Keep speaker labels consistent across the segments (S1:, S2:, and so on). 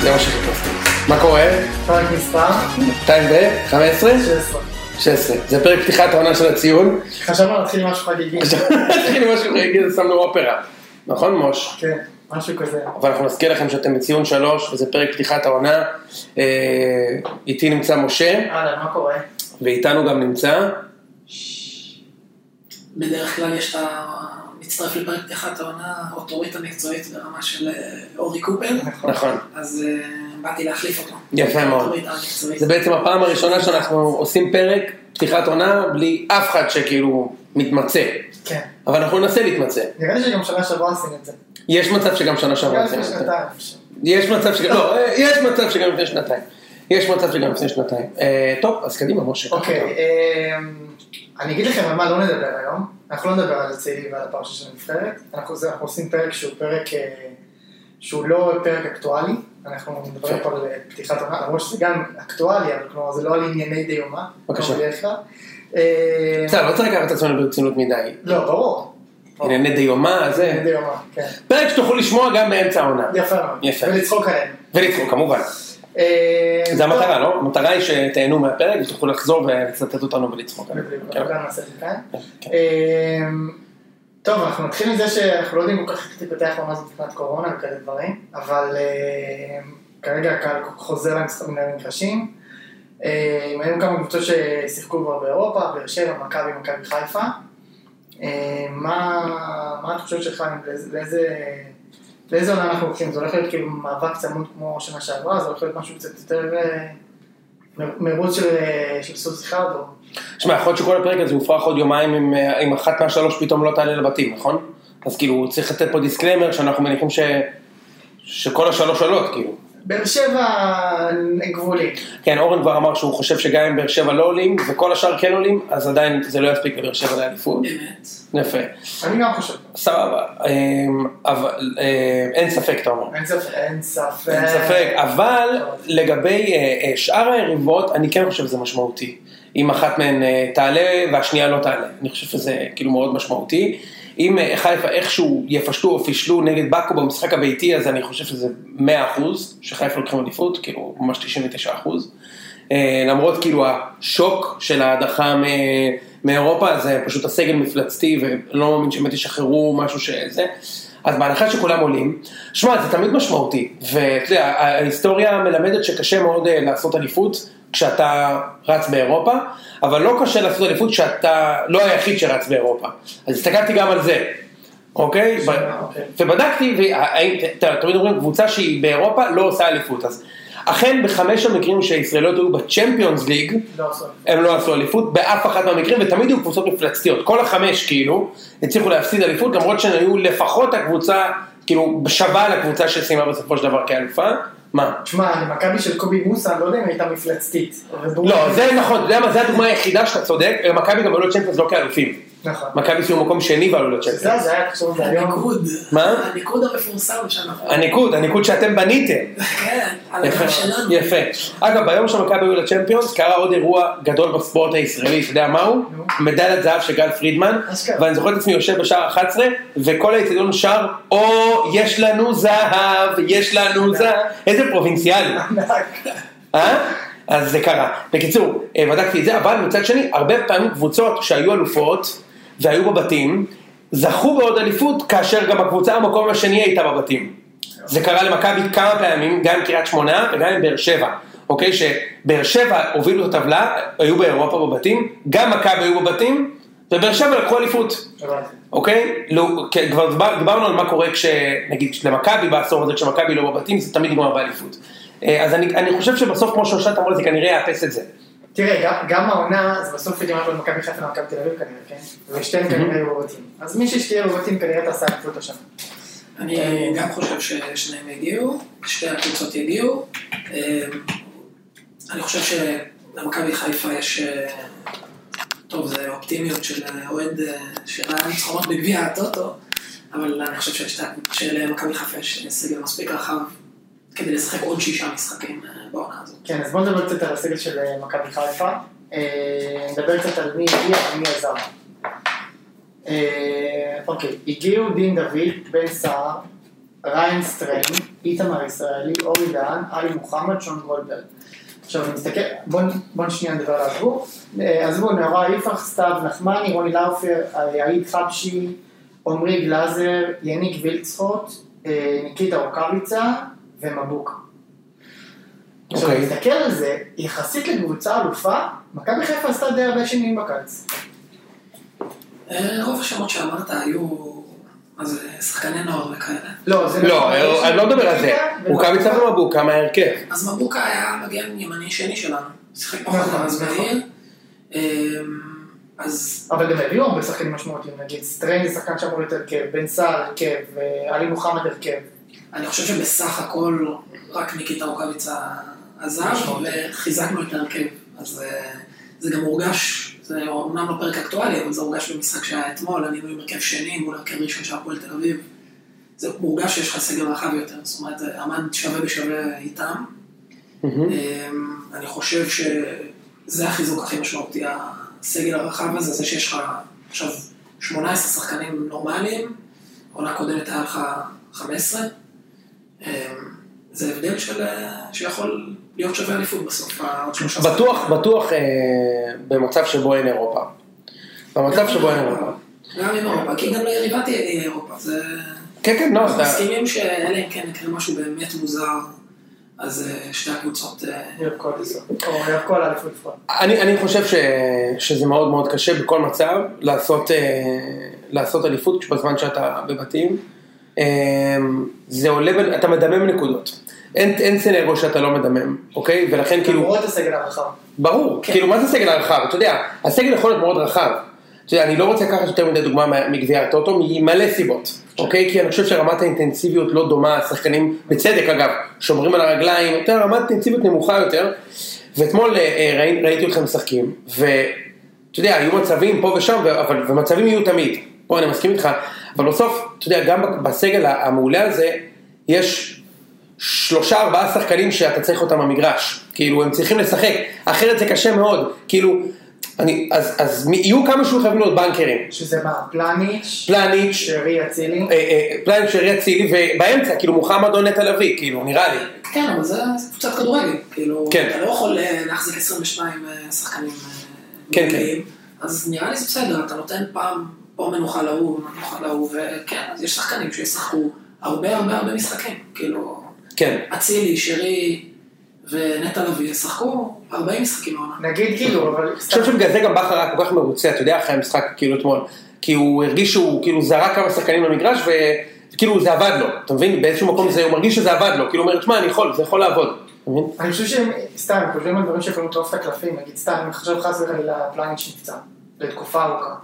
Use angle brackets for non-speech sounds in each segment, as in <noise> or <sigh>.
S1: זה מה שחיפשתי. מה קורה?
S2: פרק מספר
S1: 2 ו? 15?
S2: 16.
S1: 16. זה פרק פתיחת העונה של הציון. <laughs>
S2: חשבנו להתחיל עם משהו חגיגי.
S1: התחיל משהו רגיל, שמנו אופרה. נכון, מוש?
S2: כן, משהו כזה.
S1: אבל אנחנו נזכיר לכם שאתם בציון 3, וזה פרק פתיחת העונה. אה, איתי נמצא משה,
S2: אהלן, מה קורה?
S1: ואיתנו גם נמצא.
S3: בדרך כלל יש את ה... מצטרף לפרק פתיחת העונה, האוטוריטה המקצועית ברמה של אה, אורי קופר,
S1: נכון.
S3: אז אה, באתי להחליף אותו.
S1: יפה מאוד.
S3: האוטוריטה המקצועית.
S1: זה בעצם הפעם הראשונה שאנחנו עושים פרק פתיחת עונה בלי אף אחד שכאילו מתמצא.
S2: כן.
S1: אבל אנחנו ננסה להתמצא.
S2: נראה לי שגם שנה שעברה עשינו את זה.
S1: יש מצב שגם שנה שעברה
S2: גם
S1: עשינו
S2: לפני
S1: את זה.
S2: שנתיים.
S1: יש מצב שגם, לא, אה, יש מצב שגם לפני שנתיים. יש מצב שגם לפני שנתיים. אה, טוב, אז קדימה, משה. ככה
S2: אוקיי,
S1: אתה.
S2: אמ, אני אגיד לכם על מה לא נדבר היום. אנחנו לא נדבר על הצעירים ועל הפרשה של הנבחרת. אנחנו זה- אנחנו עושים פרק שהוא פרק אה, שהוא לא פרק אקטואלי. אנחנו נדבר
S1: כן.
S2: פה על אה, פתיחת עונה, למרות שזה גם אקטואלי, אבל כלומר זה לא על ענייני דיומה.
S1: בבקשה.
S2: כמו בדרך כלל. אה,
S1: בסדר, לא צריך לקחת את עצמנו ברצינות מדי.
S2: לא, ברור.
S1: ענייני דיומה, זה.
S2: ענייני דיומה, כן.
S1: פרק שתוכלו לשמוע גם באמצע העונה.
S2: יפה מאוד.
S1: יפה.
S2: ולצחוק עליהם.
S1: ולצחוק, כמובן.
S2: אה,
S1: זה המטרה, לא? המטרה היא שתהנו מהפרק ותוכלו לחזור ולצטט אותנו ולצחוק.
S2: טוב,
S1: עלינו.
S2: בדיוק,
S1: כן.
S2: אנחנו גם נעשה את זה כאן.
S1: כן.
S2: אה, טוב, אנחנו נתחיל מזה שאנחנו לא יודעים כל כך איך תתפתח ממש מבחינת קורונה וכאלה דברים, אבל אה, כרגע הקהל חוזר למשחקים למגרשים. אה, היו כמה קבוצות ששיחקו כבר באירופה, באר שבע, מכבי, מכבי חיפה. אה, מה מה את חושבת שלך, לאיזה- לאיזה- לאיזה עונה אנחנו הולכים? זה הולך להיות כאילו מאבק צמוד כמו שנה שעברה, זה הולך להיות משהו קצת יותר אה, מ- מרוץ של אה, של סוס אחד או...
S1: שמע, יכול להיות שכל הפרק הזה יופרך עוד יומיים אם, אה, אם אחת מהשלוש פתאום לא תעלה לבתים, נכון? אז כאילו צריך לתת פה דיסקליימר שאנחנו מניחים ש... שכל השלוש עולות, כאילו.
S2: באר שבע אה, גבולי.
S1: כן, אורן כבר אמר שהוא חושב שגם אם באר שבע לא עולים, וכל השאר כן עולים, אז עדיין זה לא יספיק לבאר שבע לאליפות.
S3: באמת.
S1: יפה.
S2: אני גם חושב.
S1: סבבה. אמ, אבל אמ, אין ספק, אתה אומר.
S2: אין ספק. אין ספק.
S1: אין ספק, אבל לגבי אה, אה, שאר היריבות, אני כן חושב שזה משמעותי. אם אחת מהן אה, תעלה והשנייה לא תעלה. אני חושב שזה כאילו מאוד משמעותי. אם אה, חיפה איכשהו יפשטו או פישלו נגד באקו במשחק הביתי, אז אני חושב שזה 100% שחיפה לוקחים עדיפות, כאילו ממש 99%. אה, למרות כאילו השוק של ההדחה מ- מאירופה, זה פשוט הסגל מפלצתי, ואני לא מאמין שבאמת ישחררו משהו שזה. אז בהנחה שכולם עולים, שמע, זה תמיד משמעותי, ואתה יודע, ההיסטוריה מלמדת שקשה מאוד אה, לעשות אליפות כשאתה רץ באירופה, אבל לא קשה לעשות אליפות כשאתה לא היחיד שרץ באירופה. אז הסתכלתי גם על זה, אוקיי? ב-
S2: אוקיי.
S1: ובדקתי, והאם- ת- ת- תמיד אומרים, קבוצה שהיא באירופה לא עושה אליפות, אז אכן בחמש המקרים שהישראליות היו בצ'מפיונס ליג,
S2: לא עשו.
S1: הם לא עשו אליפות באף אחד מהמקרים, ותמיד היו קבוצות מפלצתיות. כל החמש, כאילו, הצליחו להפסיד אליפות, למרות שהן היו לפחות הקבוצה, כאילו, שווה לקבוצה שסיימה בסופו של דבר כאלופה. מה?
S2: תשמע, למכבי של קובי מוסה, אני לא יודע אם הייתה מפלצתית. אבל ברור.
S1: לא, זה נכון, אתה יודע מה, זו הדוגמה היחידה שאתה צודק, מכבי גם עלו לצ'מפיונס לא כאלופים.
S2: נכון.
S1: מכבי סיימו מקום שני ועלו
S2: זה
S1: לצ'מפיונס.
S2: זה היה תחשוב על זה היום.
S3: הניקוד.
S1: מה?
S3: הניקוד המפורסם שאנחנו...
S1: הניקוד, הניקוד שאתם בניתם.
S3: כן, על
S1: יפה,
S3: הגב שלנו.
S1: יפה. אגב, ביום שמכבי היו לצ'מפיונס, קרה עוד אירוע גדול בספורט הישראלי, אתה יודע מהו?
S2: נו.
S1: מדליית זהב של גל פרידמן,
S3: כן.
S2: אשכרה.
S1: ואני זוכר את עצמי יושב בשער 11, וכל האצטדיון שר, או, יש לנו זהב, יש לנו זהב, איזה פרובינציאלי.
S2: ענק.
S1: אה? אז זה קרה. בקיצור, אה, בדקתי את זה, אבל מצד שני, הרבה פעמים קבוצות שהיו אלופות והיו בבתים, זכו בעוד אליפות כאשר גם הקבוצה במקום השני הייתה בבתים. זה קרה למכבי כמה פעמים, גם עם קריית שמונה וגם עם באר שבע. אוקיי, שבאר שבע הובילו את הטבלה, היו באירופה בבתים, גם מכבי היו בבתים, ובאר שבע לקחו אליפות.
S2: הבנתי.
S1: אוקיי? לא, כן, כבר דיבר- דיברנו על מה קורה כש... נגיד למכבי בעשור הזה, כשמכבי לא בבתים, זה תמיד נגמר באליפות. אה, אז אני, אני חושב שבסוף, כמו שאושרת אמרה, זה כנראה יאפס את זה.
S2: תראה, גם- גם העונה, זה בסוף ידיעה של מכבי חיפה ומכבי תל אביב כנראה, כן? ושתיהן
S1: Mm-hmm.
S2: כנראה יהיו בבתים. אז מישהי שתהיה בבתים כנראה תעשה אליפות השנה.
S3: אני גם חושב ששניהם יגיעו, שתי הקבוצות יגיעו. אה, אני חושב שלמכבי חיפה יש... אה, טוב, זה אופטימיות של אה, אוהד אה, שראה ניצחונות בגביע הטוטו, אבל אני חושב שלשתי הקבוצות- שלמכבי חיפה יש סגל מספיק רחב כדי לשחק עוד שישה משחקים אה, בעונה הזאת.
S2: כן, אז בואו נדבר קצת על הסגל של אה, מכבי חיפה. אה, נדבר קצת על מי הגיע ומי עזב. אה, אוקיי, הגיעו דין דוד, בן סער, ריין סטריין, איתמר ישראלי, אורי דהן, עלי מוחמד, שון גולדברג. עכשיו אני מסתכל, בואו בוא שנייה נדבר על עזבו. אה, עזבו, נאורה יפרח, סתיו נחמני, רוני לאופר, יעיד חבשי, עמרי גלאזר, יניק וילצחוט, אה, ניקיטה רוקאביצה ומבוק. עכשיו,
S1: אוקיי.
S2: להסתכל על זה, יחסית לקבוצה אלופה, מכבי חיפה עשתה די הרבה שינויים בקיץ.
S3: אה, רוב השמות שאמרת היו, מה זה, שחקני נוער וכאלה.
S2: לא, זה
S1: לא, אני לא מדבר על זה. רוקאביצה ומבוקה מההרכב.
S3: אז מבוקה היה מגן ימני שני שלנו. שיחק פחות
S2: נכון,
S3: אז
S2: נכון.
S3: מהיר. אה, אז
S2: אבל גם הביאו הרבה שחקנים משמעותיים, נגיד סטריין זה שחקן שאמור להיות הרכב, בן סער הרכב, אה, עלי מוחמד הרכב.
S3: אני חושב שבסך הכל רק ניקיטה רוקאביצה עזב,
S2: משמעותי.
S3: וחיזקנו את ההרכב. אז אה, זה גם הורגש, זה אומנם לא פרק אקטואלי, אבל זה הורגש במשחק שהיה אתמול, אני עם הרכב שני מול הרכב ראשון של הפועל תל אביב. זה הורגש שיש לך סגל רחב יותר, זאת אומרת, אמן שווה בשווה איתם.
S1: מהמם.
S3: אמ, אני חושב שזה החיזוק הכי משמעותי, הסגל הרחב הזה, זה שיש לך עכשיו 18 שחקנים נורמליים, עונה קודמת היה לך 15, אמ, זה הבדל של, שיכול להיות שווה אליפות בסוף, העוד שלושה
S1: בטוח, בטוח אה, במצב שבו אין אירופה. במצב שבו אין אירופה.
S3: גם עם אירופה, כי גם ליריבה תהיה אירופה, זה...
S1: כן, כן, לא,
S3: אנחנו
S1: אתה...
S3: מסכימים שאלה אם כן יקרה משהו באמת מוזר, אז אה, שתי הקבוצות... אה,
S2: יואב קוליסון, או יואב כל האליפות לפחות.
S1: אני, אני חושב ש, שזה מאוד מאוד קשה בכל מצב לעשות, אה, לעשות אליפות בזמן שאתה בבתים. אה, זה עולה, בין- אתה מדמם נקודות. אין, אין סנריו שאתה לא מדמם, אוקיי? ולכן כאילו,
S2: למרות הסגל הרחב.
S1: ברור,
S3: כן.
S1: כאילו מה זה סגל הרחב? אתה יודע, הסגל יכול להיות מאוד רחב. אתה יודע, אני לא רוצה לקחת יותר מדי דוגמה מה- מגביע הטוטו, ממלא סיבות, אוקיי? כי אני חושב שרמת האינטנסיביות לא דומה, השחקנים, בצדק אגב, שומרים על הרגליים, יותר רמת אינטנסיביות נמוכה יותר. ואתמול אה, אה, ראי- ראיתי אותכם משחקים, ואתה יודע, היו מצבים פה ושם, ו- אבל, ומצבים יהיו תמיד, פה אני מסכים איתך, אבל בסוף, אתה יודע, גם בסגל המעולה הזה, יש שלושה ארבעה שחקנים שאתה צריך אותם במגרש, כאילו הם צריכים לשחק, אחרת זה קשה מאוד, כאילו, אני, אז, אז מי- יהיו כמה שהוא חייבים להיות בנקרים,
S2: שזה מה? פלניץ',
S1: פלניץ',
S2: שרי אצילי.
S1: אה, אה, פלניץ' שרי אצילי, ובאמצע, כאילו מוחמד או נטע לביא, כאילו, נראה לי,
S3: כן, אבל זה זה קבוצת כדורגל, כאילו,
S1: כן.
S3: אתה לא יכול אה, להחזיק 22 אה, שחקנים
S1: כן,
S3: מובילים, אז נראה לי זה בסדר, אתה נותן פעם, פה מנוחה להוא, מנוחה להוא, וכן, אז יש שחקנים שישחקו הרבה הרבה הרבה משחקים, כאילו,
S1: כן,
S3: אצילי, שרי ונטע לביא ישחקו 40 משחקים העונה.
S2: נגיד כאילו, אבל
S1: אני חושב שבגלל זה גם בכר היה כל כך מרוצה, אתה יודע, אחרי המשחק, כאילו אתמול, כי הוא הרגיש שהוא כאילו זרק כמה שחקנים למגרש, וכאילו זה עבד לו, אתה מבין? באיזשהו מקום זה, הוא מרגיש שזה עבד לו, כאילו הוא אומר, שמע, אני יכול, זה יכול לעבוד, אתה מבין?
S2: אני חושב שהם, סתם, הם חושבים על דברים שיכולים לטרוף את הקלפים, נגיד סתם, אני חושב חס וחלילה פלניץ' נפצע, לתקופה ארוכה.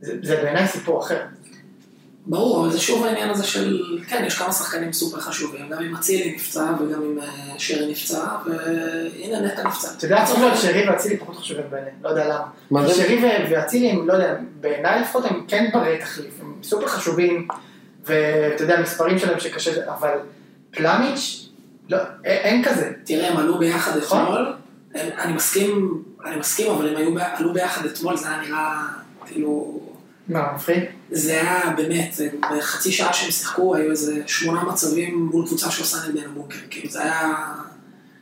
S2: זה זה בעיניי סיפור אחר.
S3: ברור, אבל זה שוב העניין הזה של, כן, יש כמה שחקנים סופר חשובים, גם אם אצילי נפצע וגם אם אה, שרי נפצע, והנה נטע נפצע.
S2: אתה יודע, צריך להיות שרי ואצילי פחות חשובים בעיניי, לא יודע למה.
S1: מה זה?
S2: שרי ו- ואצילי הם, לא יודע, בעיניי לפחות הם כן ברי תחליף, הם סופר חשובים, ואתה יודע, המספרים שלהם שקשה, אבל פלניץ', לא, א- אין כזה.
S3: תראה, הם עלו ביחד
S2: נכון.
S3: אתמול, הם, אני מסכים, אני מסכים, אבל הם היו, ב- עלו ביחד אתמול, זה היה נראה, כאילו,
S2: מה, מפחיד?
S3: זה היה באמת, זה- בחצי שעה שהם שיחקו, היו איזה שמונה מצבים מול קבוצה שעושה נגדנו בונקר, כאילו, זה היה,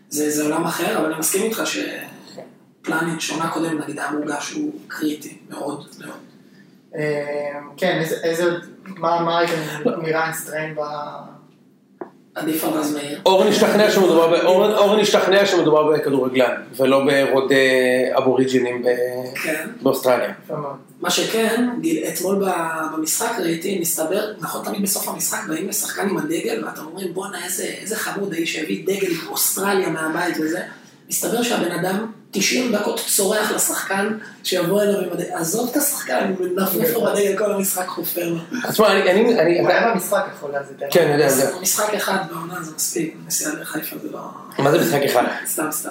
S3: זה, זה עולם אחר, אבל אני מסכים איתך שפלניץ' שונה קודם, נגיד, היה מורגש שהוא קריטי, מאוד, מאוד.
S2: אה, כן, איזה, איזה, עוד- מה מה ראיתם
S1: לא.
S2: מריין סטריין ב...
S3: עדיף על רז מאיר.
S1: אורן השתכנע שמדובר, ב- אורן, אורן השתכנע שמדובר בכדורגלן, ולא ברוד אה, אבוריג'ינים ב...
S3: כן.
S1: באוסטרליה.
S2: יפה מאוד.
S3: מה שכן, גיל- אתמול ב- במשחק ראיתי, מסתבר, נכון, תמיד בסוף המשחק באים לשחקן עם הדגל, ואתם אומרים, בואנה, איזה, איזה חמוד האיש שהביא דגל אוסטרליה מהבית וזה. מסתבר שהבן אדם 90 דקות צורח לשחקן שיבוא אליו עם הדגל, עזוב את השחקן, הוא מנפנף לו בדגל כל המשחק חופר לו.
S1: אז תשמע, אני, אני, אני,
S2: הוא היה במשחק יכול להזיז את
S1: אה. כן, אני יודע, אני יודע.
S3: משחק אחד בעונה זה מספיק, נסיעה לחיפה זה לא...
S1: מה זה משחק אחד?
S3: סתם, סתם.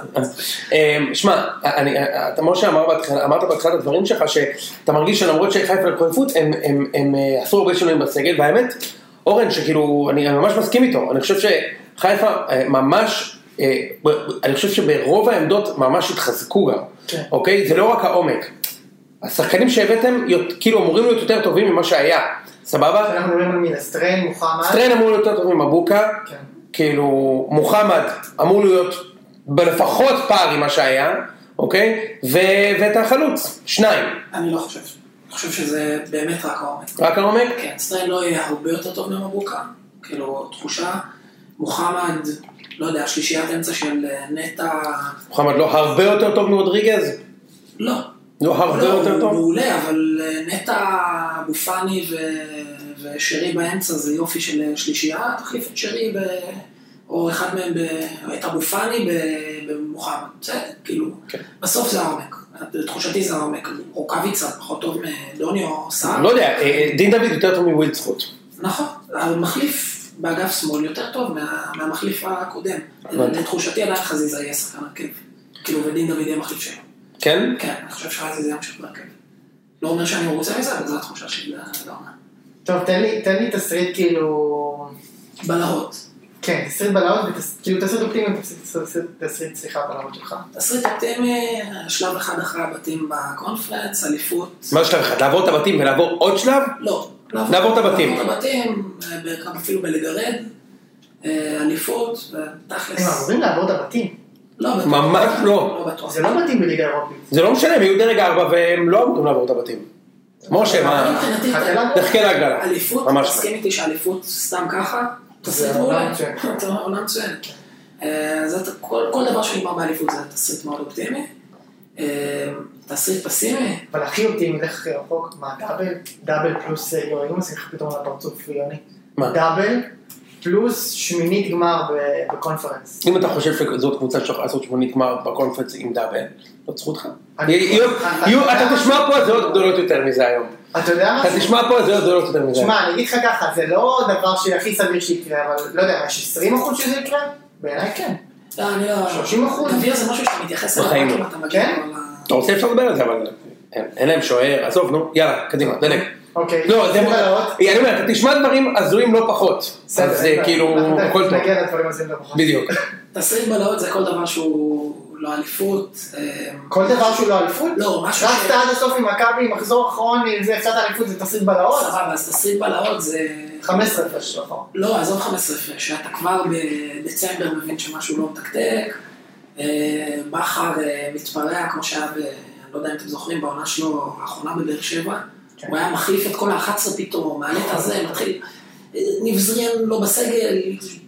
S1: אמ, שמע, אני- אתה משה אמר בהתחלה- אמרת בהתחלת הדברים שלך שאתה מרגיש שלמרות שחיפה לקחו אליפות הם- הם- הם אה, עשו הרבה שינויים בסגל והאמת אורן שכאילו אני אני ממש מסכים איתו אני חושב שחיפה אה, ממש אה, ב- אני חושב שברוב העמדות ממש התחזקו גם
S2: כן.
S1: אוקיי זה לא רק העומק השחקנים שהבאתם, יות- כאילו אמורים להיות יותר טובים ממה שהיה, סבבה?
S2: אנחנו מדברים על מי? לסטריין, מוחמד.
S1: סטריין אמור להיות יותר טוב ממבוקה,
S2: כן.
S1: כאילו מוחמד אמור להיות בלפחות פער עם מה שהיה, אוקיי? ו- ואת החלוץ, שניים,
S3: אני לא חושב. אני חושב שזה באמת רק העומק.
S1: רק העומק?
S3: כן, סטריין לא יהיה הרבה יותר טוב ממבוקה. כאילו, תחושה, מוחמד, לא יודע, שלישיית אמצע של אה, נטע,
S1: מוחמד לא הרבה יותר טוב מרודריגז?
S3: לא.
S1: לא הרבה
S3: לא,
S1: יותר
S3: הוא
S1: טוב?
S3: מעולה, אבל אה, נטע, אבו פאני ו- ושרי באמצע זה יופי של אה, שלישייה, תחליף את שרי ב... או אחד מהם, ב... או את אבו פאני ב- במוחמד, בסדר, כאילו,
S1: כן.
S3: בסוף זה העומק, לתחושתי זה העומק, רוקאביצה פחות טוב מדוני או סער,
S1: לא יודע, אה, אה, דין דוד יותר טוב מווילד זכות.
S3: נכון, המחליף באגף שמאל יותר טוב מה, מהמחליף הקודם.
S1: הבנתי.
S3: לתחושתי עדיין חזיזה יהיה שחקן הרכב. כאילו, ודין דוד יהיה מחליף שלו.
S1: כן?
S3: כן, אני חושב שחזיזה ימשיך בהרכב. לא אומר שאני מרוצה מזה, אבל זו התחושה שלי לעונה.
S2: טוב, תן לי- תן לי תסריט כאילו...
S3: בלהות.
S2: כן, תסריט בלהות, ותס- כאילו תסריט אופטימי, תסריט- תסריט- תסריט, סליחה, בלהות שלך.
S3: תסריט אופטימי, שלב אחד אחרי הבתים בקונפרנס, אליפות.
S1: מה השלב אחד? לעבור את הבתים ולעבור עוד שלב?
S3: לא.
S1: נעבור את הבתים.
S3: נעבור את הבתים, אה, ב- אפילו בלגרד. אה, אליפות,
S2: הם
S3: ותכלס.
S2: אמורים לעבור את הבתים.
S3: לא בטוח.
S1: ממש לא.
S3: לא
S2: אה,
S3: בטוח.
S2: זה לא בתים בליגה האירופית.
S1: זה לא משנה, הם יהיו דרג ארבע והם לא אמורים לעבור את הבתים. משה, מה?
S3: מבחינתי,
S2: חתלה?
S1: <laughs> תחכה להגרלה.
S3: אליפות,
S1: ממש לא.
S3: תסכים איתי שאליפות סתם ככה, תסריט
S2: זה לא עונה
S3: מעולה,
S2: מצוינת.
S3: <laughs> זה עונה מצוינת. אה, אז אתה- כל כל דבר שנגמר באליפות זה תסריט מאוד אופטימי. אה, תסריט פסימי,
S2: אבל הכי אופטימי, לך הכי רחוק, מה, דאבל? דאבל פלוס, אה, יואו, אם עושים לך פתאום על הפרצוף, יוני.
S1: מה?
S2: דאבל פלוס שמינית גמר ב- בקונפרנס.
S1: אם אתה חושב שזאת קבוצה שיכולה לעשות שמונית גמר בקונפרנס עם דאבל, זאת זכותך.
S2: אני-
S1: יהיו-
S2: אני-
S1: יהיו-
S2: אני-
S1: אתה תשמע פה הזיות גדולות יותר מזה היום.
S2: אתה יודע מה?
S1: אתה תשמע פה הזיות גדולות יותר מזה.
S2: תשמע, אני אגיד לך ככה, זה לא דבר שהכי סביר שיקרה, אבל לא יודע, יש 20% שזה יקרה? בעיניי כן.
S3: לא, אני לא...
S2: 30%.
S3: גביע זה משהו שאתה מתייחס אליו,
S1: בחיים
S3: רק
S1: לא.
S3: אם אתה מגיע
S2: כן?
S3: אבל ה-
S1: אתה רוצה אפשר לדבר על זה, אבל אין אין להם שוער, עזוב, נו, יאללה, קדימה, דלג.
S2: אוקיי.
S1: לא, זה...
S2: בלהות.
S1: אני אומר, אתה תשמע דברים הזויים לא פחות.
S2: בסדר,
S1: אז זה
S2: אין בעיה.
S1: כאילו,
S2: אנחנו תכף
S1: הכל טוב.
S2: נגיע לדברים הזויים לא פחות.
S1: בדיוק.
S3: תסריט בלהות זה כל דבר שהוא לא אליפות. אה,
S2: כל דבר שהוא לא אליפות?
S3: לא, משהו ש-
S2: רצת עד הסוף עם מכבי, מחזור אחרון, עם זה הפסדת אליפות, זה תפסיד בלהות?
S3: סבבה, אז תסריט בלהות זה
S2: 15 הפרש נכון.
S3: לא, עזוב 15 הפרש, שאתה כבר בדצמבר מבין שמשהו לא מתקתק, אה, בכר אה, מתפרע, כמו שהיה, ב- אני לא יודע אם אתם זוכרים, בעונה שלו האחרונה בבאר שבע,
S2: כן.
S3: הוא היה מחליף את כל ה-11 פתאום, מעלה את הזה, מתחיל, אה, ניב זריאן לא בסגל,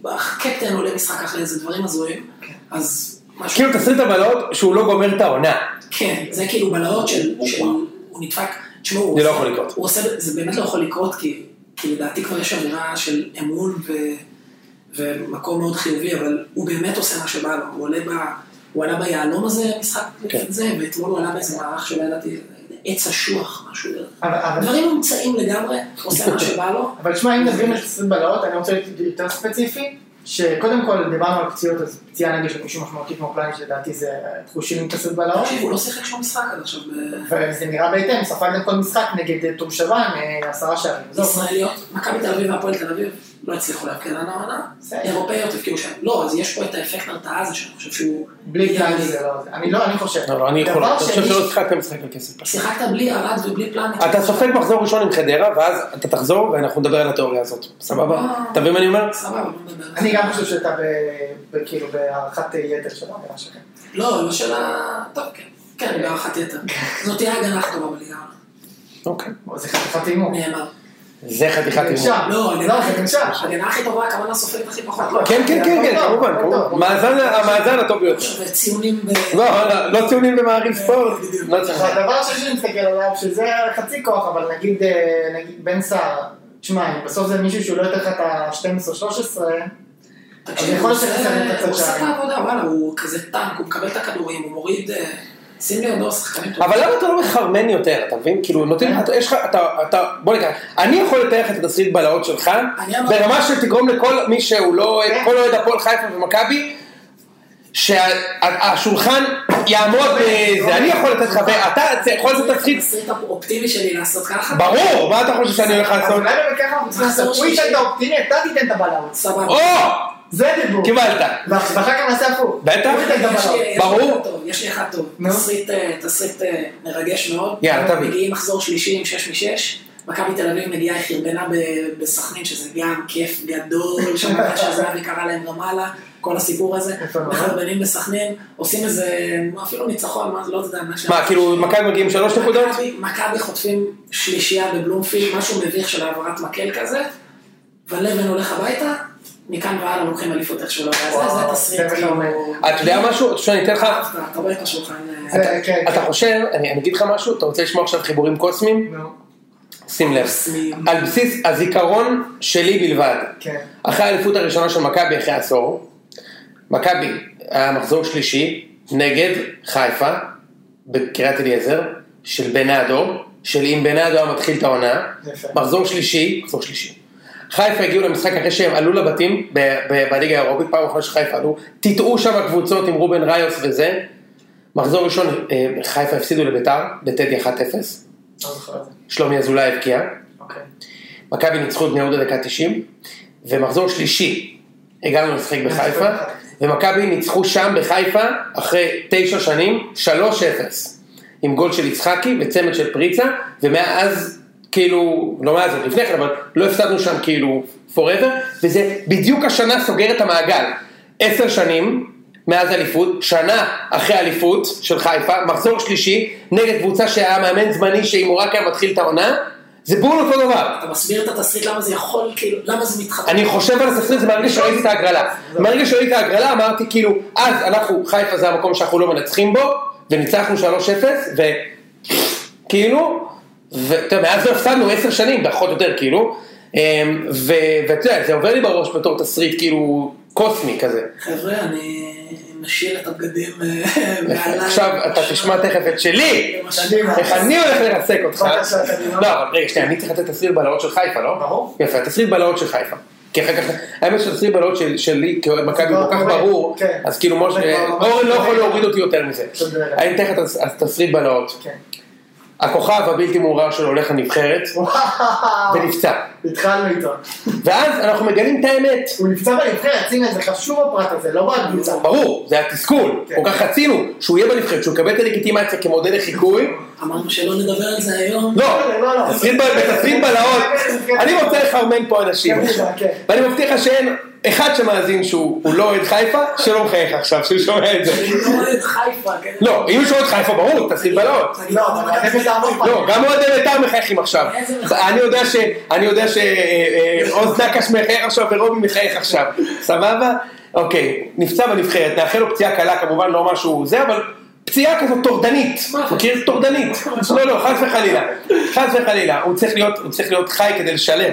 S3: הקפטן עולה משחק אחרי איזה דברים הזויים, אז משהו,
S1: כאילו תסריט הבלהות שהוא לא גומר את העונה.
S3: כן, זה כאילו בלהות של, של- הוא נדפק, תשמעו, הוא
S1: זה לא
S3: עושה-
S1: יכול לקרות.
S3: הוא עושה, זה באמת לא יכול לקרות, כי, כי לדעתי כבר יש אווירה של אמון ו, ומקום מאוד חיובי, אבל הוא באמת עושה מה שבא לו, הוא עולה ב... הוא עלה ביהלום הזה, משחק
S1: כן.
S3: זה, ואתמול הוא עלה באיזה מערך שלא ידעתי, עץ אשוח, משהו.
S2: אבל- אבל-
S3: דברים מומצאים לגמרי, עושה מה שבא לו.
S2: אבל שמע, אם מדברים על תסריט בלהות, אני רוצה להיות יותר ספציפי, שקודם כל דיברנו על פציעות, אז פציעה נגיד של מישהו משמעותי כמו פלניץ', לדעתי זה חושים עם תסריט בלהות.
S3: תקשיב, הוא לא שיחק שום משחק עד עכשיו. אה, ב-
S2: וזה נראה בהתאם, ספגנו כל משחק נגד תום שבן, אה, עשרה שערים. זהו.
S3: לא, ישראליות, מכבי תל אביב והפועל תל אביב לא הצליחו להבקיע לנו העונה,
S2: בסדר.
S3: אירופאיות הבקיעו שם. לא, אז יש פה את האפקט הרתעה הזה שאני חושב שהוא...
S2: בלי פלניץ' זה לא... אני לא, אני חושב.
S1: לא, לא, אני יכול,
S2: דבר
S1: אני חושב
S2: שני-
S1: שלא שיחקת משחק על כסף.
S3: שיחקת בלי ארד ובלי פלנט.
S1: אתה סופג מחזור ראשון עם חדרה, ואז אתה תחזור ואנחנו נדבר על התיאוריה הזאת. סבבה?
S2: אה.
S1: אתה מבין מה אני אומר?
S3: סבבה, בוא נדבר. על
S2: אני
S3: זה.
S2: גם חושב שאתה ב- ב- כאילו בהערכת יתר של האמירה שלכם.
S3: לא, לא של ה... טוב, כן. כן,
S2: <laughs>
S3: בהערכת יתר. זאת תהיה ההגנה הכי טובה בליגה.
S1: אוקיי.
S2: או, זה חתיכת הימור.
S3: נאמר.
S1: זה חתיכת
S2: זה
S1: אימון.
S2: אפשר.
S3: לא,
S2: לא,
S3: ההגנה
S2: זה לא,
S3: הכי-
S2: קשה.
S3: ההגנה הכי טובה, הכוונה סופגת הכי פחות.
S1: כן, כן, כן, כן,
S2: טוב,
S1: כמובן,
S2: טוב,
S1: כמובן.
S2: טוב.
S1: מאזן- המאזן הטוב ביותר.
S3: עכשיו, ציונים ב...
S1: לא, לא, לא ציונים במעריב ספורט. לא צריך.
S2: הדבר השני שנסתכל עליו, שזה חצי כוח, אבל נגיד, אה, נגיד בן סער, תשמע, אם בסוף זה מישהו שהוא לא יותר לך את ה-12-13,
S3: תקשיב,
S2: אני יכול
S3: הוא עושה-
S2: לשחק את הצד
S3: הוא עושה את
S2: שלנו.
S3: העבודה, וואלה, הוא כזה טנק, הוא מקבל את הכדורים, הוא מוריד... אה, שים לידו שחקנים טובים.
S1: אבל למה אתה לא מחרמן יותר, אתה מבין? כאילו,
S2: אה?
S1: נותן, אתה- יש לך, אתה, אתה, בוא נקרא, אני יכול לתאר לך את התסריט בלהות שלך,
S3: אני אמרתי-
S1: ברמה שתגרום לכל מי שהוא לא, אוהד-
S2: כן.
S1: כל אוהד הפועל חיפה ומכבי, שהשולחן יעמוד
S2: אוקיי.
S1: בזה, אני יכול לתת לך, ואתה אתה יכול לעשות תסריט,
S3: התסריט האופטימי שלי לעשות ככה.
S1: ברור, מה אתה חושב שאני הולך
S2: אז
S1: לעשות?
S2: אולי באמת ככה אנחנו צריכים לעשות, הוא ייתן את האופטימי, אתה תיתן את הבלאות.
S3: סבבה.
S1: או!
S2: זה דיבור.
S1: קיבלת.
S2: ואח- ואחר כך נעשה הפוך.
S1: בטח.
S2: הוא ייתן גם
S3: יש לי-
S2: עליו.
S3: יש לי
S1: ברור.
S3: אחד טוב, יש לי אחד טוב.
S2: נו.
S3: תסריט, אה, תסריט אה, מרגש מאוד.
S1: יאללה, תביא.
S3: מגיעים מחזור שלישי עם 6 מ-6. מכבי תל אביב מגיעה היא חרבנה ב- בסכנין, שזה גם כיף
S1: <laughs>
S3: גדול, שם אחרי שהזהבי קרא להם רמאללה, כל הסיפור הזה.
S2: יפה
S1: נכון.
S2: מאוד.
S3: מחרבנים בסכנין, עושים איזה, אפילו ניצחון, מה- לא יודע, מה ש... אה,
S1: מה, כאילו, מכבי מגיעים שלוש נקודות?
S3: מכבי- מכבי חוטפים שלישייה בבלומפילד, משהו מביך של העברת מקל כזה, ולבן הולך הביתה, מכאן והלאה לוקחים אליפות איך שהוא לא
S2: וואו,
S3: היה זה, זה
S2: זה
S3: תסריט.
S2: בכלל
S3: כאילו-
S1: אתה יודע משהו? תשמע, אני אתן לך...
S3: אתה אתה רואה את השולחן. אה,
S2: זה- כן,
S1: אתה
S2: כן.
S1: חושב, אני אני אגיד לך משהו, אתה רוצה לשמוע עכשיו חיבורים קוסמיים?
S2: נו,
S1: שים לב.
S3: קוסמיים.
S1: על בסיס הזיכרון שלי בלבד.
S2: כן.
S1: אחרי האליפות הראשונה של מכבי אחרי עשור, מכבי היה מחזור שלישי נגד חיפה בקריית אליעזר של בנאדו, של אם בנאדו היה מתחיל את העונה,
S2: יפה.
S1: מחזור שלישי, מחזור שלישי. חיפה הגיעו למשחק אחרי שהם עלו לבתים ב- ב- בליגה האירופית, פעם אחרונה שחיפה עלו, טיטאו שם הקבוצות עם רובן ריוס וזה. מחזור ראשון, אה, חיפה הפסידו לביתר, בטדי 1-0,
S2: לא זוכר את זה.
S1: שלומי אזולאי הבקיע.
S2: אוקיי.
S1: מכבי ניצחו את בני יהודה דקה 90, ומחזור שלישי הגענו לשחק בחיפה, ומכבי ניצחו שם בחיפה אחרי תשע שנים 3-0, עם גול של יצחקי וצמד של פריצה, ומאז, כאילו, לא מאז, עוד לפני כן, אבל לא הפסדנו שם כאילו forever, וזה בדיוק השנה סוגר את המעגל. עשר שנים. מאז אליפות, שנה אחרי אליפות של חיפה, מחזור שלישי, נגד קבוצה שהיה מאמן זמני שאם הוא רק היה מתחיל את העונה, זה בול אותו דבר.
S3: אתה מסביר את התסריט למה זה יכול, כאילו, למה זה מתחתן.
S1: אני חושב על הספרים, זה מהרגע שראיתי את ההגרלה. מהרגע שראיתי את ההגרלה אמרתי כאילו, אז אנחנו, חיפה זה המקום שאנחנו לא מנצחים בו, וניצחנו 3-0, וכאילו, ואתה כאילו, יודע, מאז לא הפסדנו 10 שנים, פחות או יותר כאילו, אמ, ו- ואתה יודע, זה עובר לי בראש בתור תסריט כאילו קוסמי כזה.
S3: חבר'ה, אני משאיר את הבגדים אה,
S1: <laughs>
S3: מעליי.
S1: עכשיו אתה תשמע תכף את שלי,
S2: קדימה.
S1: איך אני הולך לרסק אותך.
S2: בבקשה, קדימה.
S1: לא, אבל רגע, שנייה, אני צריך לתת תסריט בלהות של חיפה, לא?
S2: ברור.
S1: יפה, תסריט בלהות של חיפה. כי אחר כך, האמת שתסריט בלהות של- שלי, כאוהד מכבי
S2: זה
S1: הוא
S2: כבר
S1: כל כך
S2: קורה.
S1: ברור,
S2: כן.
S1: אז כאילו משה,
S2: זה כבר ממש
S1: אורן לא יכול
S2: קורה.
S1: להוריד אותי יותר מזה.
S2: תודה.
S1: אני אתן לך תס- אז תסריט בלהות.
S2: כן.
S1: הכוכב הבלתי מעורר שלו הולך לנבחרת,
S2: וואו.
S1: ונפצע.
S2: התחלנו איתו.
S1: ואז אנחנו מגלים את האמת.
S2: הוא נפצע בנבחרת, שים לב, זה חשוב הפרט הזה, לא רק קבוצה.
S1: ברור, זה התסכול,
S2: כן.
S1: כל כך רצינו, שהוא יהיה בנבחרת, שהוא יקבל את הלגיטימציה כמודל לחיקוי,
S2: כן.
S3: אמרנו שלא נדבר על זה היום.
S1: לא,
S2: לא, לא.
S1: תסריט ב- בתסריט בלהות,
S2: כן.
S1: אני רוצה לחרמן פה אנשים
S2: כן,
S1: עכשיו,
S2: כן.
S1: ואני מבטיח לך שאין אחד שמאזין שהוא הוא לא אוהד חיפה, שלא מחייך עכשיו, שהוא שומע את זה.
S3: אני לא רואה את חיפה, כן?
S1: לא, אם יש אוהד חיפה ברור, תסריט בלהות.
S3: תגיד,
S2: לא, אבל אתם מתארבו פעם.
S1: כן. לא, גם אוהדי בית"ר מחייכים עכשיו.
S3: איזה מחייך?
S1: אני יודע ש... אני יודע ש... אה, אה, עוז דקש מחייך עכשיו ורובי מחייך עכשיו. סבבה? אוקיי, נפצע בנבחרת, נאחל לו פציעה קלה, כמובן לא משהו זה, אבל פציעה כזאת טורדנית.
S3: מה זה?
S1: מכיר? טורדנית. לא, לא, חס וחלילה. חס וחלילה. הוא צריך להיות- הוא צריך להיות חי כדי לשלם.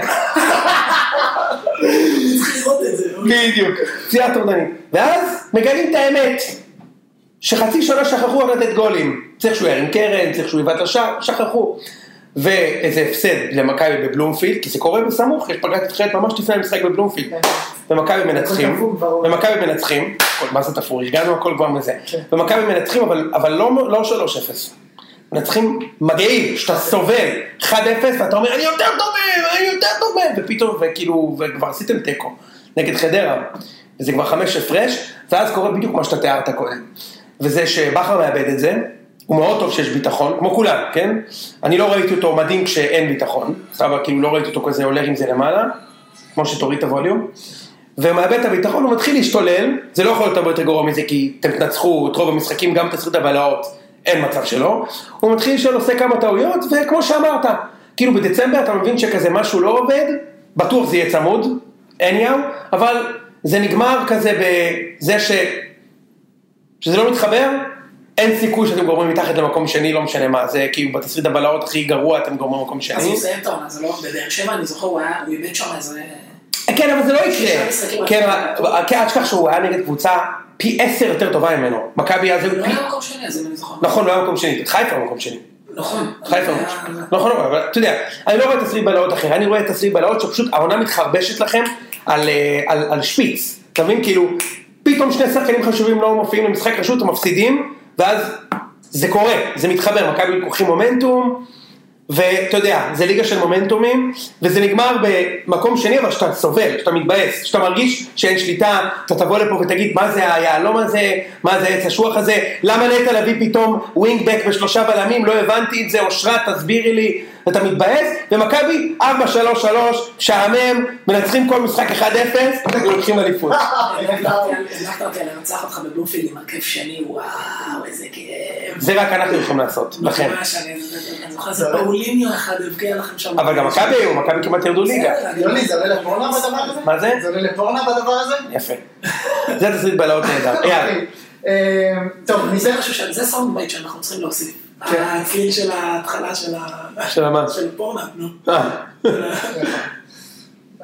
S3: צריך לראות את זה. לא?
S1: בדיוק. פציעה טורדנית. ואז מגלים את האמת. שחצי שנה שכחו רק לתת גולים. צריך שהוא ירים קרן, צריך שהוא יבעט לשער, שכחו. ואיזה הפסד למכבי בבלומפילד, כי זה קורה בסמוך, יש פגרת נבחרת ממש לפני המשחק בבלומפילד. ומכבי מנצחים,
S2: תפור כבר. כן.
S1: ומכבי מנצחים, הכל- מה זה תפור, הגענו הכל כבר מזה. ומכבי מנצחים, אבל- אבל לא לא 3-0. מנצחים מגעיל, שאתה סובל, 1-0, ואתה אומר, אני יותר טוב מהם, אני יותר טוב מהם, ופתאום, וכאילו, וכבר עשיתם תיקו, נגד חדרה, וזה כבר חמש הפרש, ואז קורה בדיוק מה שאתה תיארת קודם. וזה שבכר מאבד את זה, הוא מאוד טוב שיש ביטחון, כמו כולם, כן? אני לא ראיתי אותו מדהים כשאין ביטחון, סבבה, כאילו לא ראיתי אותו כזה הולך עם זה למעלה, כמו שתוריד את הווליום. ומאבד את הביטחון, הוא מתחיל להשתולל, זה לא יכול להיות הרבה יותר גרוע מזה, כי אתם תנצחו את רוב המשחקים, גם תסריט הבלהות, אין מצב שלא. הוא מתחיל לשאול, עושה כמה טעויות, וכמו שאמרת, כאילו בדצמבר אתה מבין שכזה משהו לא עובד, בטוח זה יהיה צמוד, anyhow, אבל זה נגמר כזה בזה ש... שזה לא מתחבר, אין סיכוי שאתם גורמים מתחת למקום שני, לא משנה מה, זה כאילו בתסריט הבלהות הכי גרוע אתם גורמים למקום
S3: אז הוא
S1: שני.
S3: מסיים את העונה, זה לא... בבאר שבע, אני זוכר, הוא היה... הוא איבד שם איזה...
S1: כן, אבל זה לא
S3: שישה
S1: יקרה.
S3: משחקים
S1: כן,
S3: אחרי.
S1: אבל- כן, אל תשכח שהוא היה נגד קבוצה פי עשר יותר טובה ממנו. מכבי אז
S3: הוא
S1: היו
S3: לא
S1: פי...
S3: היה מקום שני, אז אם אני זוכר.
S1: כן. נכון, לא היה מקום שני. חיפה הוא מקום שני.
S3: נכון.
S1: חיפה הוא
S3: היה-
S1: מקום שני. נכון, נכון, אבל אתה יודע, אני לא רואה תסריט בלהות אחר, אני רואה תסריט בלהות שפשוט העונה מתחרבשת לכם על, אה, על, על שפיץ. אתה מבין? כאילו, פתאום שני שחקנים חשובים לא מופיעים למשחק רשות, אתם מפסידים, ואז זה קורה, זה מתחבר. מכבי לוקחים מומנטום, ואתה יודע, זה ליגה של מומנטומים, וזה נגמר במקום שני, אבל שאתה סובל, שאתה מתבאס, שאתה מרגיש שאין שליטה, אתה תבוא לפה ותגיד מה זה היהלום הזה, מה זה עץ אשוח הזה, למה נטע לביא פתאום ווינגבק בשלושה בלמים, לא הבנתי את זה, אושרת, תסבירי לי, אתה מתבאס, ומכבי 4-3-3, משעמם, מנצחים כל משחק 1-0, ולוקחים אליפות.
S3: הלכת אותי לנצח אותך בבלומפילד עם הרכב שני, וואו, איזה כאב.
S1: זה רק אנחנו יכולים לעשות, לכן.
S3: ממש, אני אני זוכר איזה פאוליניו אחד הבקיע לכם שם.
S1: אבל גם מכבי היו, מכבי כמעט ירדו ליגה.
S3: בסדר, אני-
S2: יוני, זה עולה לפורנה בדבר הזה?
S1: מה זה?
S2: זה עולה לפורנה בדבר הזה?
S1: יפה. זה תסריט בלהות נהדר. אייל,
S2: אה, טוב,
S3: זה
S2: ניסה...
S3: משהו ש... זה סאונד בייט שאנחנו צריכים להוסיף.
S2: כן.
S3: הצליל של ההתחלה של ה...
S1: של המה?
S3: של פורנאפ, נו.
S1: אה,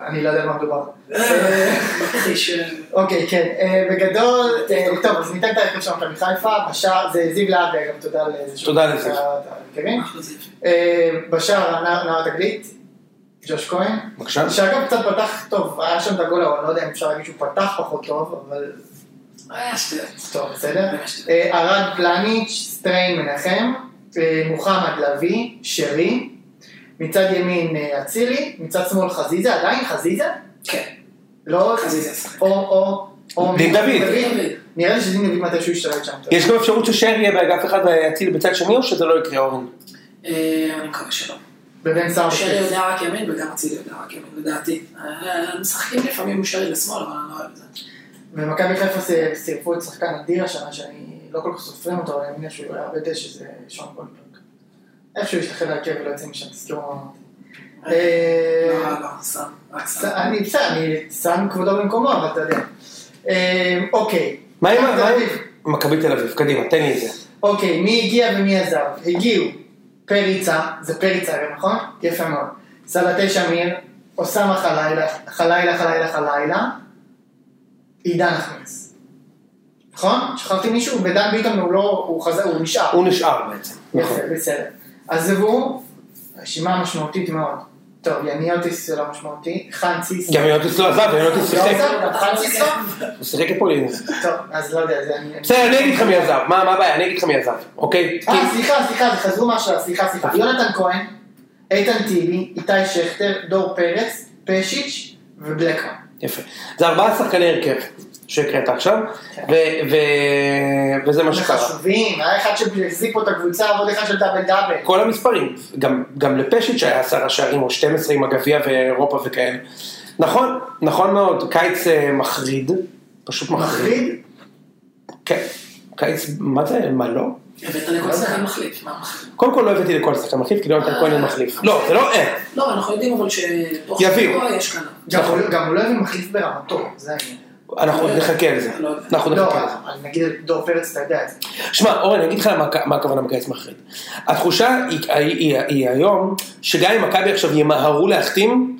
S2: אני לא יודע מה מדובר.
S3: אה, מכחיש. אה,
S2: אוקיי, כן. אה, בגדול, אה, טוב, אז ניתן את ההרכב של מכבי חיפה, בשער, זה זיו להב, גם תודה לזה. שהוא- אה,
S1: תודה לזיו.
S2: אתה- אתה מכירים?
S3: אחלה זיו.
S2: אה, בשער, נע- נער תגלית, ג'וש כהן.
S1: בבקשה.
S2: שאגב קצת פתח טוב, היה שם את הגול, אבל אני לא יודע אם אפשר להגיד שהוא פתח פחות טוב, אבל
S3: אה, שטויות.
S2: טוב, בסדר. אה, ארד פלניץ', סטריין מנחם, אה, מוחמד לביא, שרי, מצד ימין אה, אצילי, מצד שמאל חזיזה, עדיין חזיזה?
S3: כן.
S2: לא,
S3: חזיזה ישחק.
S2: או, או, או,
S1: דין
S2: מי-
S1: דוד. כן.
S2: נראה לי שדין דוד מתישהו ישתלט שם. טוב.
S1: יש גם אפשרות ששר יהיה באגף אחד ויציל בצד שני, או שזה לא יקרה אורן?
S3: אה, אני מקווה שלא.
S2: ובן סער.
S3: שרי יודע רק ימין וגם אצילי יודע רק ימין, לדעתי. אה, משחקים לפעמים עם שרי לשמאל, אבל אני לא אוהב את זה.
S2: ומכבי חיפה ס- צירפו את שחקן אדיר השנה, שאני לא כל כך סופרים אותו, אבל אני מניח שהוא היה בדשא, זה שון גולדברג. איכשהו השתחרר להרכב ולא יוצא משם, תזכרו מה אמרתי. אה,
S3: לא, לא, סתם, רק
S2: ס-
S3: סתם.
S2: אני בסדר, אני שם כבודו במקומו, אבל אתה יודע. אה, אוקיי.
S1: מה עם ה-
S2: מכבי
S1: מה
S2: תל
S1: עם...
S2: אביב.
S1: מכבי תל אביב, קדימה, תן לי את זה.
S2: אוקיי, מי הגיע ומי עזב? הגיעו פריצה, זה פריצה הרי, נכון? יפה מאוד. סלטי שמיר, אוסאמה חלילה, חלילה, חלילה, חלילה, עידן נחמיאס. נכון? שכחתי מישהו? ודן ביטון הוא לא, הוא חזר, הוא נשאר.
S1: הוא נשאר בעצם. נכון.
S2: יפה, בסדר. עזבו, רשימה משמעותית מאוד. טוב, יניוטיס זה לא משמעותי, חנציס.
S1: גם יונטיס לא עזב, יונטיס
S2: לא
S1: שיחק.
S2: עזב, גם חנציס לא?
S1: הוא שיחק את פולין.
S2: טוב, אז לא יודע, זה אני...
S1: בסדר, אני אגיד לך מי עזב. מה מה הבעיה? אני אגיד לך מי עזב, אוקיי?
S2: אה, סליחה, סליחה, זה חזרו מהשאלה, סליחה, סליחה. יונתן כהן, איתן טיבי, איתי שכטר, דור פרץ, פשיץ' ובלקמן.
S1: יפה. זה ארבעה שחקני הרכב שהקראת עכשיו, ו- ו- וזה מה
S2: הם
S1: שקרה.
S2: חשובים, היה אחד שהחזיק פה את הקבוצה, ועוד אחד של דאבל דאבל.
S1: כל המספרים, גם, גם לפשיץ' היה עשרה שערים או 12 עם הגביע ואירופה וכאלה. נכון, נכון מאוד, קיץ אה, מחריד, פשוט מחריד.
S2: מחריד?
S1: כן, קיץ, מה זה, מה לא?
S3: הבאת לכל שחקן מחליף, מה מחליף?
S1: קודם כל לא הבאתי לכל שחקן מחליף, כי לא נתן כהן מחליף. לא, זה לא אה.
S3: לא, אנחנו יודעים אבל שתוך
S1: יביאו.
S3: שבוע יש כאן.
S2: גם
S1: נכון.
S2: הוא- גם הוא לא הביא מחליף ברמתו, זה העניין.
S1: אנחנו עוד נחכה לזה, אנחנו עוד
S2: לא,
S1: נחכה לזה.
S2: אבל נגיד דור פרץ, אתה יודע את זה.
S1: שמע, אורן, אני אגיד לך מה, מה הכוונה בקיץ מחריד. התחושה היא, היא, היא, היא היום, שגם אם מכבי עכשיו ימהרו להחתים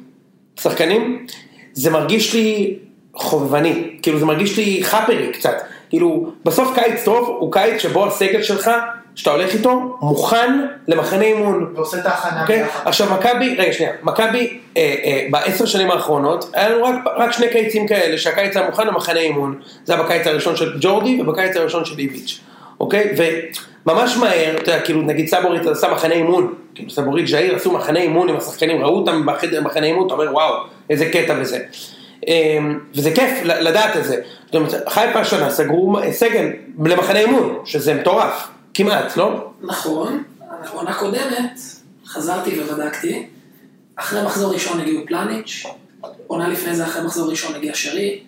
S1: שחקנים, זה מרגיש לי חובבני, כאילו זה מרגיש לי חאפרי קצת. כאילו, בסוף קיץ טוב הוא קיץ שבו הסגל שלך, שאתה הולך איתו, מוכן למחנה אימון.
S2: ועושה את ההכנה
S1: אוקיי?
S2: ביחד.
S1: עכשיו מכבי, רגע שנייה, מכבי אה, אה, בעשר שנים האחרונות, היה לנו רק, רק שני קיצים כאלה, שהקיץ היה מוכן למחנה אימון, זה היה בקיץ הראשון של ג'ורדי ובקיץ הראשון של איביץ', אוקיי? וממש מהר, אתה יודע, כאילו נגיד סבורית עשה מחנה אימון, כאילו סבורית ג'איר עשו מחנה אימון עם השחקנים, ראו אותם בחדר מחנה אימון, אתה אומר וואו, איזה קטע וזה. אה, וזה כיף ל- לדעת את זה. זאת אומרת, חיפה השנה סגרו סגל למחנה אימון, שזה מטורף, כמעט, לא?
S3: נכון, עונה קודמת, חזרתי ובדקתי, אחרי מחזור ראשון הגיעו פלניץ', עונה לפני זה אחרי מחזור ראשון הגיע שרי,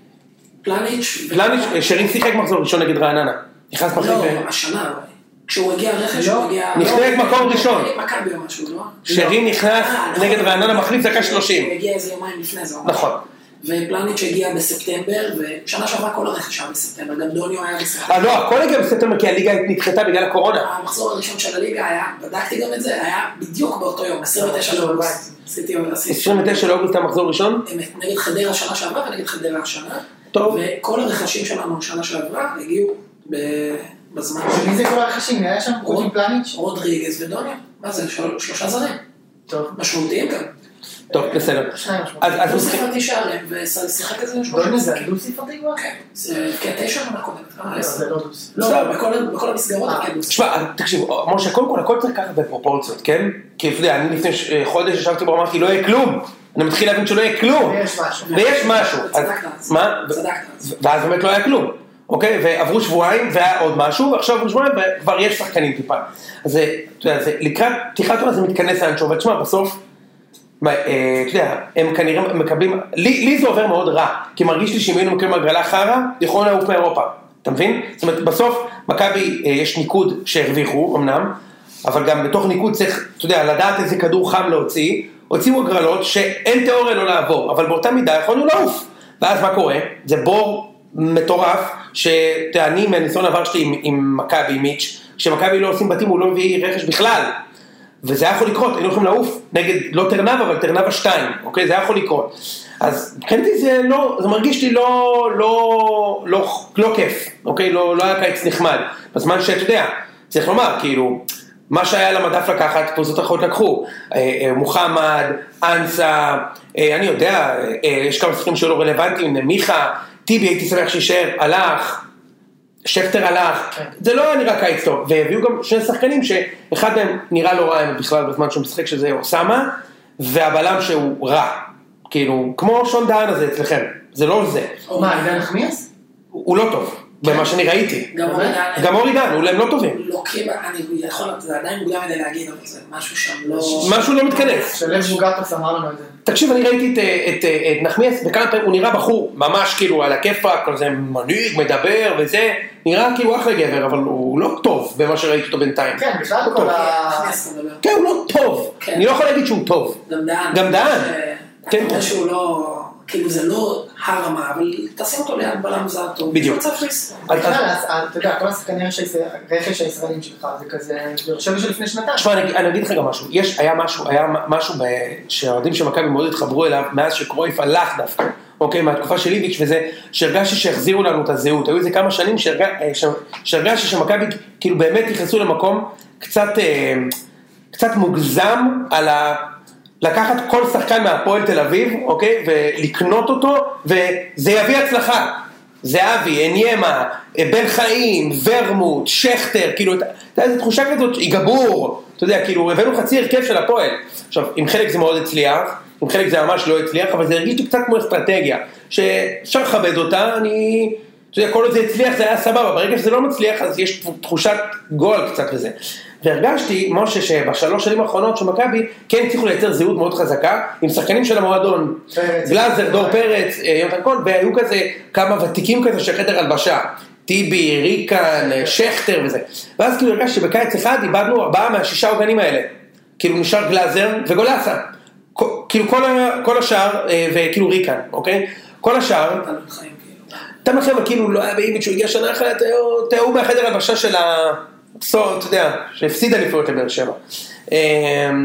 S3: פלניץ', ו-
S1: פלניץ', שרי שיחק מחזור ראשון נגד רעננה. נכנס מחליף,
S3: לא, השנה, אבל. כשהוא הגיע רכש,
S2: לא.
S3: הוא הגיע...
S1: נחלק
S3: לא,
S1: מקום ראשון.
S3: מכבי או משהו, לא?
S1: שרי נכנס
S3: אה, נכון.
S1: נגד רעננה מחליף דקה 30.
S3: הוא הגיע איזה יומיים לפני זה. ממש.
S1: נכון.
S3: ופלניץ' הגיע בספטמבר, ושנה שעברה כל הרכש היה בספטמבר, גם דוניו היה
S1: אה,
S3: בספטמבר.
S1: לא, הכל הגיע בספטמבר כי הליגה נדחתה בגלל הקורונה.
S3: המחזור הראשון של הליגה היה, בדקתי גם את זה, היה בדיוק באותו יום, 29
S1: אה,
S3: לאוגוסט. עשיתי עשיתי-
S1: 29 לאוגוסט המחזור ראשון?
S3: אמת, נגד חדרה שנה שעברה ונגד חדרה השנה.
S1: טוב.
S3: וכל הרכשים שלנו שנה שעברה הגיעו ב- בזמן.
S2: מי זה כל הרכשים? היה שם
S3: רוד-
S2: קודם פלניץ'?
S3: רודריגז ודוניו, מה זה, של- שלושה זרים,
S2: טוב.
S3: משמעותיים גם.
S1: טוב, בסדר.
S2: שניים משמעותיים.
S1: אז- אז
S3: הוא
S1: הוא שיחק-
S3: ספרתי שערים, ושיחק איזה משהו.
S2: גול מזה, דו ספרתי כבר?
S3: כן, זה- כן, תשע עונה קודמת.
S2: לא, זה לא דו ספרתי.
S3: לא, בכל- בכל המסגרות,
S2: אה.
S3: כן, הוא
S1: תשמע, תקשיב, משה, קודם כל הכל צריך לקחת בפרופורציות, כן? כי אתה יודע, אני לפני ש- אה, חודש ישבתי בו, אמרתי, לא יהיה כלום. אני מתחיל להבין שלא יהיה כלום.
S2: יש משהו.
S1: ויש משהו. אז-
S3: צדקת.
S1: מה?
S3: צדקת.
S1: ואז באמת לא היה כלום. אוקיי? ועברו שבועיים, והיה עוד משהו, ועכשיו עברו שבועיים, וכבר יש שחקנים טיפה. אז זה, אתה יודע, זה לקראת פתיחת עונה זה מתכנס לאנשהו, ותשמע, בסוף, מה, אה, אתה יודע, הם כנראה מקבלים, לי, לי זה עובר מאוד רע, כי מרגיש לי שאם היינו מקבלים הגרלה חרא, יכולנו לעוף מאירופה. אתה מבין? זאת אומרת, בסוף, מכבי, אה, יש ניקוד שהרוויחו, אמנם, אבל גם בתוך ניקוד צריך, אתה יודע, לדעת איזה כדור חם להוציא, הוציאו הגרלות שאין תיאוריה לא לעבור, אבל באותה מידה יכולנו לעוף. ואז מה קורה? זה בור מטורף, שאני מהניסיון העבר שלי עם, עם מכבי, עם מיץ', כשמכבי לא עושים בתים הוא לא מביא רכש בכלל. וזה היה יכול לקרות, היינו יכולים לעוף נגד, לא טרנבה, אבל טרנבה 2, אוקיי? זה היה יכול לקרות. אז מבחינתי זה לא, זה מרגיש לי לא, לא, לא, לא כיף, אוקיי? לא, לא היה קיץ נחמד. בזמן שאתה יודע, צריך לומר, כאילו, מה שהיה על המדף לקחת, קבוצות אחרות לקחו. אה, אה, מוחמד, אנסה, אה, אני יודע, אה, אה, יש כמה שחקנים שלא רלוונטיים, מיכה, טיבי, הייתי שמח שיישאר, הלך, שכטר הלך,
S2: כן.
S1: זה לא היה נראה קיץ טוב, והביאו גם שני שחקנים שאחד מהם נראה לא רע בכלל בזמן שהוא משחק שזה אוסאמה, והבלם שהוא רע, כאילו, כמו שון דהן הזה אצלכם, זה לא זה,
S3: אוקיי.
S2: מה, עידן נחמיאס?
S1: הוא לא טוב,
S2: כן.
S1: במה שאני ראיתי,
S3: גם אורן דהן.
S1: גם אורי דהן, אולי הם לא טובים,
S3: לא כמעט, אני יכול, זה עדיין מוקדם מדי להגיד, אבל זה משהו שם לא...
S1: משהו לא מתכנס.
S2: שלב בוגטוס אמר לנו את זה.
S1: תקשיב, אני ראיתי את, אה, את, אה, את נחמיאס, וכמה פעמים הוא נראה בחור ממש כאילו על הכיפאק, כזה מנהיג, מדבר וזה, נראה כאילו אחלה גבר, אבל הוא לא טוב במה שראיתי אותו בינתיים.
S2: כן, בכלל
S1: טוב.
S2: כל ה...
S1: <laughs>
S3: נכנס, אתה מדבר.
S1: כן, הוא לא טוב.
S3: כן.
S1: אני לא יכול להגיד שהוא טוב.
S3: גם דהן.
S1: גם דהן.
S3: ש-
S1: כן.
S3: אתה רואה שהוא לא... כאילו זה לא הרמה, אבל תשים אותו ליד בלם זר טוב.
S1: בדיוק.
S3: מצב ריסק.
S1: אז-
S2: בכלל,
S1: אז-
S2: אז- אז אתה יודע, כל השחקנים הרכש הישראלים שלך, זה כזה, זה יושב שלפני שנתיים.
S1: תשמע, אני- אני אגיד לך גם משהו. יש, היה משהו, היה מ- משהו ב- שהאוהדים של מכבי מאוד התחברו אליו מאז שקרויף הלך דווקא. אוקיי, מהתקופה של איביץ' וזה, שהרגשתי שהחזירו לנו את הזהות. היו איזה כמה שנים שהרג- אה, ש- שהרגשתי שמכבי כאילו באמת נכנסו למקום קצת, אה, קצת מוגזם על ה... לקחת כל שחקן מהפועל תל אביב, אוקיי, ולקנות אותו, וזה יביא הצלחה. זהבי, עניימה, בן חיים, ורמוט, שכטר, כאילו, אתה אתה יודע, איזו תחושה כזאת, היא גבור, אתה יודע, כאילו, הבאנו חצי הרכב של הפועל. עכשיו, עם חלק זה מאוד הצליח, עם חלק זה ממש לא הצליח, אבל זה הרגיש לי קצת כמו אסטרטגיה, שאפשר לכבד אותה, אני, אתה יודע, כל עוד זה הצליח זה היה סבבה, ברגע שזה לא מצליח אז יש תחושת גועל קצת וזה. והרגשתי, משה, שבשלוש שנים האחרונות של מכבי, כן הצליחו לייצר זהות מאוד חזקה, עם שחקנים של המועדון.
S2: פרץ.
S1: גלאזר, דור פרץ, אה, יונתן כהן, והיו כזה כמה ותיקים כזה של חדר הלבשה. טיבי, ריקן, אה, שכטר וזה. ואז כאילו הרגשתי שבקיץ אחד איבדנו ארבעה מהשישה עוגנים האלה. כאילו נשאר גלאזר וגולאסה. כל- כאילו כל ה- כל השאר, אה, וכאילו ריקן, אוקיי? כל השאר,
S3: אתה לא חיים, כאילו.
S1: אתה מחשב, כאילו לא היה באיביץ' שהוא הגיע שנה אחת, היה עוד- היה הוא מהחדר הלבשה של הסור, אתה יודע, שהפסיד אליפויות לבאר שבע. אה,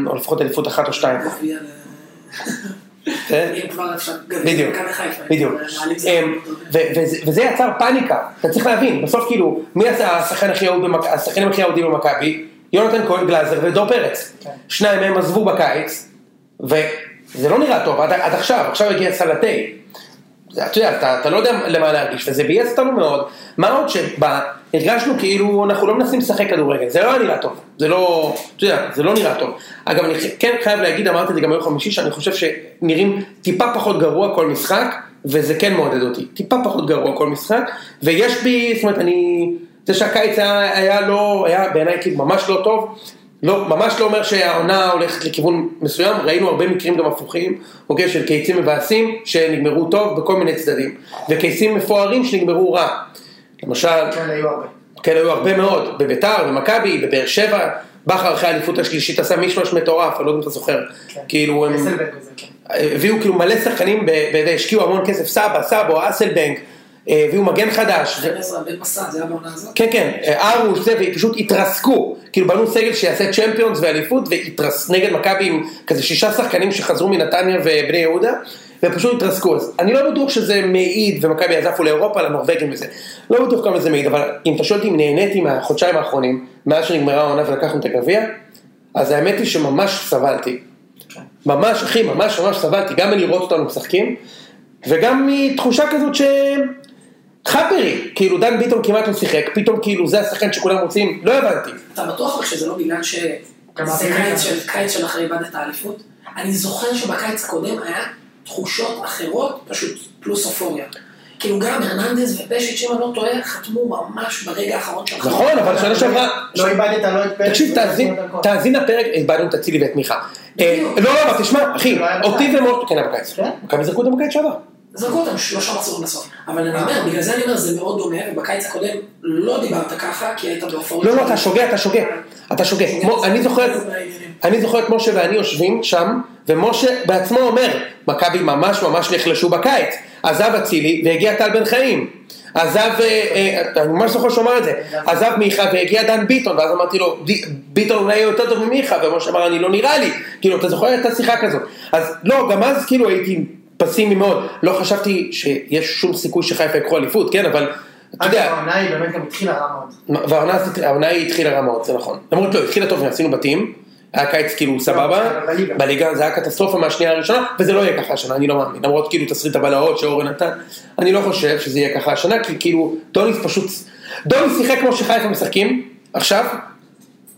S1: או לפחות אליפות אחת או שתיים.
S3: גביע ל-
S1: כן?
S3: אם כבר אפשר, גביע
S1: בדיוק,
S3: למכבי חיפה.
S1: בדיוק.
S3: מעלים זה-
S1: אמ, ו- וזה- וזה יצר פאניקה, אתה צריך להבין, בסוף כאילו, מי עשה השחקן הכי אהוד במכ- השחקנים הכי אהודים במכבי? יונתן כהן גלאזר ודור פרץ.
S2: כן.
S1: שניים מהם עזבו בקיץ, וזה לא נראה טוב עד, עד עכשיו, עכשיו הגיע סלטי. זה- אתה יודע, אתה, אתה לא יודע למה להרגיש, וזה ביאס אותנו מאוד. מה עוד שהרגשנו כאילו אנחנו לא מנסים לשחק כדורגל, זה לא היה נראה טוב, זה לא, אתה יודע, זה לא נראה טוב. אגב, אני ח- כן חייב להגיד, אמרתי את זה גם ביום חמישי, שאני חושב שנראים טיפה פחות גרוע כל משחק, וזה כן מעודד אותי, טיפה פחות גרוע כל משחק, ויש בי, זאת אומרת, אני, זה שהקיץ היה, היה לא, היה בעיניי כאילו ממש לא טוב, לא, ממש לא אומר שהעונה הולכת לכיוון מסוים, ראינו הרבה מקרים גם הפוכים, אוקיי, של קיצים מבאסים שנגמרו טוב בכל מיני צדדים, וקיצים מפוארים שנגמרו רע. למשל,
S2: כן, היו הרבה.
S1: כאלה היו הרבה מאוד, בביתר, במכבי, בבאר שבע, בכר אחרי האליפות השלישית עשה מישמש מטורף, אני לא יודע אם אתה זוכר,
S2: כן.
S1: כאילו הם...
S2: אסלבנק וזה, כן.
S1: הביאו כאילו מלא שחקנים, ב- ב- השקיעו המון כסף, סבא, סבו, אסלבנק, אה, הביאו מגן חדש, ו-
S3: בן עזרא, בן מסע, זה היה בעונה הזאת?
S1: כן, כן, ארוש, זה, ופשוט התרסקו. כאילו בנו סגל שיעשה צ'מפיונס ואליפות, והתרס... נגד מכבי עם כזה שישה שחקנים שחזרו מנתניה ובני יהודה, ופשוט התרסקו. אז אני לא בטוח שזה מעיד, ומכבי עזפו לאירופה, לנורבגים וזה. לא בטוח כמה זה מעיד, אבל אם אתה שואל אותי אם נהניתי מהחודשיים האחרונים, מאז שנגמרה העונה ולקחנו את הגביע, אז האמת היא שממש סבלתי. ממש, אחי, ממש ממש סבלתי, גם מלראות אותנו משחקים, וגם מתחושה כזאת ש... חאפרי, כאילו דן ביטון כמעט לא שיחק, פתאום כאילו זה השחקן שכולם רוצים, לא הבנתי.
S3: אתה בטוח רק שזה לא בגלל ש...
S2: גם
S3: זה
S2: אביב
S3: קיץ
S2: נכנס.
S3: של, קיץ של אחרי איבדת האליפות? אני זוכר שבקיץ הקודם היה תחושות אחרות, פשוט פלוס אופוריה. כאילו גם הרננדז ופשיץ', אם אני לא טועה, חתמו ממש ברגע האחרון של החתימה.
S1: נכון, אבל שנה שעברה...
S2: לא איבדת לא את פרק.
S1: תקשיב, תאזין, תאזין לפרק, איבדנו את אצילי ואת מיכה. אה,
S3: בדיוק.
S1: לא, לא, אבל תשמע, אחי,
S2: לא היה
S1: אותי
S2: בקיץ.
S1: ומור... כן, היה בקיץ.
S2: כן?
S1: מכבי זרקו אותם בקיץ שעבר.
S3: זרקו אותם שלושה מחזורים בסוף. אבל אני אומר, בגלל זה אני אומר, זה מאוד דומה, ובקיץ הקודם לא דיברת ככה, כי היית באופוריה.
S1: לא, לא, אתה שוגה, אתה שוגה. אתה שוגה. כמו- אני זוכר את- אני זוכר את משה ואני יושבים שם, ומשה בעצמו אומר, מכבי ממש ממש נחלשו בקיץ. עזב אצילי והגיע טל בן חיים. עזב, אה, אה, אני ממש זוכר שהוא אמר את זה, עזב מיכה והגיע דן ביטון, ואז אמרתי לו, "די- ביטון אולי יהיה יותר טוב ממיכה, ומשה אמר, אני לא נראה לי. כאילו, אתה זוכר, הייתה שיחה כזאת. אז לא, גם אז כאילו הייתי פסימי מאוד. לא חשבתי שיש שום סיכוי שחיפה יקחו אליפות, כן, אבל, אתה
S2: אגב,
S1: יודע,
S2: העונה היא באמת גם התחילה רע מאוד.
S1: והעונה הזאת- העונה היא התחילה רע מאוד, זה נכון. למרות לא, התחילה טוב, עשינו בתים, היה קיץ כאילו סבבה,
S2: לא, בליגה.
S1: בליגה זה היה קטסטרופה מהשנייה הראשונה, וזה לא יהיה ככה השנה, אני לא מאמין. למרות כאילו תסריט הבלהות שאורן נתן, אני לא חושב שזה יהיה ככה השנה, כי כאילו דוניס פשוט, דוניס שיחק כמו שחיפה משחקים, עכשיו,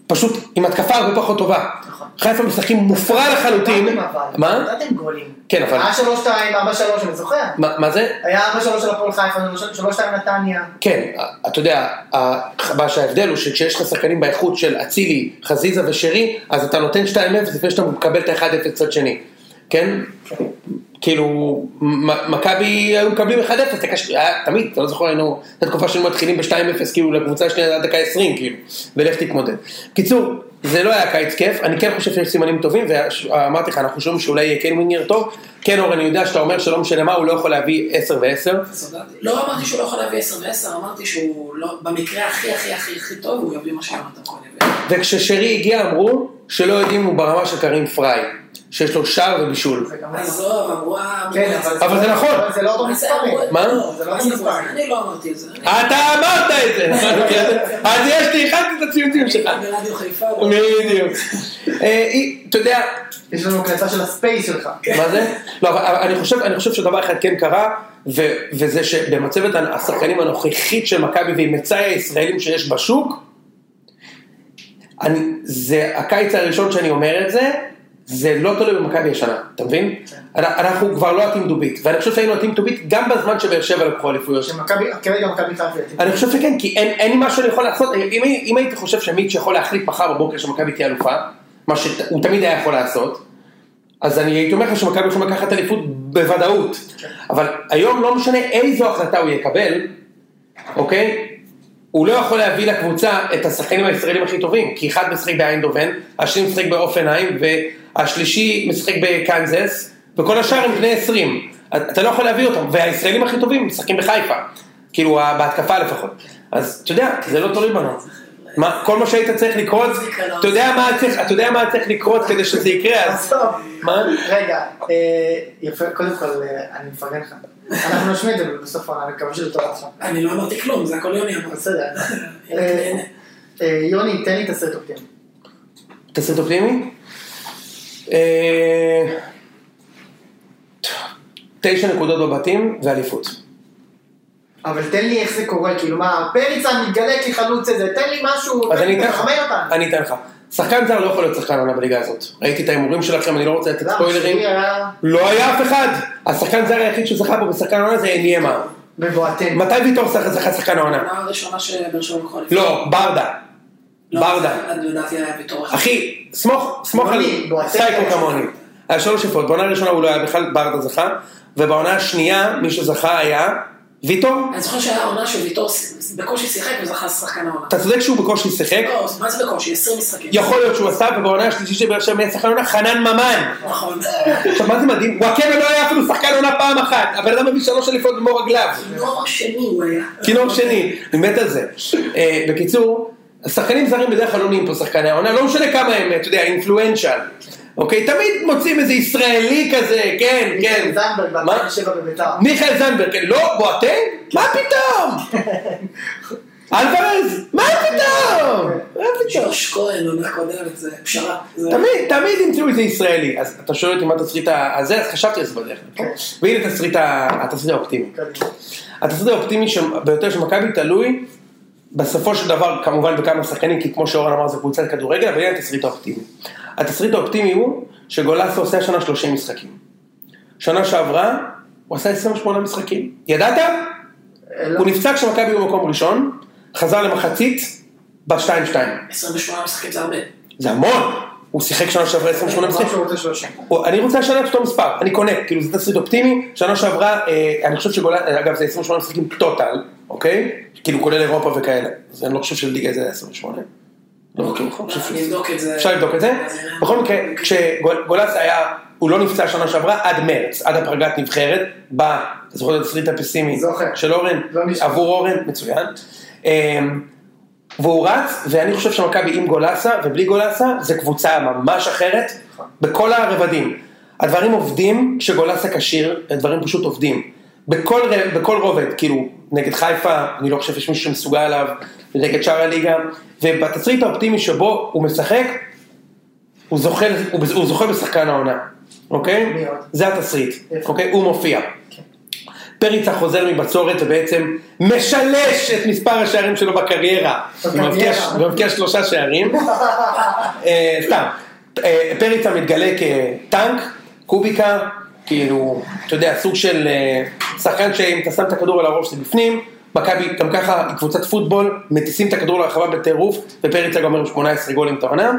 S1: פשוט עם התקפה הרבה פחות טובה.
S2: נכון.
S1: חיפה משחקים מופרע לחלוטין.
S2: אבל.
S1: מה?
S2: נתתם גולים.
S1: כן, אבל-
S2: היה 3-2, 4-3, אני זוכר.
S1: מה מה זה?
S2: היה 4-3 של הפועל חיפה, 3-2 נתניה.
S1: כן, אתה יודע, ה- מה שההבדל הוא שכשיש לך שחקנים באיכות של אצילי, חזיזה ושרי, אז אתה נותן 2-0 לפני שאתה מקבל את ה-1-0 צד שני, כן? כאילו, מ- מכבי היו מקבלים 1-0, זה קשה, היה- תמיד, אתה לא זוכר, היינו, הייתה תקופה שהיינו מתחילים ב-2-0, כאילו, לקבוצה השנייה עד דקה 20, כאילו, ולך תתמודד. בקיצור, זה לא היה קיץ כיף, אני כן חושב שיש סימנים טובים, ואמרתי לך, אנחנו שומעים שאולי יהיה כן ווינגר טוב, כן אורן, אני יודע שאתה אומר שלא משנה מה, הוא לא יכול להביא 10 ו-10,
S3: לא אמרתי שהוא לא יכול להביא 10 ו-10, אמרתי שהוא לא, במקרה הכי הכי הכי הכי טוב, הוא יביא מה שאמרת קודם.
S1: וכששרי הגיע אמרו שלא יודעים אם הוא ברמה של קרים פריי, שיש לו שער ובישול.
S2: זה גם-
S3: עזוב, אמרו... אה,
S2: כן, אבל...
S1: אבל זה נכון.
S2: אבל זה לא אותו מספרים.
S1: מה? אה,
S3: לא,
S2: זה לא מספרים.
S3: אני לא אמרתי את זה. אני-
S1: אתה אמרת את זה, <laughs> נכון? אז יש לי אחד את הציוצים שלך.
S3: ברדיו לא חיפה. אבל-
S1: בדיוק. אה, אי- אתה יודע,
S2: יש לנו הקלטה של הספייס שלך.
S1: מה זה? לא, אבל אבל אני חושב, אני חושב שדבר אחד כן קרה, ו- וזה שבמצבת השחקנים הנוכחית של מכבי ועם מצאי הישראלים שיש בשוק, אני, זה הקיץ הראשון שאני אומר את זה, זה לא תלוי במכבי השנה, אתה מבין? אנ- אנחנו כבר לא הטים דו ביט, ואני חושב שהיינו הטים דו ביט גם בזמן שבאר שבע לקחו אליפויות.
S2: שמכבי, כרגע מכבי חיפה.
S1: אני חושב שכן, כי אין, אין לי משהו שאני יכול לעשות, אם, אם הייתי חושב שמיץ' יכול להחליט מחר בבוקר שמכבי תהיה אלופה, מה שהוא תמיד היה יכול לעשות, אז אני הייתי אומר לך שמכבי יכולים לקחת אליפות בוודאות, אבל היום לא משנה איזו החלטה הוא יקבל, אוקיי? הוא לא יכול להביא לקבוצה את השחקנים הישראלים הכי טובים, כי אחד משחק באיינדובן, השני משחק באופנהיים, והשלישי משחק בקנזס, וכל השאר הם בני 20. אתה לא יכול להביא אותם, והישראלים הכי טובים משחקים בחיפה, כאילו ה- בהתקפה לפחות. אז אתה יודע, זה לא תלוי בנו. מה, כל מה שהיית צריך לקרות, אתה יודע מה צריך, אתה יודע מה צריך לקרות כדי שזה יקרה, אז...
S2: עזוב.
S1: מה?
S2: רגע, אה, יפה, קודם כל, אה, אני מפרגן לך. אנחנו נשמיע את זה בסוף העונה, אני מקווה שזה טוב לך.
S3: אני לא אמרתי כלום, זה הכל יוני אמר.
S2: בסדר. אה, אה, יוני, תן לי את הסרט אופטימי.
S1: תסריט אופטימי? אה, תשע נקודות בבתים ואליפות.
S2: אבל תן לי איך זה קורה, כאילו מה, פריצה מתגלה כחלוץ איזה, תן לי משהו,
S1: אז אני אתן לך,
S2: תחמם אותנו.
S1: אני אתן לך. שחקן זר לא יכול להיות שחקן עונה בליגה הזאת. ראיתי את ההימורים שלכם, אני לא רוצה לתת
S2: למה,
S1: ספוילרים.
S2: שרי היה
S1: לא היה אף אחד! השחקן זר היחיד שזכה פה בשחקן העונה זה עניימה.
S2: בבואטן.
S1: מתי ויטור שח- זכה שחקן העונה?
S3: העונה הראשונה שבאר שבע לקחו אליפות.
S1: לא, ברדה.
S3: לא,
S1: ברדה.
S3: אני לדעתי היה בתור אחד.
S1: אחי, סמוך, סמוך על
S2: בואני, בוא,
S1: סייקו
S2: תן לי.
S1: כמוני. היה שלוש יפות, בעונה הראשונה הוא לא היה בכלל, ברדה זכה, ובעונה השנייה מי שזכה היה ויטור.
S3: אני זוכר שהיה עונה שוויטור ס- בקושי שיחק וזכה שחקן העונה.
S1: אתה צודק שהוא בקושי שיחק,
S3: לא, מה זה בקושי? 20 משחקים.
S1: יכול להיות שהוא עשה, ובעונה השלישית של באר שבע היה שחקן עונה חנן ממן.
S3: נכון. <laughs>
S1: עכשיו מה זה מדהים? וואקמה לא היה אפילו שחקן עונה פעם אחת, הבן אדם מביא שלוש אליפות במו רגליו.
S3: נוער שני הוא היה.
S1: כינור שני, אני מת על זה. אה, בקיצור, השחקנים זרים בדרך כלל לא נהיים פה שחקני העונה, לא משנה כמה הם, אתה יודע, אינפלואנשל. אוקיי, תמיד מוצאים איזה ישראלי כזה, כן, כן.
S2: זנדברג,
S1: מה?
S2: ב-2007 בביתר.
S1: מיכאל זנדברג, כן, לא, בועטן? מה פתאום? אלברז, מה פתאום? מה פתאום?
S3: ג'וש כהן, עונה קודמת, זה פשרה. זה-
S1: תמיד, תמיד ימצאו איזה ישראלי. אז אתה שואל אותי מה התסריט ה- הזה, אז חשבתי על זה בדרך. נכון? והנה התסריט ה- התסריט האופטימי.
S2: קדימה.
S1: התסריט האופטימי ש- ביותר של מכבי תלוי בסופו של דבר כמובן בכמה שחקנים, כי כמו שאורן אמר זו קבוצת כדורגל, אבל הנה התסריט האופטימי. התסריט האופטימי הוא שגולסה עושה השנה 30 משחקים. שנה שעברה הוא עשה 28 משחקים. ידעת?
S2: אלא-
S1: הוא נפצע כשמכבי הוא במקום ראשון, חזר למחצית ב-2-2.
S3: 28 משחקים זה הרבה.
S1: זה המון! הוא שיחק שנה שעברה 28 משחקים.
S2: אמר שהוא רוצה 30.
S1: או, אני רוצה השנה את אותו מספר, אני קונה, כאילו זה תסריט אופטימי, שנה שעברה, אה, אני חושב שגולה, אגב זה 28 משחקים טוטל, אוקיי? כאילו כולל אירופה וכאלה, אז אני לא חושב שלליגה זה היה 28. לא, כאילו, אני חושב
S3: אני
S1: ש-
S3: אבדוק את זה.
S1: אפשר לבדוק את זה. בכל מקרה, כשגולס היה, הוא לא נפצע שנה שעברה עד מרץ, עד הפרגת נבחרת, ב... אתה זוכר את התסריט הפסימי
S2: זוכר.
S1: של אורן?
S2: לא נשמע.
S1: עבור אורן, מצוין. אמ, והוא רץ, ואני חושב שמכבי עם גולסה ובלי גולסה, זה קבוצה ממש אחרת, בכל הרבדים. הדברים עובדים כשגולסה כשיר, הדברים פשוט עובדים. בכל, ר- בכל רובד, כאילו, נגד חיפה, אני לא חושב שיש מישהו שמסוגל עליו, ונגד שאר הליגה, ובתסריט האופטימי שבו הוא משחק, הוא זוכה, הוא, הוא זוכה בשחקן העונה, אוקיי?
S2: מי עוד?
S1: זה התסריט,
S2: יפה.
S1: אוקיי? הוא מופיע. פריצה חוזר מבצורת ובעצם משלש את מספר השערים שלו בקריירה. הוא
S2: בקריירה.
S1: מבקיע- הוא מבקיע שלושה שערים. אה, סתם, אה, פריצה מתגלה כטנק, קוביקה, כאילו, אתה יודע, סוג של אה, שחקן שאם אתה שם את הכדור על הראש זה בפנים, מכבי גם ככה היא קבוצת פוטבול, מטיסים את הכדור לרחבה בטירוף, ופריצה גומר עם 18 גולים את העונה,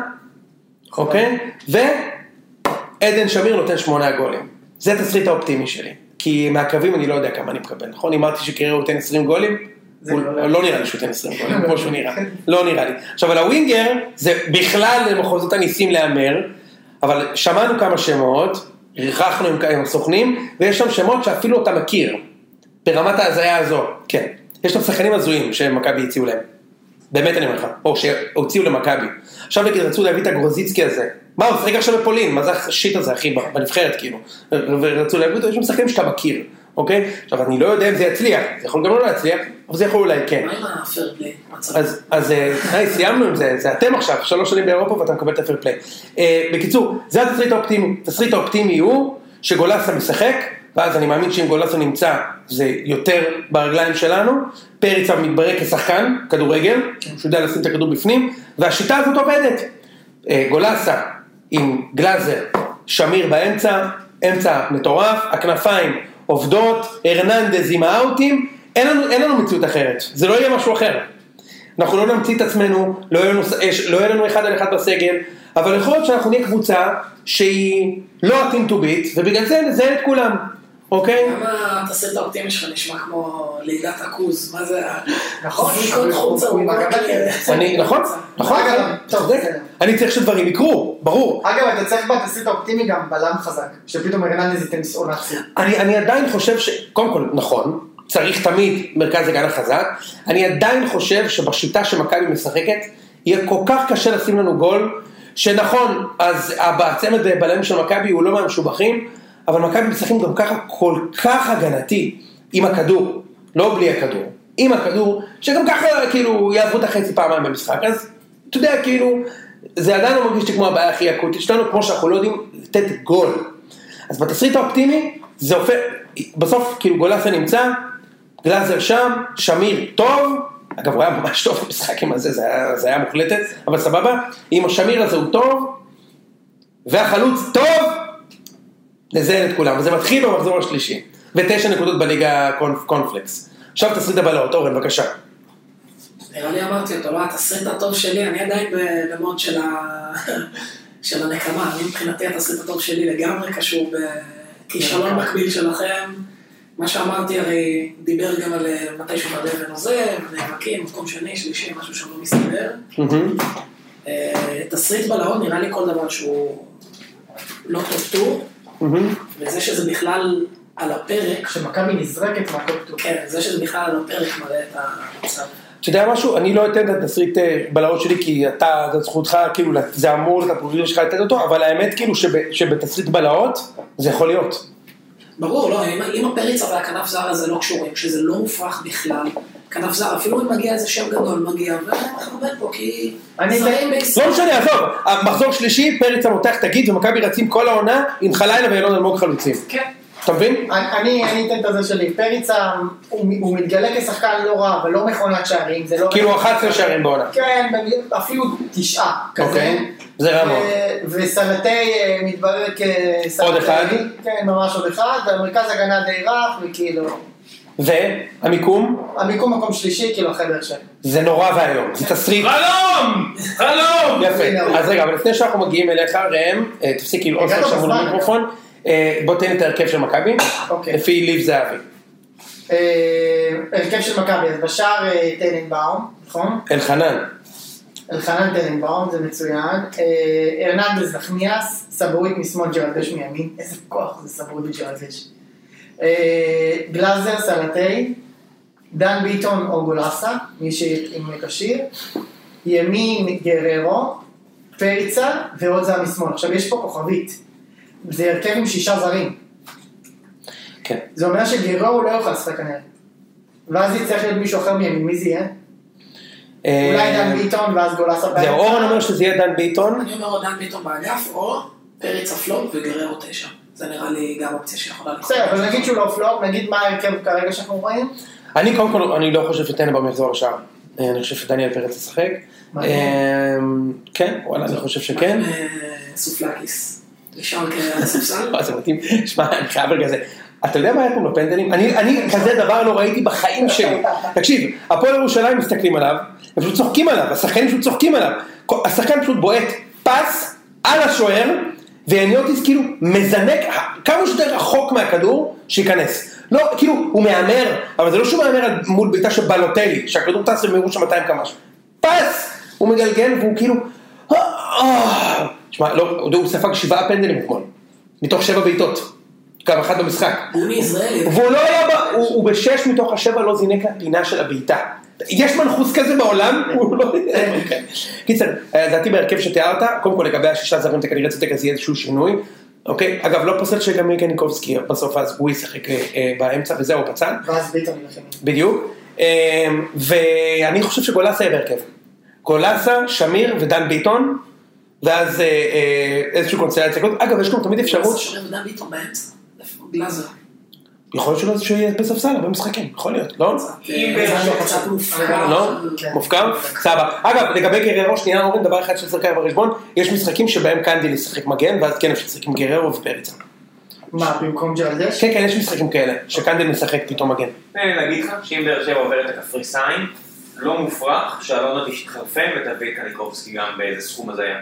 S1: אוקיי? ועדן שמיר נותן 8 גולים. זה התסריט האופטימי שלי. כי מהקווים אני לא יודע כמה אני מקבל, נכון? הימרתי שקריירו ייתן 20 גולים,
S2: זה
S1: הוא
S2: לא-
S1: לא נראה לי שהוא ייתן 20 גולים, כמו שהוא נראה. לא נראה לי. עכשיו, על הווינגר, זה בכלל למחוזות הניסים להמר, אבל שמענו כמה שמות, ריחחנו עם, עם הסוכנים, ויש שם שמות שאפילו אתה מכיר, ברמת ההזיה הזו, כן. יש שם שחקנים הזויים שמכבי הציעו להם. באמת אני אומר לך, או שהוציאו למכבי. עכשיו נגיד רצו להביא את הגרוזיצקי הזה. מה, הוא משחק עכשיו בפולין, מה זה השיט הזה, אחי, בנבחרת, כאילו. ורצו להביא אותו, יש שם שחקנים שאתה מכיר, אוקיי? עכשיו, אני לא יודע אם זה יצליח, זה יכול גם לא להצליח, אבל זה יכול אולי כן.
S3: מה עם הפייר פליי? מצב?
S1: אז, אז אה, היי, סיימנו עם זה, זה אתם עכשיו, שלוש שנים באירופה ואתה מקבל את הפייר פליי. אה, בקיצור, זה התסריט האופטימי. התסריט האופטימי הוא שגולסה משחק, ואז אני מאמין שאם גולסה נמצא זה יותר ברגליים שלנו, פריצה מתברר כשחקן, כדורגל, שהוא יודע לשים את הכדור בפנים, והשיטה הזאת עובדת. אה, גולסה עם גלאזר, שמיר באמצע, אמצע מטורף, הכנפיים עובדות, הרננדז עם האאוטים, אין לנו, אין לנו מציאות אחרת, זה לא יהיה משהו אחר. אנחנו לא נמציא את עצמנו, לא יהיה לנו, יש- לא יהיה לנו אחד על אחד בסגל, אבל יכול להיות שאנחנו נהיה קבוצה שהיא לא ה-team to beat, ובגלל זה נזהה את כולם, אוקיי?
S3: למה התסריט האופטימי שלך נשמע כמו לידת עכוז? מה זה? ה-
S2: נכון,
S3: זריקות
S2: אבל
S3: חוצה,
S2: הוא-
S3: הוא
S2: הוא
S3: מגע
S2: מגע
S3: <laughs> לי.
S1: אני, נכון, נכון,
S2: אגב,
S1: אני-
S2: טוב,
S1: צודק.
S2: בסדר.
S1: אני צריך שדברים יקרו, ברור.
S2: אגב, אתה צריך בתסריט האופטימי גם בלם חזק, שפתאום הרננדז ייתן עונה חצי.
S1: אני, אני עדיין חושב ש... קודם כל, נכון, צריך תמיד מרכז הגנה חזק. אני עדיין חושב שבשיטה שמכבי משחקת, יהיה כל כך קשה לשים לנו גול, שנכון, אז ה- הצמד בלם של מכבי הוא לא מהמשובחים, אבל מכבי משחקים גם ככה כל כך הגנתי עם הכדור, לא בלי הכדור, עם הכדור, שגם ככה כאילו יעברו את החצי פעמיים במשחק, אז אתה יודע, כאילו, זה עדיין לא מרגיש לי כמו הבעיה הכי אקוטית שלנו, כמו שאנחנו לא יודעים לתת גול. אז בתסריט האופטימי, זה הופך, בסוף כאילו גולסה נמצא, גלאזר שם, שמיר טוב, אגב הוא היה ממש טוב במשחק עם הזה, זה היה, זה היה מוחלטת, אבל סבבה, עם השמיר הזה הוא טוב, והחלוץ טוב, לזיין את כולם, וזה מתחיל במחזור השלישי, ותשע נקודות בליגה הקונפ- קונפלקס. עכשיו תסריט הבלהות, אורן בבקשה.
S3: נראה לי אמרתי אותו, לא, התסריט הטוב שלי, אני עדיין ב- במוד של ה- של הנקמה. אני מבחינתי התסריט הטוב שלי לגמרי קשור בכישלון מקביל שלכם. מה שאמרתי הרי דיבר גם על אה, מתישהו בדבן עוזב, נאבקים, מקום שני, שלישי, משהו שלא מסתדר.
S1: מהמם.
S3: אה, תסריט בלהות נראה לי כל דבר שהוא לא טוב טור,
S1: מהמם.
S3: וזה שזה בכלל על הפרק,
S2: כשמכבי נזרקת מהכל פתוח.
S3: כן, זה שזה בכלל על הפרק מראה את המצב.
S1: אתה יודע משהו? אני לא אתן את התסריט אה, בלהות שלי, כי אתה, זו זכותך, כאילו, זה אמור להיות הפרוגריר שלך לתת אותו, אבל האמת, כאילו, שב- שבתסריט בלהות, זה יכול להיות.
S3: ברור, לא, אם, אם הפריצה והכנף זרה זה לא קשורים, שזה לא מופרך בכלל, כנף זר, אפילו אם מגיע איזה שם גדול, מגיע, ומחרבן פה, כי...
S2: אני-
S3: זרים בישראל-
S1: לא משנה, עזוב, המחזור שלישי, פרץ המותח תגיד, ומכבי רצים כל העונה עם חלילה ואילון אלמוג חלוצים.
S3: כן.
S1: אתה מבין?
S2: אני- אני אני אתן את הזה שלי, פריצה הוא מ- הוא מתגלה כשחקן לא רע, אבל לא מכונת שערים, זה לא...
S1: כאילו 11 שערים בעונה.
S2: כן, במי- אפילו תשעה כזה. אה.
S1: אוקיי. זה רע מאוד.
S2: ו- וסלטי אה, מתברר כסלטי.
S1: עוד אחד.
S2: כן, ממש עוד אחד, והמרכז הגנה די רך, וכאילו...
S1: והמיקום,
S2: המיקום מקום שלישי, כאילו אחרי באר שבע.
S1: זה נורא ואיום, זה תסריט.
S4: חלום! חלום!
S1: יפה. אז רגע, אבל לפני שאנחנו מגיעים אליך, ראם, אה, תפסיק ללעוס
S2: הגענו
S1: עכשיו מול
S2: בזמן.
S1: המיקרופון. אה, בוא תן את ההרכב של מכבי,
S2: אוקיי.
S1: לפי ליב זהבי.
S2: אה, הרכב של מכבי, אז בשער אה, טננבאום, נכון?
S1: אלחנן,
S2: אלחנן טננבאום, זה מצוין. אה, ארננדז נחמיאס, סבורית משמאל, ג'רלדש מימין. איזה כוח זה סבורית וג'רלדש. אה, גלאזר סלטי, דן ביטון או גולסה, מי שאם כשיר. ימין גררו, פריצה ועוד זר משמאל. עכשיו יש פה כוכבית. זה הרכב עם שישה זרים.
S1: כן.
S2: זה אומר שגררו לא יוכל לשחק כנראה. ואז יצטרך להיות מישהו אחר מימין, מי זה יהיה?
S1: אה,
S2: אולי דן ביטון ואז גולסה
S1: זהו, אורן אומר שזה יהיה דן ביטון.
S3: אני אומר עוד דן ביטון באגף, או פרץ הפלופ וגררו תשע. זה נראה לי גם אופציה שיכולה לקרות.
S2: בסדר, אבל נגיד שהוא לא פלופ, נגיד מה ההרכב כרגע שאנחנו רואים.
S1: אני קודם כל, אני לא חושב שטננבאום יחזור לשער. אה, אני חושב שדניאל פרץ ישחק.
S2: מעניין.
S1: אה, כן, וואלה, אני חושב שכן.
S3: אה, סופלקיס. נשאר כספסל.
S1: מה, זה מתאים? שמע, אני חייב רגע זה. אתה יודע מה היה פה בפנדלים? אני, אני כזה דבר לא ראיתי בחיים שלי. תקשיב, הפועל ירושלים מסתכלים עליו, הם פשוט צוחקים עליו, השחקנים פשוט צוחקים עליו. כל- השחקן פשוט בועט פס על השוער, ויאניוטיס כאילו מזנק ה- כמה שיותר רחוק מהכדור, שייכנס. לא, כאילו, הוא מהמר, אבל זה לא שהוא מהמר על- מול בעיטה של בלוטלי, שהכדור טס במהירות של 200 קמ"ש. פס! הוא מגלגל והוא כאילו... "אה, אה." שמע, לא, הוא ספג שבעה פנדלים אתמול. מתוך שבע בעיטות. גם אחת במשחק.
S3: הוא מישראל.
S1: והוא לא היה, ב- הוא, הוא בשש מתוך השבע לא זינק לפינה של הבעיטה. יש מנחוס כזה בעולם? <laughs> הוא לא... אוקיי. קיצר, אה, לדעתי בהרכב שתיארת, קודם כל לגבי השישה זרים אתה כנראה צודק, אז יהיה איזשהו שינוי. אוקיי, אגב לא פוסל שגם מיקניקובסקי בסוף אז הוא ישחק אה, באמצע וזהו בצד,
S2: ואז ביטון ילך ימין.
S1: בדיוק. אה, ואני חושב שגולסה יהיה בהרכב. גולסה, שמיר ודן ביטון, ואז אה, אה, איזושהי קונסטלציה. אגב, יש גם תמיד אפשרות,
S3: שומר דן ביטון באמצע. איפה? גלאזר.
S1: יכול להיות שלא- שהוא יהיה בספסל הרבה משחקים, יכול להיות, לא?
S2: אם
S3: אה,
S2: באר שבע-
S3: קצת מופקר.
S1: לא?
S2: כן.
S1: מופקר? סבבה. אגב, לגבי גררו, שנייה אורן, דבר אחד שצריך לקחת בחשבון, יש משחקים שבהם קנדיל ישחק מגן, ואז כן אפשר לשחק עם גררו ופריצה.
S2: מה, במקום ג'רלדש?
S1: כן, כן, יש משחקים כאלה, שקנדיל משחק פתאום מגן.
S4: תן לי להגיד לך שאם באר שבע עוברת לקפריסאים, לא מופרך שאלונה תתחרפן ותביא את קניקובסקי גם באיזה סכום הזיה.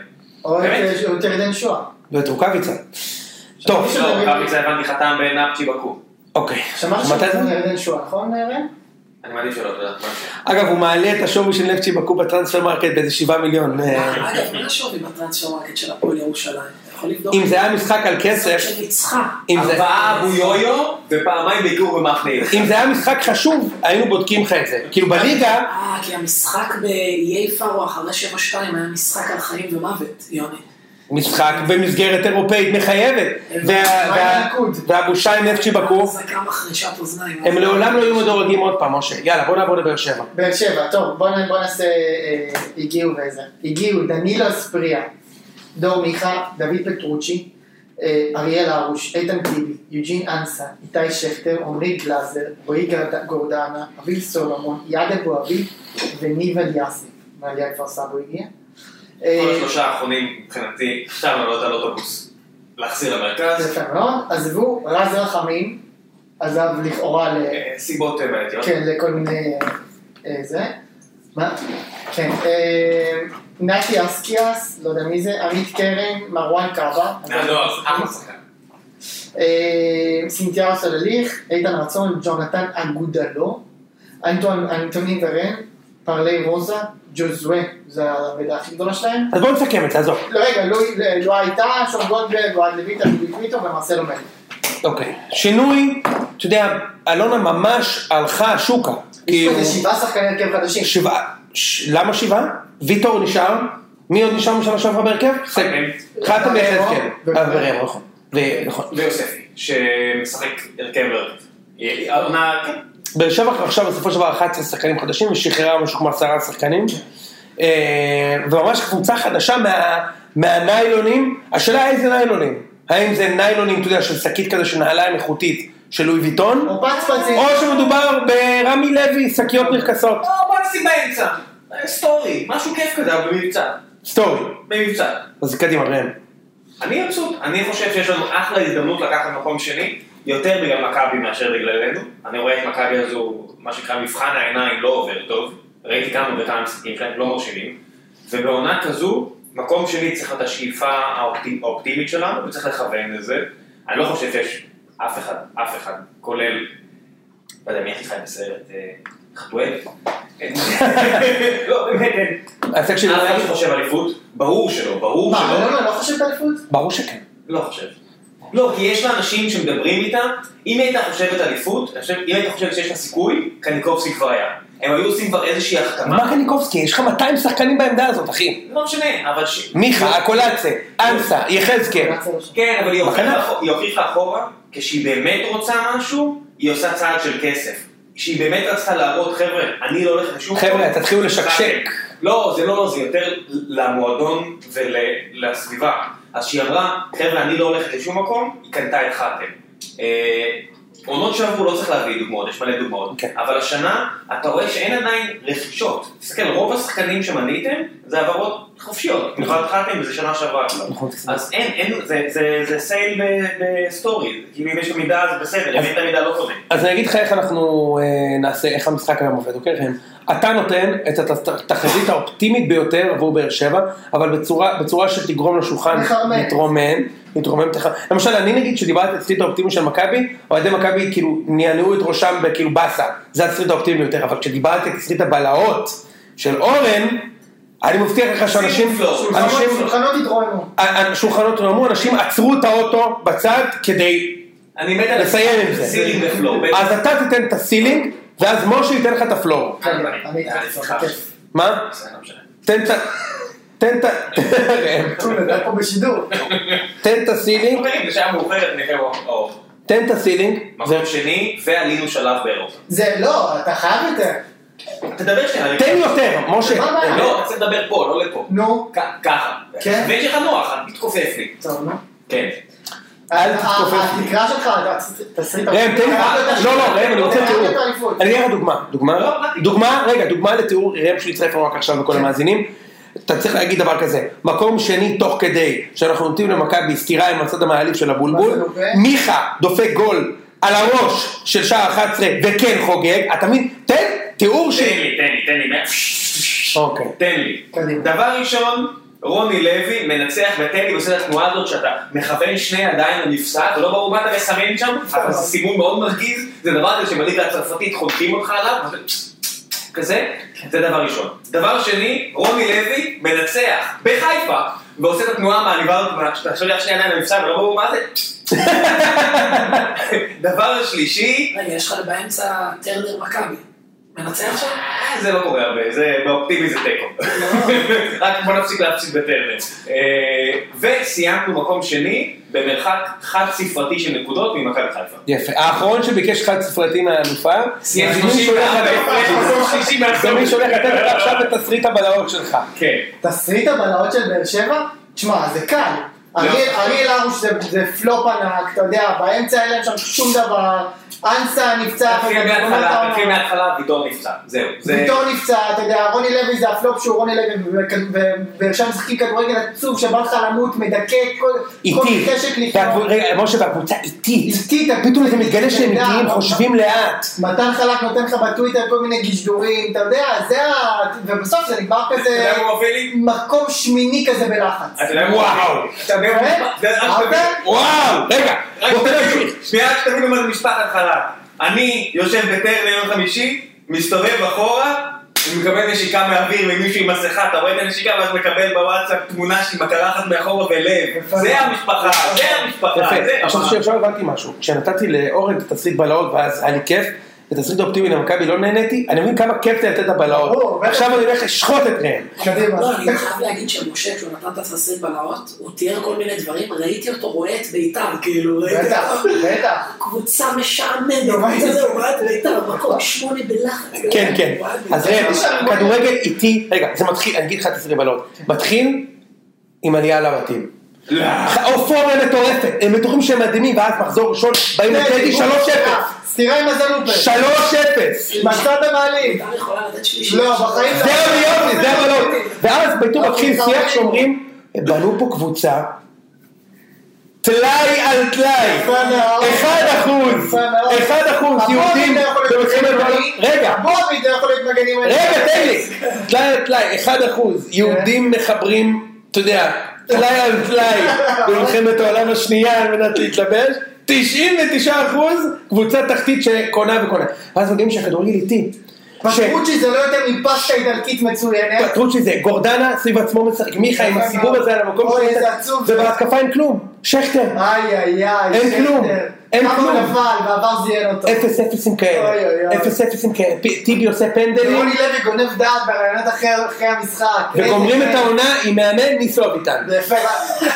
S2: או את
S4: באמת?
S2: אה, את ירדן שואה.
S1: וטרוקאביצה. לא טוב,
S2: מישהו-
S4: לא, קרביצה הבנתי חתם בנאפצ'י בקו.
S1: אוקיי.
S2: שמעת
S1: מתי זה?
S2: שקוראים לירדן שואה, נכון רן?
S4: אני מעדיף שלא, תודה. בוא.
S1: אגב, הוא מעלה את השווי של נפצ'י בקו בטרנספר מרקט באיזה 7 מיליון. אה,
S3: אגב, מה השווי בטרנספר מרקט של הפועל ירושלים? אתה יכול לבדוק.
S1: אם זה היה משחק על כסף,
S3: שניצחה.
S1: אם זה...
S4: ארבעה אבו יויו ופעמיים ביקור במחנה עיר.
S1: אם זה היה משחק חשוב, היינו בודקים לך את זה. כאילו בליגה,
S3: אה, כי המשחק באיי פארו אחרי 7-2 היה משחק על חיים ומוות, יוני.
S1: משחק במסגרת אירופאית מחייבת. וה-
S2: מה
S1: וה-
S2: עם הליכוד?
S1: והבושה עם נפצ'י בקו,
S3: חזקה מחרישת אוזניים.
S1: הם לעולם לא יהיו מדורגים עוד פעם, משה. יאללה, בוא נעבור לבאר שבע.
S2: באר שבע, טוב, בוא נ- בוא נעשה, אה, הגיעו וזה. הגיעו דנילו אספריה, דור מיכה, דוד פטרוצ'י, אה, אריאל הרוש, איתן טיבי, יוג'ין אנסה, איתי שכטר, עמרי גלאזר, רועי גרד- גורדנה, אביב סולומון, יעד אבו אביב וניב אליאסי, מעלייה כפר סבא הוא הגיע.
S4: כל
S2: אה,
S4: השלושה האחרונים מבחינתי, אפשר לעלות על אוטובוס. להחזיר למרכז.
S2: יפה מאוד, עזבו, רז רחמים, עזב לכאורה ל...
S4: אה, סיבות אה, בעייתיות.
S2: כן, לכל מיני... אה, זה. מה? כן. אה, נתי אסקיאס, לא יודע מי זה, עמית קרן, מרואן קאבה.
S4: מהנוער, לא, אחלה שחקן.
S2: אה, סינתיאו סלליך, איתן רצון, ג'ונתן אגודלו, אנטואן- אנטוני ורן, פרלי רוזה, ג'וזווה, זו האבדה הכי גדולה שלהם.
S1: אז בואו נסכם את זה, עזוב.
S2: לא, רגע, לא- לא הייתה, שון גולדברג, אוהד לויטה, דודו קוויטו ומרסלו מלך.
S1: אוקיי. שינוי, אתה יודע, אלונה ממש הלכה שוקה.
S2: יש
S1: כאילו,
S2: פה איזה שבעה שחקני הרכב חדשים.
S1: שבעה. ש- למה שבעה? ויטור נשאר. מי עוד נשאר משנה שעברה בהרכב?
S4: חתם.
S1: חתם ויחזקאל.
S2: ורמו.
S1: אה, ורמו, נכון. ו- נכון.
S4: ויוספי, שמשחק הרכב. אה, העונה, כן,
S1: באר שבע עכשיו בסופו של דבר 11 שחקנים חדשים ושחררה משהו כמו עשרה שחקנים. אה, וממש קבוצה חדשה מה, מהניילונים, השאלה איזה ניילונים. האם זה ניילונים, אתה יודע, של שקית כזה של נעליים איכותית של לואי ויטון,
S2: או פצפצים.
S1: או שמדובר ברמי לוי, שקיות נרכסות.
S4: או מקסי באמצע, אה, סטורי, משהו כיף כזה, אבל במבצע,
S1: סטורי.
S4: במבצע.
S1: אז קדימה, ראם.
S4: אני מבסוט, אני חושב שיש לנו אחלה הזדמנות לקחת מקום שני, יותר בגלל מכבי מאשר בגללנו. אני רואה את מכבי הזו, מה שנקרא מבחן העיניים לא עובר טוב, ראיתי כמה וכמה משחקים שלהם לא מרשימים, ובעונה כזו, מקום שני צריך את השאיפה האופטימ- האופטימית שלנו, וצריך לכוון לזה. אני לא חושב שיש אף אחד, אף אחד, כולל, לא יודע מי הכי חי בסרט, אה,
S2: <laughs>
S4: חתואל? אין. לא, באמת אין.
S1: אז תקשיב,
S4: אף אחד שחושב אליפות, ברור שלא, ברור
S2: מה,
S4: שלא.
S2: לא, לא, לא חושב באליפות?
S1: ברור שכן.
S4: לא חושב. לא, כי יש לה אנשים שמדברים איתה, אם היא הייתה חושבת אליפות, אני חושב- אם הייתה חושבת שיש לה סיכוי, קניקובסקי כבר היה. הם היו עושים כבר איזושהי החתמה,
S1: מה קניקובסקי? יש לך 200 שחקנים בעמדה הזאת, אחי.
S4: לא משנה, אבל ש...
S1: מיכה, הקולאצה, אנסה, יחזקאל.
S2: לא
S4: כן, אבל היא
S1: בכנף.
S4: הוכיחה אחו- היא הוכיחה אחורה, כשהיא באמת רוצה משהו, היא עושה צעד של כסף. כשהיא באמת רצתה להראות, חבר'ה, אני לא הולך לשום...
S1: חבר'ה,
S4: מקום."
S1: תתחילו לשקשק.
S4: לא, זה לא, זה יותר למועדון ולסביבה. אז שהיא אמרה, חבר'ה, אני לא הולכת לשום מקום, היא קנתה את חתם. אה, עונות שעברו לא צריך להביא דוגמאות, יש מלא דוגמאות.
S1: כן.
S4: אבל השנה, אתה רואה שאין עדיין רכישות. תסתכל, רוב השחקנים שמניתם, זה העברות חופשיות. במיוחד חתם, וזה שנה שעברה כבר.
S1: נכון,
S4: אז אין, אין, זה, זה, זה סייל ב- בסטורי, כאילו אם יש לך מידע אז בסדר, אם אין את המידע לא קונה.
S1: אז אני אגיד לך איך אנחנו אה, נעשה, איך המשחק היום עובד, אוקיי? ראם? אתה נותן את הת- התחזית האופטימית ביותר עבור באר שבע, אבל בצורה, בצורה שתגרום לשולחן
S2: לחרמן.
S1: להתרומם, להתרומם, תח... למשל אני נגיד שדיברתי על התסריט האופטימי של מכבי, אוהדי מכבי כאילו נענעו את ראשם בכאילו באסה, זה התסריט האופטימי ביותר, אבל כשדיברתי על תסריט הבלהות של אורן, אני מבטיח לך שאנשים,
S4: שולחנות,
S1: אנשים, אה,
S2: שולחנות- שולחנות יתרוממו.
S1: שולחנות רמו, אנשים עצרו את האוטו בצד כדי
S4: אני מת על
S1: לסיים עם זה.
S4: סילינג ופלואו. בטח.
S1: אז אתה תיתן את הסילינג, ואז משה ייתן לך את הפלואו.
S2: כן,
S4: אה,
S2: אני איתך,
S4: אה,
S2: סליחה.
S4: בכיף.
S1: מה?
S4: בסדר, לא משנה.
S1: תן את ה... תן את ה... ראם,
S2: טוב, נדע פה בשידור.
S1: תן את הסילינג,
S4: חברים, אוקיי, בשעה מאוחרת נראה אור.
S1: תן את הסילינג,
S4: מקום שני, ועלינו שלב באירופה.
S2: זה לא, אתה חייב יותר.
S4: תדבר שנייה. אני-
S1: תן יותר, משה. אה,
S2: מה הבעיה?
S4: לא, אתה צריך לדבר פה, לא לפה.
S2: נו.
S4: כ- ככה.
S2: כן.
S4: ויש לך נוח, אל תתכופף לי.
S2: טוב, נו. אה,
S4: כן.
S1: אל תתכופף.
S2: התקרה שלך, תסריט...
S1: ראם, תן לי... לא, לא, ראם, אני רוצה תיאור.
S2: תיאור.
S1: אני אתן לך דוגמה. דוגמה?
S4: לא, כן. מה?
S1: דוגמה, רגע, דוגמה לתיאור, ראם שהצטרף לנו רק עכשיו לכל המאזינים. אתה צריך להגיד דבר כזה, מקום שני תוך כדי שאנחנו נותנים למכבי סטירה עם הצד המעליב של
S2: מה זה
S1: הבולבול,
S2: נובע?
S1: מיכה דופק גול על הראש של שער 11 וכן חוגג, אתה מבין? תן תיאור ש...
S4: תן לי, תן לי, תן לי.
S1: אוקיי.
S4: תן לי.
S2: קדימה.
S4: דבר ראשון, רוני לוי מנצח בטדי ועושה את התנועה הזאת שאתה מכוון שני ידיים למפסק, ולא ברור מה אתה מסמן שם, אבל זה סימון מאוד מרגיז, זה דבר כזה שבליגה הצרפתית חונקים אותך עליו, וזה כזה, זה דבר ראשון. דבר שני, רוני לוי מנצח בחיפה, ועושה את התנועה מהליבה, שאתה שולח שני ידיים למפסק ולא ברור מה זה. דבר שלישי,
S3: רגע, יש לך באמצע טרנר מכבי. מנצח שם?
S4: אה, זה לא קורה הרבה, זה באופטימי זה
S1: <laughs>
S4: תיקו. רק בוא נפסיק להפסיד בטרנר. אה, וסיימנו מקום שני במרחק חד ספרתי של נקודות ממכבי חיפה.
S1: יפה. האחרון שביקש חד ספרתי מהאלופה, זה
S4: יש
S1: מי
S4: 34
S1: שהולך לתת-
S4: הפרש, מקום שלישי
S1: זה
S4: מהסוף.
S1: מי שהולך לתת לך עכשיו את תסריט הבלהות שלך.
S4: כן.
S2: תסריט הבלהות של באר שבע? תשמע, זה קל. אריאל אריאל הרוש זה- זה פלופ ענק, אתה יודע, באמצע אין להם שם שום דבר. אנסה נפצע,
S4: תתחיל
S2: וגם גומר את
S4: מההתחלה,
S2: העונה.
S4: תתחיל מההתחלה, ביטון נפצע. זהו. זה-
S2: ביטון נפצע, אתה יודע, רוני לוי זה הפלופ שהוא רוני לוי, ועכשיו משחקים כדורגל עצוב, שבא לך למות, מדכא, כל כל
S1: איטי.
S2: חשק
S1: והקבוצ-
S2: לקרוא.
S1: רגע, משה, והקבוצה איטית.
S2: איטית,
S1: פתאום זה מתגלה שהם
S2: אתה יודע,
S1: איטיים, חושבים לאט.
S2: מתן חלק נותן לך בטוויטר כל מיני גשדורים, אתה יודע, זה ה... ובסוף זה נגמר
S4: אתה
S2: כזה
S4: יודע מה הוא מוביל לי?
S2: מקום שמיני כזה בלחץ.
S4: אתה יודע מה הוא
S1: וואו.
S4: מוביל לי? אתה יודע מה הוא מוביל לי? זה- רק
S2: אהבת?
S4: שתבין-
S1: וואו! רגע,
S4: רק
S1: בוא
S4: שתבינו,
S1: תמשיך.
S4: שנייה, רק שתבינו מה זה משפחת חלב. אני יושב בטרנר יום חמישי, מסתובב אחורה, אני מקבל נשיקה מהאוויר ממישהו עם מסכה, אתה רואה את הנשיקה ואז מקבל בוואטסאפ תמונה שהיא מקלחת מאחורה ולב. זה המשפחה, זה המשפחה,
S1: יפה.
S4: זה
S1: עכשיו
S4: המשפחה.
S1: עכשיו הבנתי משהו. כשנתתי לאורן את התסריט בלהות ואז היה לי כיף, בתסריט אופטימי למכבי לא נהניתי, אני מבין כמה כיף זה לתת את הבלהות.
S2: ברור,
S1: עכשיו אני הולך לשחוט את ראם.
S2: קדימה.
S3: לא, אני חייב להגיד שמשה, כשהוא נתן את התסריט בלהות, הוא תיאר כל מיני דברים, ראיתי אותו רואה את בית"ר, כאילו, ראיתי
S2: בטח,
S3: אותו,
S2: בטח.
S3: קבוצה משעממת,
S2: מה
S3: קבוצה
S2: זה?
S3: זה, הוא ראה את בית"ר, מקום שמונה בלחץ.
S1: כן, כן.
S3: הוא ראה את
S1: אז
S3: בית"ר.
S1: ראם, כדורגל איטי, רגע, זה מתחיל, אני אגיד לך את התסריט הבלהות. מתחיל עם עלייה לבתים.
S4: לא.
S1: אופוריה מטורפת, הם בטוחים שהם מדהימים, ואז מחזור ראשון, באים לטדי 3-0.
S2: סטירה עם הזלופה.
S1: 3-0.
S2: מצאת מעלית.
S3: בית"ר יכולה לתת שלישי.
S2: לא, בחיים
S1: זה המיליון, זה הבלון. ואז ביתור
S2: אוקיי,
S1: מתחיל שיח שאומרים, בנו פה קבוצה, טלאי על טלאי.
S2: יפה מאוד.
S1: אחד אחוז,
S2: יפה מאוד.
S1: אחד אחוז
S2: לא
S1: יהודים. ולוקחים את ה- רגע,
S2: הבובי יכול להיות מגן ימני.
S1: רגע, תן לי. טלאי על טלאי, אחד
S2: כן.
S1: אחוז. יהודים מחברים, אתה יודע, טלאי על
S2: <laughs>
S1: טלאי במלחמת העולם השנייה על מנת להתלבש. 99 אחוז קבוצה תחתית שקונה וקונה. ואז מגיעים שהכדורגל איטי. ש-
S2: פטרוצ'י זה לא יותר מפסטה איטלקית מצוינת.
S1: פטרוצ'י זה גורדנה סביב עצמו משחק, מיכה עם הסיבוב הזה על המקום
S2: אוי,
S1: שלו,
S2: איזה עצוב זה.
S1: ובהתקפה אין כלום, שכטר,
S2: איי איי איי.
S1: אין
S2: שכטר.
S1: כלום, אין
S2: כמה
S1: כלום.
S2: הוא נפל, בעבר לא זיין אותו.
S1: אפס אפסים
S2: אה. אוי, אוי, לא
S1: כאלה,
S2: אוי.
S1: אפס אפסים כאלה, פ- טיבי עושה פנדלים,
S2: רוני לוי גונב דעת ברעיונות אחר אחרי המשחק.
S1: וגומרים
S2: איזה-
S1: את העונה עם מאמן ניסו אביטן.
S2: זה יפה.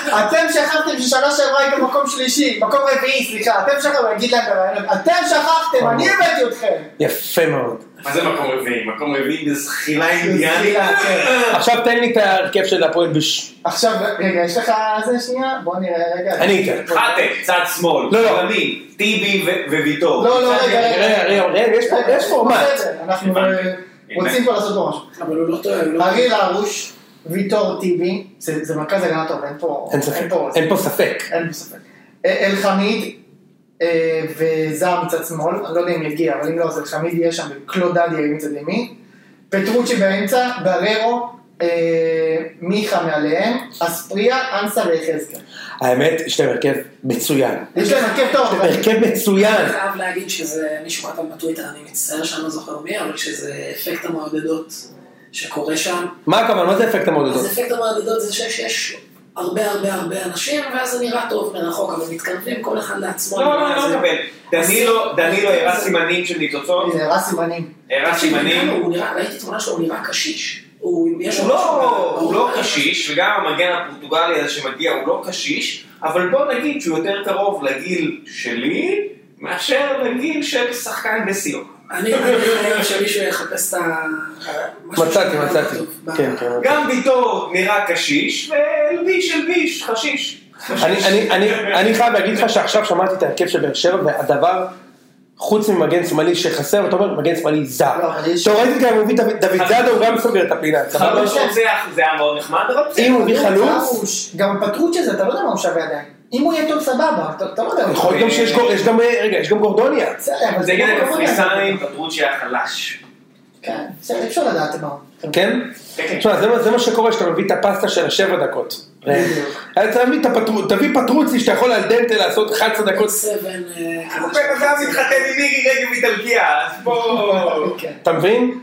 S2: אתם שכחתם ששנה שעברה הייתם מקום שלישי, מקום רביעי, סליחה. אתם שכחתם, אני אגיד להם ברעיונות. אתם שכחתם, אני הבאתי אתכם.
S1: יפה מאוד.
S4: מה זה מקום רביעי? מקום רביעי בזחילה אינדיאנית.
S2: בזחילה, כן.
S1: עכשיו תן לי את ההרכב של הפועל בש...
S2: עכשיו, רגע, יש לך זה שנייה? בוא נראה רגע.
S1: אני אתן.
S4: חטא, צד שמאל,
S1: לא, לא.
S4: ימין, טיבי ו- וויטור.
S2: לא, לא, רגע, רגע.
S1: רגע, רגע, רגע, יש פה- יש פורמט.
S2: אה, בסדר, אנחנו אה,
S4: הבנתי.
S2: רוצים פה לעשות פה משהו.
S3: אבל הוא לא טועה, הוא לא...
S2: אריאל הרוש, ויטור טיבי, זה זה מרכז הגנה טוב, אין פה...
S1: אין ספק,
S2: פה-
S1: אין פה ספק.
S2: אין פה ספק. אה, אלחמיד אה, וזר מצד שמאל, אני לא יודע אם יגיע, אבל אם לא, אז אלחמיד יהיה שם, וקלודדיה יהיה מצד ימין. פטרוצ'י באמצע, בררו, אה, מיכה מעליהם, אספריה, אנסה ויחזקאל.
S1: האמת, יש להם הרכב מצוין.
S2: יש להם הרכב טוב, אבל-
S1: הרכב
S3: אני
S1: מצוין.
S3: חייב להגיד שזה, מישהו כתב בטוויטר, אני מצטער שאני לא זוכר מי, אבל שזה אפקט המעודדות שקורה שם.
S1: מה הכוונה? מה זה אפקט
S3: אז
S1: המעודדות?
S3: אפקט המעודדות זה שיש- שיש הרבה הרבה הרבה אנשים, ואז זה נראה טוב מרחוק, אבל מתקרבים כל אחד לעצמו.
S4: לא, לא, לא
S3: זה-
S4: מקבל. דנילו, דנילו הראה סימנים של ניצוצות,
S2: כאילו, זה הראה
S1: כאילו,
S2: סימנים.
S4: הראה
S3: תקשיב,
S4: סימנים.
S3: הוא נראה, ראיתי תמונה שלו, הוא נראה קשיש. הוא יש
S4: הוא
S3: לו
S4: לא,
S3: משהו-
S4: הוא לא קשיש, וגם המגן הפורטוגלי הזה שמגיע הוא לא קשיש, אבל בוא נגיד שהוא יותר קרוב לגיל שלי, מאשר לגיל של שחקן בסיום.
S3: אני אני חושב שמישהו יחפש את ה... משהו
S1: מצאתי,
S3: שהוא
S1: מצאתי.
S3: טוב ב-
S1: כן, כן.
S4: גם ויטור נראה קשיש, ולביש אל ביש, חשיש.
S1: אני, אני, אני, אני חייב להגיד לך שעכשיו שמעתי את ההרכב של באר שבע, והדבר, חוץ ממגן שמאלי שחסר, אתה אומר מגן שמאלי זר.
S2: לא, אבל יש- אה.
S1: תאורטית גם אם הוא מביא דוד- דוד זאדו, הוא גם סוגר את הפינה. סבבה?
S4: חלוץ רוצח זה היה מאוד נחמד, אבל בסדר.
S1: אם הוא מביא חלוץ,
S2: הרוש, גם פטרוצ'י זה, אתה לא יודע מה הוא שווה עדיין. אם הוא יהיה טוב סבבה, אתה אתה לא יודע.
S1: יכול להיות גם שיש גור- יש גם, אה, רגע, יש גם גורדוניה.
S2: בסדר, אבל
S4: זה
S2: לא
S4: נגד
S2: כבוד להם.
S4: הקפריסאים, פטרוצ'י היה חלש.
S2: כן, בסדר, אי אפשר לדעת מה הוא.
S1: כן?
S4: כן.
S1: תשמע, זה מה- זה מה שקורה כשאתה מביא את הפסטה של השבע דקות.
S2: בדיוק.
S1: אז תביא את הפטרו- תביא פטרוצי שאתה יכול על דנטה לעשות 11 דקות.
S3: סבן, אה, כזה
S4: בן אדם מתחתן עם מירי רגב איטלקיה, אז
S1: <laughs>
S4: בואו...
S2: אוקיי.
S1: אתה מבין?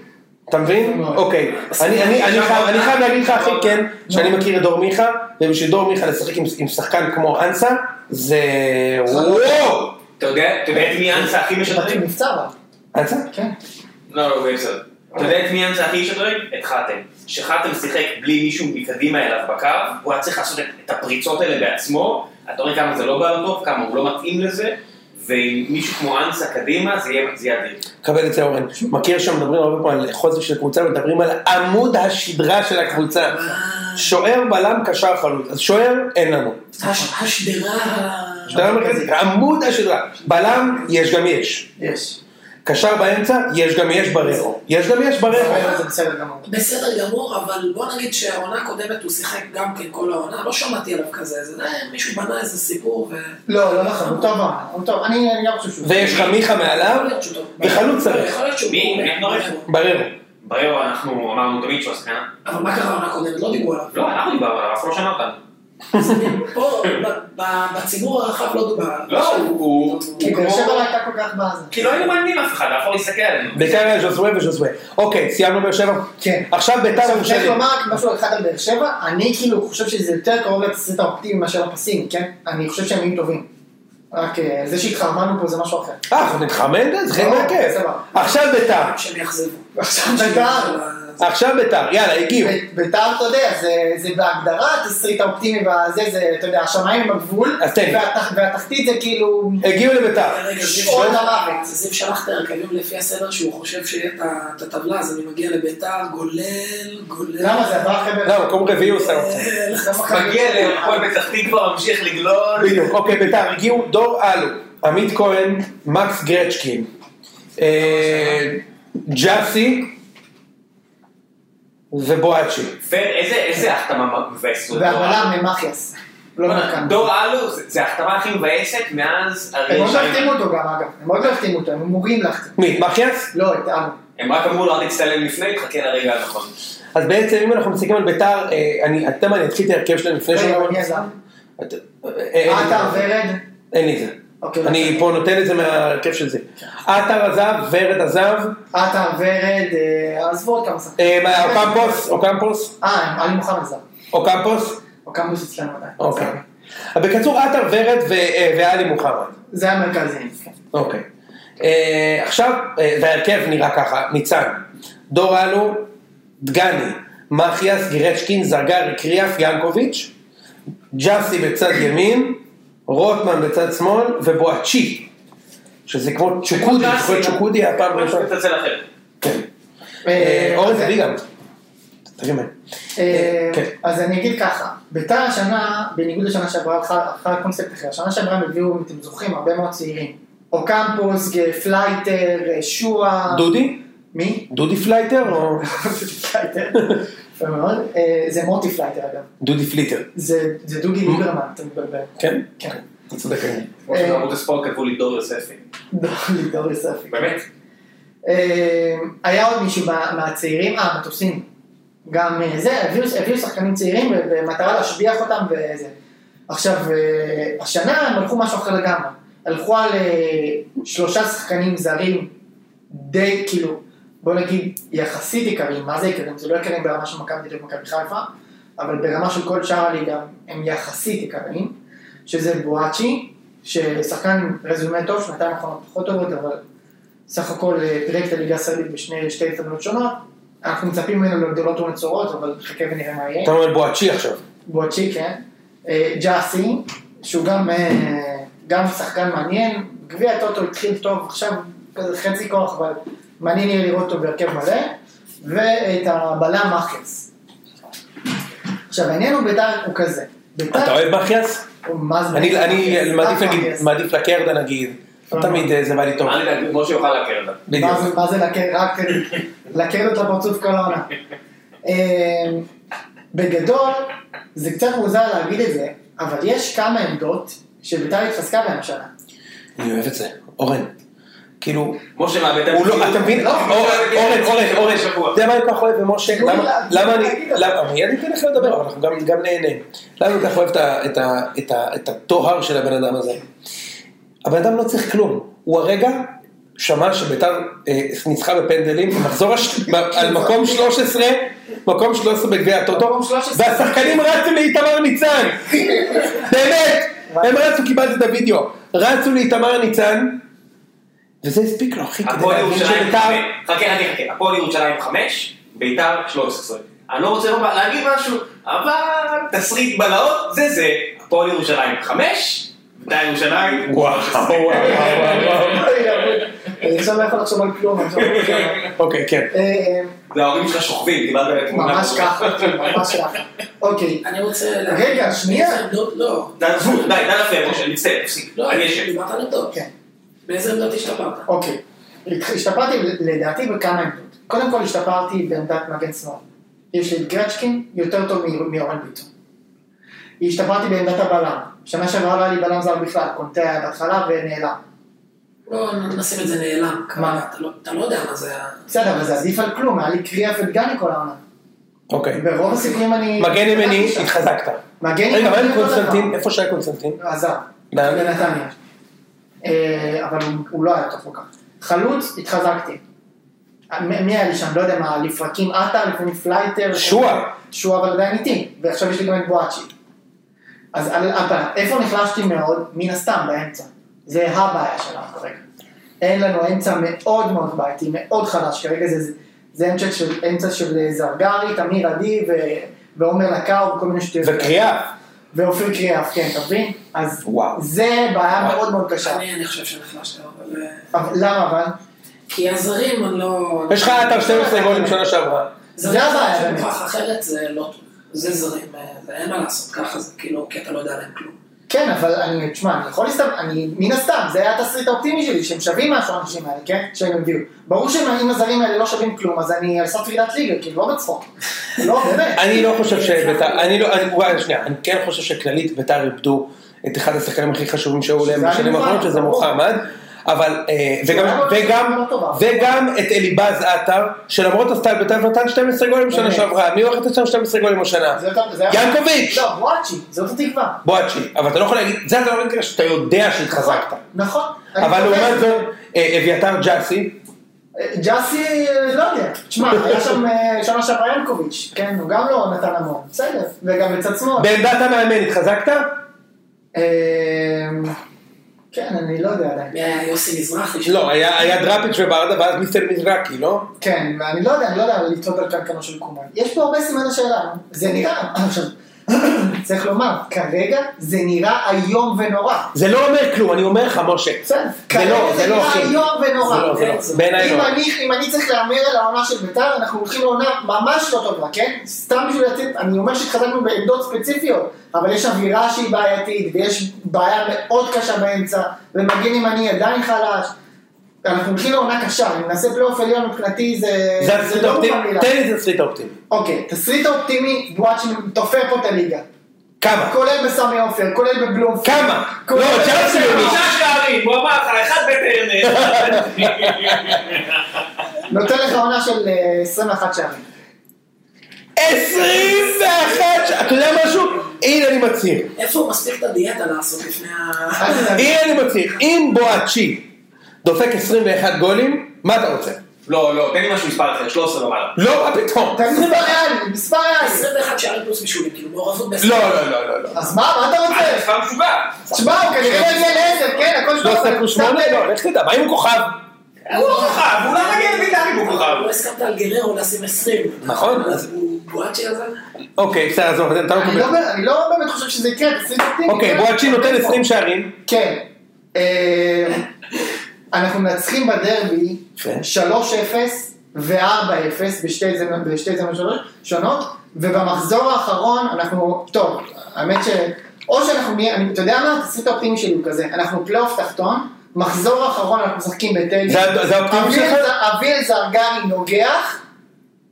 S1: אתה מבין?
S2: מאוד.
S1: אוקיי. אני- אני אני חייב אני חייב להגיד לך, אחי, כן, שאני מכיר את דור מיכה, ובשביל דור מיכה לשחק עם- עם שחקן כמו אנסה, זה... וואו!
S4: אתה יודע אתה יודע את מי אנסה הכי משדרים?
S2: שבטים נפצע אבל.
S1: אנסה?
S2: כן.
S4: לא, לא, הוא בסדר. אתה יודע את מי אנסה הכי משדרים? את חתם. כשחתם שיחק בלי מישהו מקדימה אליו בקו, הוא היה צריך לעשות את- את הפריצות האלה בעצמו, אתה רואה כמה זה לא בא לו טוב, כמה הוא לא מתאים לזה, ועם מישהו כמו אנסה קדימה, זה יהיה זה יהיה אדיר.
S1: קבל את זה אורן. מכיר שמדברים הרבה פעמים על חוזק של קבוצה, מדברים על עמוד השדרה של הקבוצה. שוער, בלם, קשר, חלוץ. אז שוער, אין לנו.
S3: הש- השדרה ה-
S1: שדרה מרכזית, עמוד השדרה. בלם, יש גם יש.
S2: יש.
S1: קשר באמצע, יש גם יש בררו. יש גם יש בררו.
S2: אה, זה בסדר גמור.
S3: בסדר גמור, אבל בוא נגיד שהעונה הקודמת הוא שיחק גם כן כל העונה, לא שמעתי עליו כזה, זה אה, מישהו בנה איזה סיפור ו...
S2: לא, לא נכון, הוא טוב, אבל, הוא טוב. אני אני גם חושב שהוא...
S1: ויש לך מיכה מעליו,
S3: יכול להיות שהוא טוב.
S1: וחלוץ אה? צריך.
S3: יכול להיות שהוא
S4: מי?
S3: מעולה,
S4: מי? נורא.
S3: מעולה.
S1: בררו.
S4: בררו אנחנו אמרנו תמיד שהוא השחקן.
S3: אבל מה קרה העונה הקודמת? לא דיברו עליו.
S4: לא, אנחנו דיברנו עליו, אף אחד לא שמע אותנו.
S3: פה, ב- ב- בציבור הרחב לא דובר עליו.
S4: לא, הוא- הוא...
S2: כי
S4: הוא
S2: באר שבע לא
S4: כמו...
S2: הייתה כל כך בזה.
S4: כי לא היינו מעניינים אף אחד, אף אחד לא הסתכל עלינו.
S1: ביתר היה ז'וסווה וז'וסווה. אוקיי, סיימנו באר שבע?
S2: כן.
S1: עכשיו ביתר
S2: עכשיו, צריך
S1: ירושלים.
S2: לומר רק משהו אחד על באר שבע, אני כאילו חושב שזה יותר קרוב לתסריט האופטימי מאשר הפסימי, כן? אני חושב שהם יהיו טובים. רק אה, זה שהתחרמנו פה זה משהו אחר.
S1: אה, אנחנו נתחמם גם? זה חלק
S2: לא,
S1: מהכיף.
S2: סבבה.
S1: עכשיו ביתר.
S3: שהם יאכזבו.
S2: עכשיו בית"ר.
S1: עכשיו ביתר. יאללה, הגיעו.
S2: ב- בית"ר, אתה יודע, זה- זה בהגדרה התסריט האופטימי והזה, זה, אתה יודע, השמיים הם הגבול,
S1: אז תן לי. אה.
S2: והתח- והתחתית זה כאילו...
S1: הגיעו לביתר.
S3: רגע,
S2: שעון המוות.
S3: זיו שלח את ההרכבים לפי הסדר שהוא חושב שיהיה את ה- את הטבלה, אז אני מגיע לביתר, גולל, גולל.
S2: למה זה עבר אחרי...
S1: לא, מקום רביעי הוא שם. אותך.
S3: גולל.
S4: מגיע להפועל פתח תקווה, ממשיך לגלול.
S1: בדיוק, אוקיי, ביתר, הגיעו דור אלו, עמית כהן, מקס גרצ'קין, אה, ג'אסי ובואצ'י.
S4: פר, איזה- איזה החתמה מבאסת. זאת.
S2: והבלם ממחיאס. לא מכאן.
S4: דור אלו, זה זה ההחתמה הכי מבאסת מאז
S2: הם
S4: הרי
S2: עוד לא
S4: שיימן.
S2: החתימו אותו גם, אגב. הם עוד לא החתימו אותו, הם אמורים להחתים.
S1: מי, את מחיאס?
S2: לא, את אלו.
S4: הם רק אמרו לו, אל תצטלם לפני, תחכה לרגע הנכון.
S1: אז בעצם אם אנחנו מסתכלים על ביתר, אה, אני, אתם אני אתחיל את ההרכב שלהם לפני שאני...
S2: רגע, אה, מי עזב?
S1: את- אה, אין לי
S2: עטר
S1: זה.
S2: ורד?
S1: אין לי זה.
S2: אוקיי,
S1: אני
S2: בסדר.
S1: פה נותן את זה מההרכב של זה. עטר עזב, ורד עזב,
S2: עטר ורד, אה, עזבו עוד כמה שחקנים.
S1: אה, מה, אוקמפוס, אוקמפוס,
S2: אה, עלי מוחמד עזב.
S1: אוקמפוס,
S2: או קמבוס אצלנו עדיין.
S1: אוקיי.
S2: בסדר.
S1: בקיצור, עטר, ורד ו- אה, ואלי מוחמד.
S2: זה המרכזים.
S1: אוקיי. אה, עכשיו, אה, וההרכב נראה ככה, ניצן, דור אלו, דגני, מחיאס, גירצ'קין, זרגרי, קריאף, ינקוביץ', ג'אסי בצד ימין, רוטמן בצד שמאל, ובואצ'י, שזה כמו צ'וקודי,
S4: ג'אסי, כן. אה,
S1: זוכר צ'וקודי היה פעם
S4: משהו
S1: ראשונה?
S4: מצלצל אחרת.
S1: כן. אה, אורן זבי גם. תגיד מה.
S2: אה,
S1: כן.
S2: אז אני אגיד ככה, ביתר השנה, בניגוד לשנה שעברה, הלכה הלכה על קונספט אחר. השנה שעברה הם הביאו, אם אתם זוכרים, הרבה מאוד צעירים. אוקמפוס, ג- פלייטר, אה, שועה.
S1: דודי?
S2: מי? <laughs>
S1: דודי פלייטר או
S2: פלייטר. יפה מאוד. אה, זה מוטי פלייטר אגב.
S1: דודי פליטר?
S2: זה זה דודי ליברמן, אתה <laughs> מתבלבל.
S1: כן?
S2: כן.
S1: אתה צודק. אני.
S4: כמו שבערוץ הספורט כתבו לי דור יוספי.
S2: דודי, דודי ספי.
S4: באמת?
S2: אה, היה עוד מישהו מה- מהצעירים, אה, מטוסים. גם אה, זה, הביאו, הביאו שחקנים צעירים במטרה להשביח אותם וזה. עכשיו, אה, השנה הם הלכו משהו אחר לגמרי. הלכו על אה, שלושה שחקנים זרים די, כאילו, בוא נגיד, יחסית עיקריים, מה זה עיקריים? זה לא עיקריים ברמה של מכבי תל אביב ומכבי חיפה, אבל ברמה של כל שאר הליגה הם יחסית עיקריים, שזה בואצ'י, ששחקן עם רזומה טוב, שנתיים האחרונות פחות טובות, אבל סך הכל אה, פירק את הליגה הישראלית בשני שתי הזדמנויות שונות. אנחנו מצפים ממנו לגדולות ונצורות, אבל נחכה ונראה מה יהיה.
S1: אתה אומר בואצ'י עכשיו.
S2: בואצ'י, כן. אה, ג'אסי, שהוא גם, אה, גם שחקן מעניין. גביע הטוטו התחיל טוב, עכשיו כזה חצי כוח, אבל מעניין יהיה לראות אותו בהרכב מלא. ואת הבלם מאחז. עכשיו, העניין הוא בית"ר הוא כזה.
S1: אתה
S2: בית"ר
S1: אוהב מחיאס?
S2: הוא מה זה...
S1: אני אני
S2: מאחיאס,
S1: מעדיף
S2: אף
S1: להגיד,
S2: מאחיאס.
S1: מעדיף לקרדה נגיד, לא תמיד אה, זה בא לי טוב,
S4: אני יודע, כמו שיוכל להכיר אותה.
S1: בדיוק.
S2: אוקיי. מה זה- מה זה לקר- רק לקר לו את הפרצוף כל העונה. אמ, בגדול, זה קצת מוזר להגיד את זה, אבל יש כמה עמדות שביתר התחזקה בהן השנה.
S1: אני אוהב את זה, אורן. כאילו,
S4: משה מאבד
S1: הוא לא, אתה מבין?
S2: לא,
S1: אורן,
S4: הוא לא יודע,
S1: אורן,
S4: זה
S1: אורן,
S4: שבוע,
S1: אורן,
S4: שבוע.
S1: אתה יודע מה אני כל כך אוהב במשה?
S2: תנו לי
S1: למה-
S2: לה- תנו
S1: למה
S2: לי
S1: אני,
S2: להגיד לך.
S1: למה, מיד ניתן לך לדבר, אבל אנחנו גם- גם נהנים. למה אני כל כך אוהב את ה- את ה- את ה- את הטוהר של הבן אדם הזה? הבן אדם לא צריך כלום, הוא הרגע שמע שביתר אה, ניצחה בפנדלים, מחזור
S2: <laughs>
S1: הש- על מקום 13, מקום 13 בגביע הטוטו,
S2: מקום 13.
S1: והשחקנים רצו לאיתמר ניצן, באמת, הם רצו, קיבלתי את הוידאו, רצו לאיתמר ניצן, וזה הספיק לו אחי, כדי
S4: הפועל
S1: להבין
S4: ירושלים
S1: שביתר,
S4: חמש. חכה, חכה, חכה. הפועל ירושלים חמש, ביתר 13. אני לא רוצה לומר- להגיד משהו, אבל תסריט בלהות זה זה. הפועל ירושלים חמש, ביתר ירושלים.
S1: וואו, וואו, וואו, וואו.
S2: אני עכשיו לא יכול לחשוב על כלום, אני עכשיו לא יכול לחשוב על-
S1: אוקיי, כן,
S2: אמ,
S4: זה ההורים שלך שוכבים, דיברת על תמונה.
S2: ממש ככה, ממש ככה. אוקיי,
S3: אני רוצה... לה-
S2: רגע, שנייה.
S3: לא, לא.
S4: תעזבו, די, די להפריע, משה, אני מצטער, תפסיק.
S3: לא,
S4: אני ישן.
S3: דיברת על עמדות.
S2: כן.
S3: באיזה עמדות השתפרת?
S2: אוקיי. השתפרתי לדעתי בכמה עמדות. קודם כל השתפרתי בעמדת מגן שמאל. יש לי את גרצ'קין יותר טוב מ- מאורן ביטון. השתפרתי בעמדת הבלם. שנה שעברה לא היה לי בלם זר בכלל, קונטה היה בהתחלה ונעלם.
S3: לא, נשים את זה נעלם.
S2: מה?
S3: אתה לא- אתה לא יודע מה זה ה...
S2: בסדר, אבל זה עדיף על כלום, היה לי קריאה ודגני כל העונה.
S1: אוקיי.
S2: ברוב הסיכויים אני...
S1: מגן ימני,
S2: שם.
S1: התחזקת.
S2: מגן לא נכון.
S1: רגע, מה עם
S2: אותו דבר.
S1: קונסטנטין? איפה שהיה קונסטנטין?
S2: עזב.
S1: לאן?
S2: בנתניה. אה, אבל הוא- הוא לא היה טוב כל כך. חלוץ, התחזקתי. מ- מי היה לי שם? לא יודע מה, לפרקים עטר, לפעמים פלייטר.
S1: שועה.
S2: שועה אבל עדיין איתי, ועכשיו יש לי גם את בואצ'י. אז על- אבל איפה נחלשתי מאוד? מן הסתם, באמצע. זה הבעיה שלנו כרגע. אין לנו אמצע מאוד מאוד בעייתי, מאוד חלש כרגע, זה, זה אמצע, של, אמצע של אה, זרגרי, תמיר עדי ו, ועומר לקאו וכל מיני שטויות.
S1: וקריאה.
S2: ואופיר קריאף, כן, אתה מבין? אז
S1: וואו.
S2: זה בעיה מאוד מאוד קשה.
S3: אני אני חושב שנחלשת, אבל... אה,
S2: אבל, למה אבל?
S3: כי הזרים אני לא...
S1: יש לך אתה 12 גולים שנה שעברה.
S2: זה
S3: זרים
S2: הבעיה,
S3: זה
S2: באמת.
S3: מוכרח אחרת, זה לא טוב. זה זרים, אה, זה אין מה לעשות, ככה זה כאילו, כי אתה לא יודע עליהם כלום.
S2: כן, אבל אני, תשמע, אני יכול להסתכל, אני, מן הסתם, זה היה התסריט האופטימי שלי, שהם שווים משהו האנשים האלה, כן? שהם הביאו. ברור שאם הזרים האלה לא שווים כלום, אז אני על סף ירידת ליגה, כאילו, לא בצחוק. לא, באמת.
S1: אני לא חושב שביתר, אני לא, אני- וואי, שנייה, אני כן חושב שכללית ביתר איבדו את אחד השחקנים הכי חשובים שהיו להם
S2: שזה היה
S1: בשנים
S2: מובן,
S1: האחרונות, שזה
S2: ברור. לא
S1: מוחמד, אבל, אה, וגם,
S2: היה
S1: וגם,
S2: מאוד טובה.
S1: וגם את אליבאז עטר, שלמרות הסטל ביתר נתן 12 גולים שנה
S2: באמת.
S1: שעברה, מי הולך לתת 12 גולים השנה?
S2: אוקיי. זה יותר- זה היה-
S1: ינקוביץ'.
S2: לא, וואצ'י, זאת התקווה.
S1: בואצ'י, אבל אתה לא יכול להגיד, זה אתה לא יכול שאתה יודע שהתחזקת.
S2: נכון.
S1: אבל
S2: אני
S1: לעומת
S2: צודק.
S1: זאת, אה, אביתר ג'אסי,
S2: אה, ג'אסי, לא יודע. תשמע, היה שם אה, שנה שעברה ינקוביץ', כן, הוא גם לא נתן המון. בסדר. וגם בצד שמאל.
S1: בעמדת המאמן התחזקת?
S2: אמ, כן, אני לא יודע עדיין.
S3: מי היה יוסי מזרחי?
S1: לא, היה היה דראפיץ' וברדה ואז מיסטר מזרקי, לא?
S2: כן, ואני לא יודע, אני לא יודע לתלות על קנקנו של קומן. יש פה הרבה סימני שאלה, זה נראה, עכשיו, <coughs> צריך לומר, כרגע זה נראה איום ונורא.
S1: זה לא אומר כלום, אני אומר לך, משה.
S2: בסדר.
S1: זה לא,
S2: כרגע
S1: זה לא, אחי.
S2: נראה איום ונורא.
S1: זה לא, זה לא. בעיניי
S2: אם
S1: לא.
S2: אני- אם אני צריך להמר על העונה של בית"ר, אנחנו הולכים לעונה ממש לא טובה, כן? סתם בשביל לתת, אני אומר שהתחזקנו בעמדות ספציפיות, אבל יש אווירה שהיא בעייתית, ויש בעיה מאוד קשה באמצע, ומגן ימני עדיין חלש. אנחנו הולכים לעונה קשה, אני מנסה פלייאוף עליון מבחינתי, זה...
S1: זה התסריט
S2: לא
S1: האופטימי?
S2: מובן מאליו.
S1: תן לי את התסריט האופטימי.
S2: אוקיי, תסריט האופטימי, בואצ'י תופר פה את הליגה.
S1: כמה?
S2: כולל בסמי עופר, כולל בבלומפילד.
S1: כמה?
S2: כולל-
S1: לא, צ'אנסי
S4: חמישה שערים, הוא אמר לך, אחד בטרנר. <laughs>
S2: נותן לך עונה של אה, 21 שערים.
S1: 21 ש... אתה יודע משהו? הנה אני מצהיר.
S3: איפה הוא מספיק את הדיאטה לעשות לפני ה... <laughs>
S2: אל תדאג.
S1: הנה אני מצהיר. אם בואצ'י דופק 21 גולים, מה אתה רוצה?
S4: לא, לא, תן לי משהו מספר אחר, 13 ומעלה.
S1: לא, מה פתאום?
S2: תן מספר ריאלי, מספר ריאלי.
S3: 21 שערים פלוס בישולים, כאילו מעורבות ב...
S1: לא, לא, לא, לא, לא.
S2: אז מה, מה אתה
S4: אה,
S2: רוצה?
S4: מספר משוגע.
S2: תשמע, הוא כנראה יגיע לעשר, כן, הכל
S1: לא
S2: טוב.
S1: עושה פלוס שמונה? לא, לך תדע, מה עם כוכב?
S4: הוא לא כוכב, הוא לא
S3: כן,
S4: מגיע לבית"ר אם הוא כוכב.
S3: לא הסכמת על גררו לשים 20.
S1: נכון.
S3: אז הוא בואצ'י הזה?
S1: אוקיי, בסדר, עזוב, אתה לא
S2: אני
S1: קובע.
S2: לא באמת- אני לא באמת חושב שזה יקרה, כן. תעשי את זה.
S1: אוקיי, בואצ'י נותן 20 שערים.
S2: כן. אה, אנחנו מנצחים בדרבי
S1: יפה.
S2: 3-0 ו-4-0 בשתי זמ- בשתי זמנים שונות- שונות, ובמחזור האחרון אנחנו, טוב, האמת ש... או שאנחנו נהיה, אני- אתה יודע מה? התסריט האופטימי שלי הוא כזה, אנחנו פלייאוף תחתון, מחזור אחרון אנחנו משחקים בטדי,
S1: זה- זה האופטימי
S2: אביל
S1: שלך?
S2: ז- אביל זרגרי נוגח,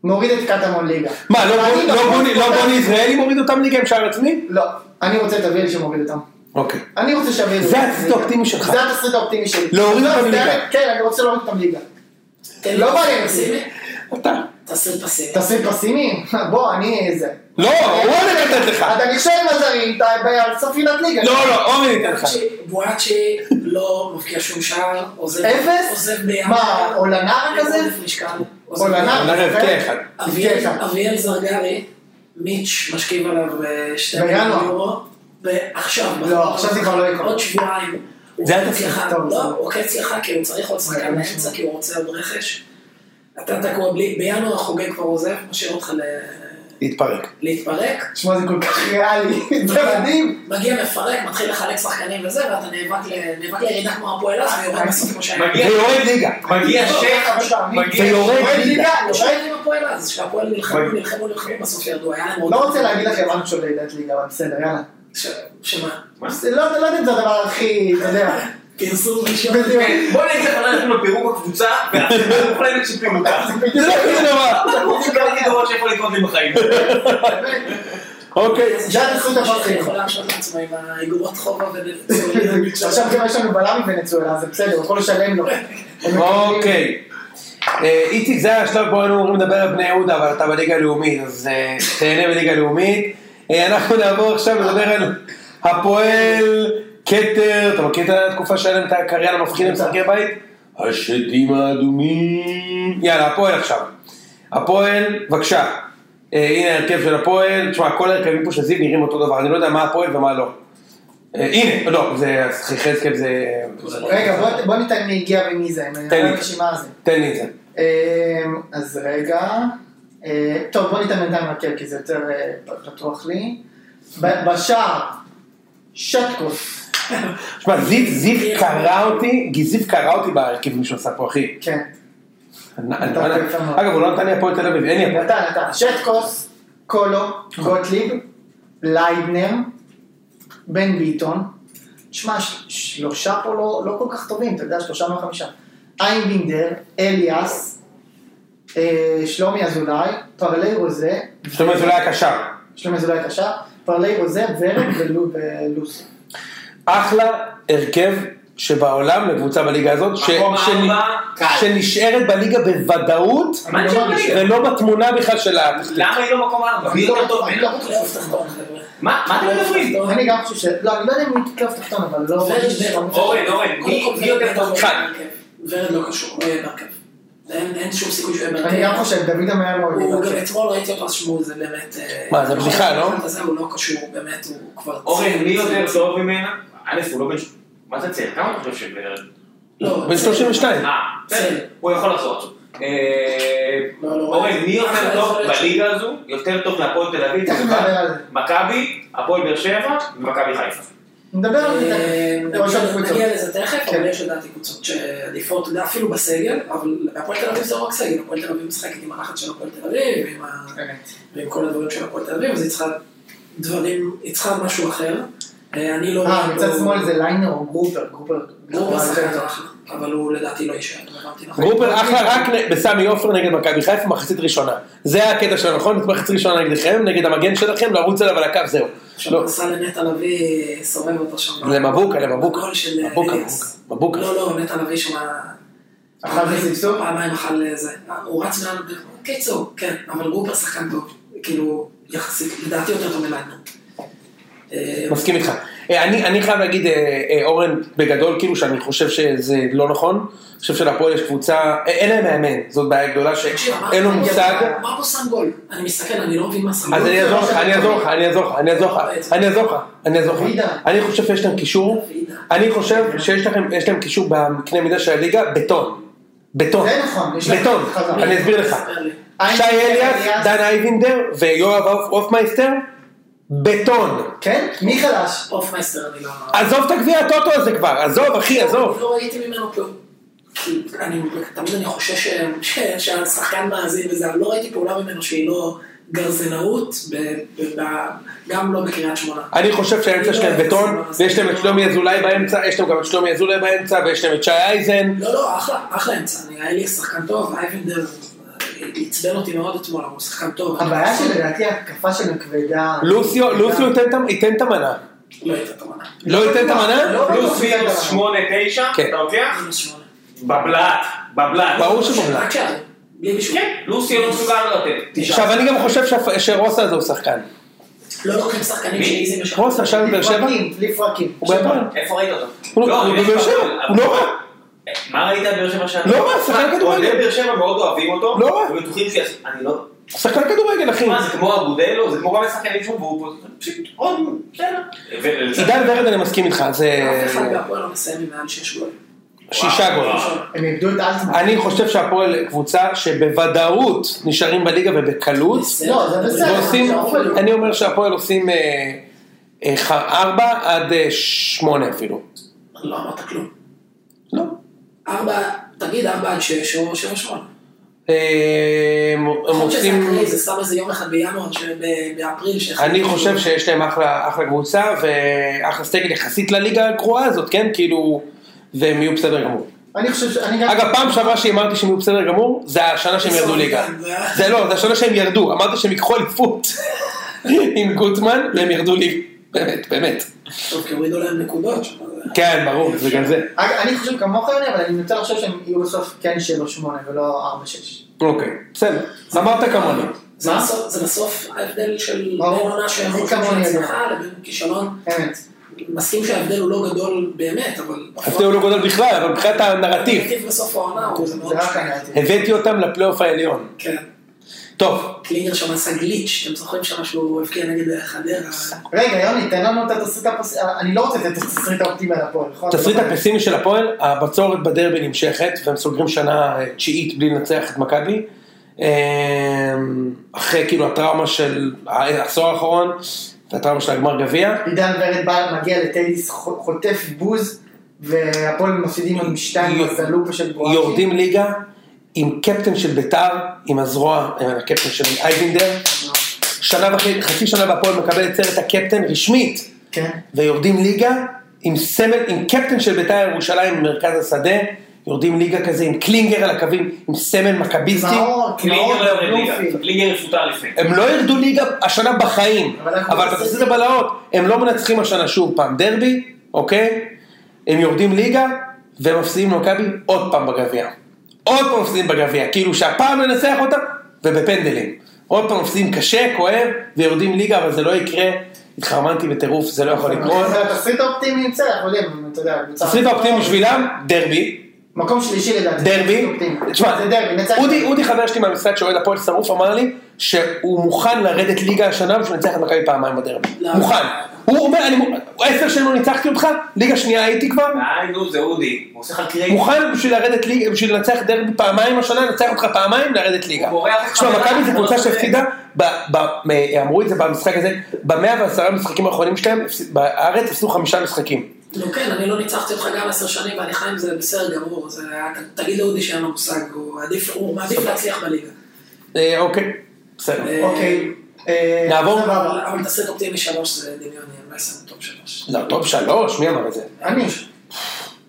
S2: מוריד את קטמון ליגה.
S1: מה, לא
S2: אני
S1: בוני- לא
S2: בחוץ
S1: בוני- לא
S2: פה-
S1: בוני יזרעאלי מוריד אותם ליגה עם שער עצמי?
S2: לא, אני רוצה את אביל שמוריד אותם.
S1: אוקיי.
S2: אני רוצה שיביאו
S1: זה התסריט האופטימי שלך.
S2: זה התסריט האופטימי שלי.
S1: להוריד
S2: לא,
S1: אותם
S2: זה-
S1: ליגה.
S2: כן, אני רוצה להוריד אותם ליגה.
S3: תן
S2: לא
S3: לי
S2: מעניין אותי.
S3: פסימי.
S1: אתה.
S3: תסריט פסימי.
S2: תסריט פסימי? <laughs> בוא, אני זה.
S1: לא, הוא הולך לתת לך.
S2: אתה נכשל עם הזרים, אתה על סף ירידת ליגה.
S1: לא, לא, אורן ייתן לך.
S3: בואצ'י- בואצ'י לא מבקיע שום שער, עוזב
S2: אפס?
S3: עוזב ביחד.
S2: מה, אולנר כזה? כן, אולנר?
S1: אולנר הבקיע
S2: אוקיי.
S1: אחד.
S3: אביאל
S2: הבקיע אחד.
S3: אביאל זרגרי, מיץ' משכיב עליו אה, שתי
S2: בינואר.
S3: מיליון יורו, ועכשיו.
S2: לא, עכשיו זה כבר לא יקרה.
S3: עוד שבועיים. הוא
S1: זה היה
S3: קץ
S1: תסריט
S3: לך-
S2: טוב,
S3: לא,
S2: זה-
S3: הוא קץ לך כי הוא צריך עוד שחקן
S2: זה-
S3: באמצע, כי הוא רוצה עוד רכש. אתה תקוע בלי, בינואר החוגג כבר עוזב, משאיר אותך ל-
S1: להתפרק.
S3: להתפרק.
S2: תשמע, זה כל כך ריאלי. <laughs> זה מדהים.
S3: מגיע מפרק, מתחיל לחלק שחקנים וזה, ואתה נאבק ל- נאבק לירידה כמו הפועל אז, ויורד בסוף כמו שהיה.
S4: מגיע-
S1: ויורד ליגה.
S4: <laughs> מגיע
S2: לא,
S4: שייח,
S2: אבל תאמין.
S4: מגיע
S1: ויורד.
S4: שייח.
S2: יורד ליגה, יורד.
S3: יורד עם לא הפועל אז, שהפועל נלחמו,
S4: מגיע.
S3: נלחמו, נלחמו, בסוף ירדו, היה להם עוד...
S2: לא רוצה להגיד לכם משהו של ירידת ליגה, אבל בסדר, יאללה.
S3: ש- שמה?
S2: זה לא לא יודע אם זה הדבר הכי, אתה
S4: <laughs>
S2: יודע.
S3: פרסום ראשון.
S2: בדיוק.
S4: בוא נגיד לך, אנחנו בפירוק הקבוצה, ואנחנו <laughs> מוחלטת של פירוקה.
S1: זה לא כזה דבר.
S4: אנחנו עושים דבר הכי גרוע שיכול לקרות לי <laughs> בחיים.
S1: אוקיי.
S3: אז
S2: זה התסריט
S3: שאתה
S2: הפרסי.
S3: יכול להרשות לעצמו עם האגרות חובה ו...
S2: עכשיו גם יש לנו בלם מוונצואלה, זה בסדר, הוא יכול לשלם לו.
S1: אוקיי. אה, איציק, זה היה השלב בו היינו אמורים לדבר על בני יהודה, אבל אתה בליגה הלאומית, אז אה, תהנה בליגה הלאומית. אה, אנחנו נעבור עכשיו לדבר על הפועל, כתר, אתה מכיר את התקופה שהיה להם את הקריירה המפחיד למשחקי בית? השדים האדומים. יאללה, הפועל עכשיו. הפועל, בבקשה. אה, הנה ההרכב של הפועל. תשמע, כל ההרכבים פה של זיו נראים אותו דבר, אני לא יודע מה הפועל ומה לא. אה, הנה, לא, זה אז יחזקאל זה... זה-
S3: לא-
S2: רגע, בוא- בוא ניתן מי הגיע ומי זה, אני
S1: תן לי.
S2: אראה את הרשימה הזאת.
S1: תן לי את זה.
S2: אמ, אז רגע, אה, טוב בוא ניתן בינתיים הרכב כי זה יותר אה, פתוח לי. ב- בשער, שטקוס,
S1: שמע, זיו, זיו קרא אותי, כי זיו קרא אותי בהרכבים שהוא עשה פה, אחי.
S2: כן,
S1: אגב, הוא לא נתן לי הפועל תל אביב, אין לי
S4: <laughs>
S1: הפועל.
S2: נתן, נתן, שטקוס, קולו, גוטליב, ליידנר, בן ביטון, תשמע, ש- שלושה פה לא, לא כל כך טובים, אתה יודע, שלושה מהחמישה, איינבינדר, אליאס, אה, שלומי אזולאי, פרלי רוזה,
S1: זאת אומרת, זה לא היה קשר.
S2: שלומי אזולאי קשר, פרלי רוזה, ורד ולו- ולוסי.
S1: אחלה הרכב שבעולם לקבוצה בליגה הזאת, ש-
S4: מקום
S1: ש-
S4: ארבע, קל.
S1: שנשארת בליגה בוודאות,
S4: מה
S2: אני
S4: זה
S2: לא מרגיש-
S4: בליגה?
S1: ולא בתמונה בכלל של התחתית.
S4: למה היא לא מקום ארבע? מי
S2: אני לא-
S4: יותר טוב
S2: אני
S4: ממנה?
S2: לא בטוח שהוא תחתון, חבר'ה.
S4: מה מה אתם מדברים?
S2: אני גם חושב ש... לא, אני לא יודע אם הוא יתקלף תחתון, אבל לא...
S3: ורד, ורד.
S4: אורן, אורן, מי מי יותר טוב?
S3: אחד. לא ורד לא קשור, לא יהיה בהרכב. אין אין שום סיכוי שהוא יהיה בהרכב.
S2: אני גם חושב, דוד לא אמר לו...
S3: הוא גם אתמול ראיתי אותו אז שמעו, זה באמת... אה,
S1: מה, זה בדיחה, לא?
S3: זה הוא לא קשור, באמת, הוא כבר... לא,
S4: אורן, אוקיי, מי יותר
S3: זה-
S4: טוב ממנה? א', הוא לא בן... ש- מה זה צעיר? כמה אתה חושב שבערך?
S3: לא,
S1: בן 32.
S4: אה, בסדר, הוא יכול לחזור עכשיו. אה,
S3: לא, לא,
S4: אורן, מי יותר
S3: אחלה
S4: טוב
S3: יכולת
S4: בליגה הזו? יותר טוב מהפועל תל אביב?
S2: תכף נדבר על זה.
S4: מכבי, הפועל באר שבע ומכבי חיפה.
S2: נדבר על זה.
S3: לא, אה,
S2: ראש הקבוצות.
S3: נגיע לזה תכף,
S2: כן.
S3: אבל יש לדעתי קבוצות שעדיפות, אתה יודע, אפילו בסגל, אבל הפועל תל אביב זה לא רק סגל, הפועל תל אביב משחקת עם הלחץ של הפועל תל אביב, עם ה-
S2: באמת.
S3: ועם כל הדברים של הפועל תל אביב, אז היא צריכה דברים, היא צריכה משהו אחר. אה, אני לא...
S2: אה, מצד
S3: לא-
S2: שמאל זה אה, ליינר או גרופר. גרופר.
S3: גרופר
S2: גרופר
S3: שחקן
S2: זה-
S3: אחלה, אבל הוא לדעתי לא יישאר, לא הבנתי נכון.
S1: גרופר אחלה רק נ- בסמי עופר נגד מכבי חיפה, מחצית ראשונה. זה היה הקטע שלו, נכון? מחצית ראשונה נגדכם, נגד המגן שלכם, לרוץ עליו על הקו, זהו.
S3: עכשיו
S1: לא.
S3: נסע לנטע לביא, סובב אותו שם.
S1: למבוקה, למבוקה.
S3: בגול של
S1: מבוקה,
S3: אליאס.
S1: מבוקה.
S3: לא, לא, נטע לביא שמה...
S2: אכל בסבסוב?
S3: פעמיים אכל אה, זה. הוא רץ מעל... קיצור, כן, אבל גרופר שחקן טוב. כאילו, יחסית, לדעתי יותר טוב מליינר. אה,
S1: מסכים איתך. אה, אני, אני חייב להגיד, אה, אה, אורן, בגדול, כאילו שאני חושב שזה לא נכון, אני חושב שלפועל יש קבוצה, אה, אין להם מאמן, זאת בעיה גדולה
S3: תקשיב, אמרתי,
S1: שאין לו
S3: אני-
S1: מושג.
S3: מה פה שם גול? אני מסתכל, אני לא מבין מה שם גול.
S1: אז אני אעזור לך, אני אעזור לך, אני אעזור לך, אני אעזור לך, אני אעזור לך, אני אעזור לך.
S2: עידן.
S1: אני חושב שיש להם קישור,
S3: עידן.
S1: אני חושב שיש לכם, יש להם קישור בקנה מידה של הליגה, בטון. בטון.
S2: זה נכון, יש להם
S1: בטון.
S2: חזק.
S1: אני אסביר לך.
S3: תספר לי.
S1: שי אליאס,
S2: אליאס.
S1: דן אייבינדר ויואב הופ- הופמייסטר, בטון.
S2: כן? מי חלש?
S3: הופמייסטר, אני לא...
S1: עזוב את הגביע הטוטו הזה כבר, עזוב אחי, עזוב.
S3: לא ראיתי ממנו כלום. כי אני, תמיד אני חושש ש- ש- שהשחקן מאזין וזה, אבל לא ראיתי פעולה ממנו שהיא לא גרזנאות, ב- ב- ב- גם לא בקריית שמונה.
S1: אני חושב שהאמצע שלהם בטון, ויש להם את שלומי אזולאי באמצע, יש להם גם את שלומי אזולאי באמצע, ויש להם את שי אייזן.
S3: לא, לא, אחלה, אחלה אמצע. אני- היה לי שחקן טוב, אייבנדר אה, עצבן אותי מאוד אתמול, אבל הוא שחקן טוב.
S2: הבעיה שלדעתי ההתקפה שלהם כבדה.
S1: לוסיו, לוסיו ייתן את ה- ייתן את המנה.
S3: לא הייתה תמונה.
S1: לא ייתן את המנה?
S2: לא.
S4: פלוס מינוס שמונה תשע,
S1: כן.
S4: אתה לוקח?
S3: מינוס שמונה.
S4: בבלעת, בבלעת.
S1: ברור שבמלה.
S2: לא.
S3: רק שערים, בלי בישול.
S4: כן, לוסי לא מסוגל לתת.
S1: עכשיו אני גם חושב שהפ- שרוסה הזה הוא שחקן.
S3: לא לוקחים שחקנים שאיזי משחק.
S1: רוסה שם בבאר שבע?
S2: פרקים, בלי פרקים.
S1: הוא ביפן.
S4: איפה ראית אותו?
S1: הוא-
S4: לא,
S1: הוא
S4: יש
S1: בבאר
S4: לו-
S1: שבע, הוא
S4: אבל-
S1: לא רע.
S4: מה ראית על באר שבע שנה?
S1: לא רע, שחקן כדורגל.
S4: אוהדי באר שבע מאוד אוהבים אותו.
S1: לא רע.
S4: ובטוחים ש... אני לא...
S1: הוא שחקן כדורגל אחי.
S4: מה, זה כמו אבודלו? זה כמו כל השחקנים שהוא והוא פה. פשוט עוד... בסדר. ו-
S1: עידן ורד אני מסכים איתך, זה
S3: אף
S2: אה,
S3: אחד בהפועל לא מסיים עם מעל שש גולים.
S1: שישה גול.
S2: הם איבדו את אלטמן.
S1: אני חושב שהפועל קבוצה שבוודאות נשארים בליגה ובקלות.
S2: לא, זה בסדר.
S1: ועושים,
S2: זה
S3: לא,
S2: אופן.
S1: אני אומר שהפועל עושים אה, אה, ח- ארבע עד אה, שמונה אפילו.
S3: לא אמרת כלום.
S1: לא.
S3: ארבע, תגיד ארבע עד שש או שבע שמונה.
S1: אה, הם הם
S3: חושב שזה
S1: עושים,
S3: אחרי, זה סתם איזה יום אחד בינואר, שב- באפריל. שאחרי-
S1: אני חושב שיש להם אחלה אחלה קבוצה ואחלה סגל יחסית לליגה הגרועה הזאת, כן? כאילו, והם יהיו בסדר גמור.
S2: אני חושב ש... אני גם...
S1: אגב, פעם שעברה שהימרתי שהם יהיו בסדר גמור, זה השנה שהם ירדו ליגה. זה לא, זה השנה שהם ירדו, אמרתי שהם ייקחו אליפות <laughs> עם גוטמן, והם ירדו ליגה. באמת, באמת.
S3: טוב, כי הורידו להם נקודות.
S1: כן, ברור, זה גם זה.
S2: אג- אני חושב כמוך, יוני, אבל אני רוצה לחשוב שהם יהיו בסוף כן 7-8 ולא 4-6.
S1: אוקיי, בסדר. אמרת כמוני.
S3: זה
S2: מה?
S3: בסוף- זה בסוף ההבדל של בין
S2: ברור.
S3: עונה
S2: אני
S3: שיכול
S2: כמוני
S3: להיות של
S2: יודע.
S3: הצלחה לבין כישלון.
S2: אמת.
S3: מסכים שההבדל הוא לא גדול באמת, אבל...
S1: ההפתעה הוא לא גודל בכלל, אבל מבחינת הנרטיב,
S3: הנרטיב בסוף העונה הוא זה מאוד...
S2: זה רק הנרטיב.
S1: הבאתי אותם לפלייאוף העליון.
S3: כן.
S1: טוב,
S3: קלינגר שם עשה גליץ', אתם זוכרים שם שהוא הבקיע נגד חדרה?
S2: רגע, יוני, תן לנו את התסריט הפוס... אני לא רוצה את התסריט האופטימי על הפועל, נכון?
S1: תסריט הפסימי של הפועל, הבצורת בדרבי נמשכת, והם סוגרים שנה אה, תשיעית בלי לנצח את מכבי. אה, אחרי כאילו הטראומה של העשור האחרון, והטראומה של הגמר גביע.
S2: עידן ורד בא, מגיע לטניס, חוטף בוז, והפועל מפסידים עוד משתיים,
S1: יור-
S2: אז הלופה של בואקי.
S1: יורדים ליגה עם קפטן של ביתר, עם הזרוע, עם הקפטן של אייבינדר. שנה וחצי, חצי שנה והפועל מקבלת סרט הקפטן רשמית.
S2: כן.
S1: ויורדים ליגה עם סמל, עם קפטן של בית"ר ירושלים במרכז השדה, יורדים ליגה כזה עם קלינגר על הקווים, עם סמל מכביסטי.
S2: מאור, מאור,
S4: קלינגר לא יורד ליגה,
S2: בלומפילד.
S4: קלינגר יפוטר לפני.
S1: הם לא ירדו ליגה השנה בחיים,
S2: אבל אנחנו
S1: אבל
S2: בסדר.
S1: בתסריט הבלהות, הם לא מנצחים השנה שוב פעם דרבי, אוקיי? הם יורדים ליגה, והם מפסידים למכבי עוד פעם בגביע. עוד פעם מפסידים בגביע, כאילו שהפעם ננצח אותם, ובפנדלים. עוד פעם מפסידים קשה, כואב, ויורדים ליגה, אבל זה לא יקרה. התחרמנתי בטירוף, זה לא יכול לקרות.
S2: אבל התסריט האופטימי, בסדר, אנחנו יודעים, אתה יודע, קבוצה-
S1: תסריט האופטימי בשבילם, דרבי,
S2: מקום שלישי לדעתי.
S1: דרבי,
S2: אופטימי.
S1: תשמע,
S2: זה דרבי, נצח.
S1: אודי, אודי חבר שלי מהמשרד שאוהד הפועל שרוף אמר לי שהוא מוכן לרדת ליגה השנה בשביל לנצח את מכבי פעמיים בדרבי,
S3: לא.
S1: מוכן, הוא אומר, אני מוכן, עשר שנים לא ניצחתי אותך, ליגה שנייה הייתי כבר,
S4: די, אה, נו, זה אודי. הוא עושה לך קרייט.
S1: מוכן בשביל לרדת ליגה, בשביל לנצח דרבי פעמיים השנה, לנצח אותך פעמיים, לרדת ליגה,
S4: הוא בורח לך
S1: תשמע,
S4: מהידיים,
S1: מכבי זו
S4: אתה
S1: קבוצה
S4: לא צודק.
S1: שהפסידה, ב- ב- מ- אמרו את זה במשחק הזה, במאה ועשרה משחקים האחרונים שלהם, הפס- בארץ הפסידו חמישה משחקים,
S3: נו כן, אני לא ניצחתי אותך גם עשר שנים, ואני חי עם זה בסדר גמור. זה היה- ת- תגיד לאודי שאין לו מושג, הוא עדיף- הוא מעדיף להצליח בליגה.
S1: אה, אוקיי, בסדר,
S3: אה,
S2: אוקיי. אה,
S1: נעבור?
S2: סבבה.
S3: אבל אבל תסריט אופטימי שלוש זה דמיוני, אני לא אעשה טופ שלוש.
S1: לא, טוב שלוש, מי אמר את זה?
S2: אני.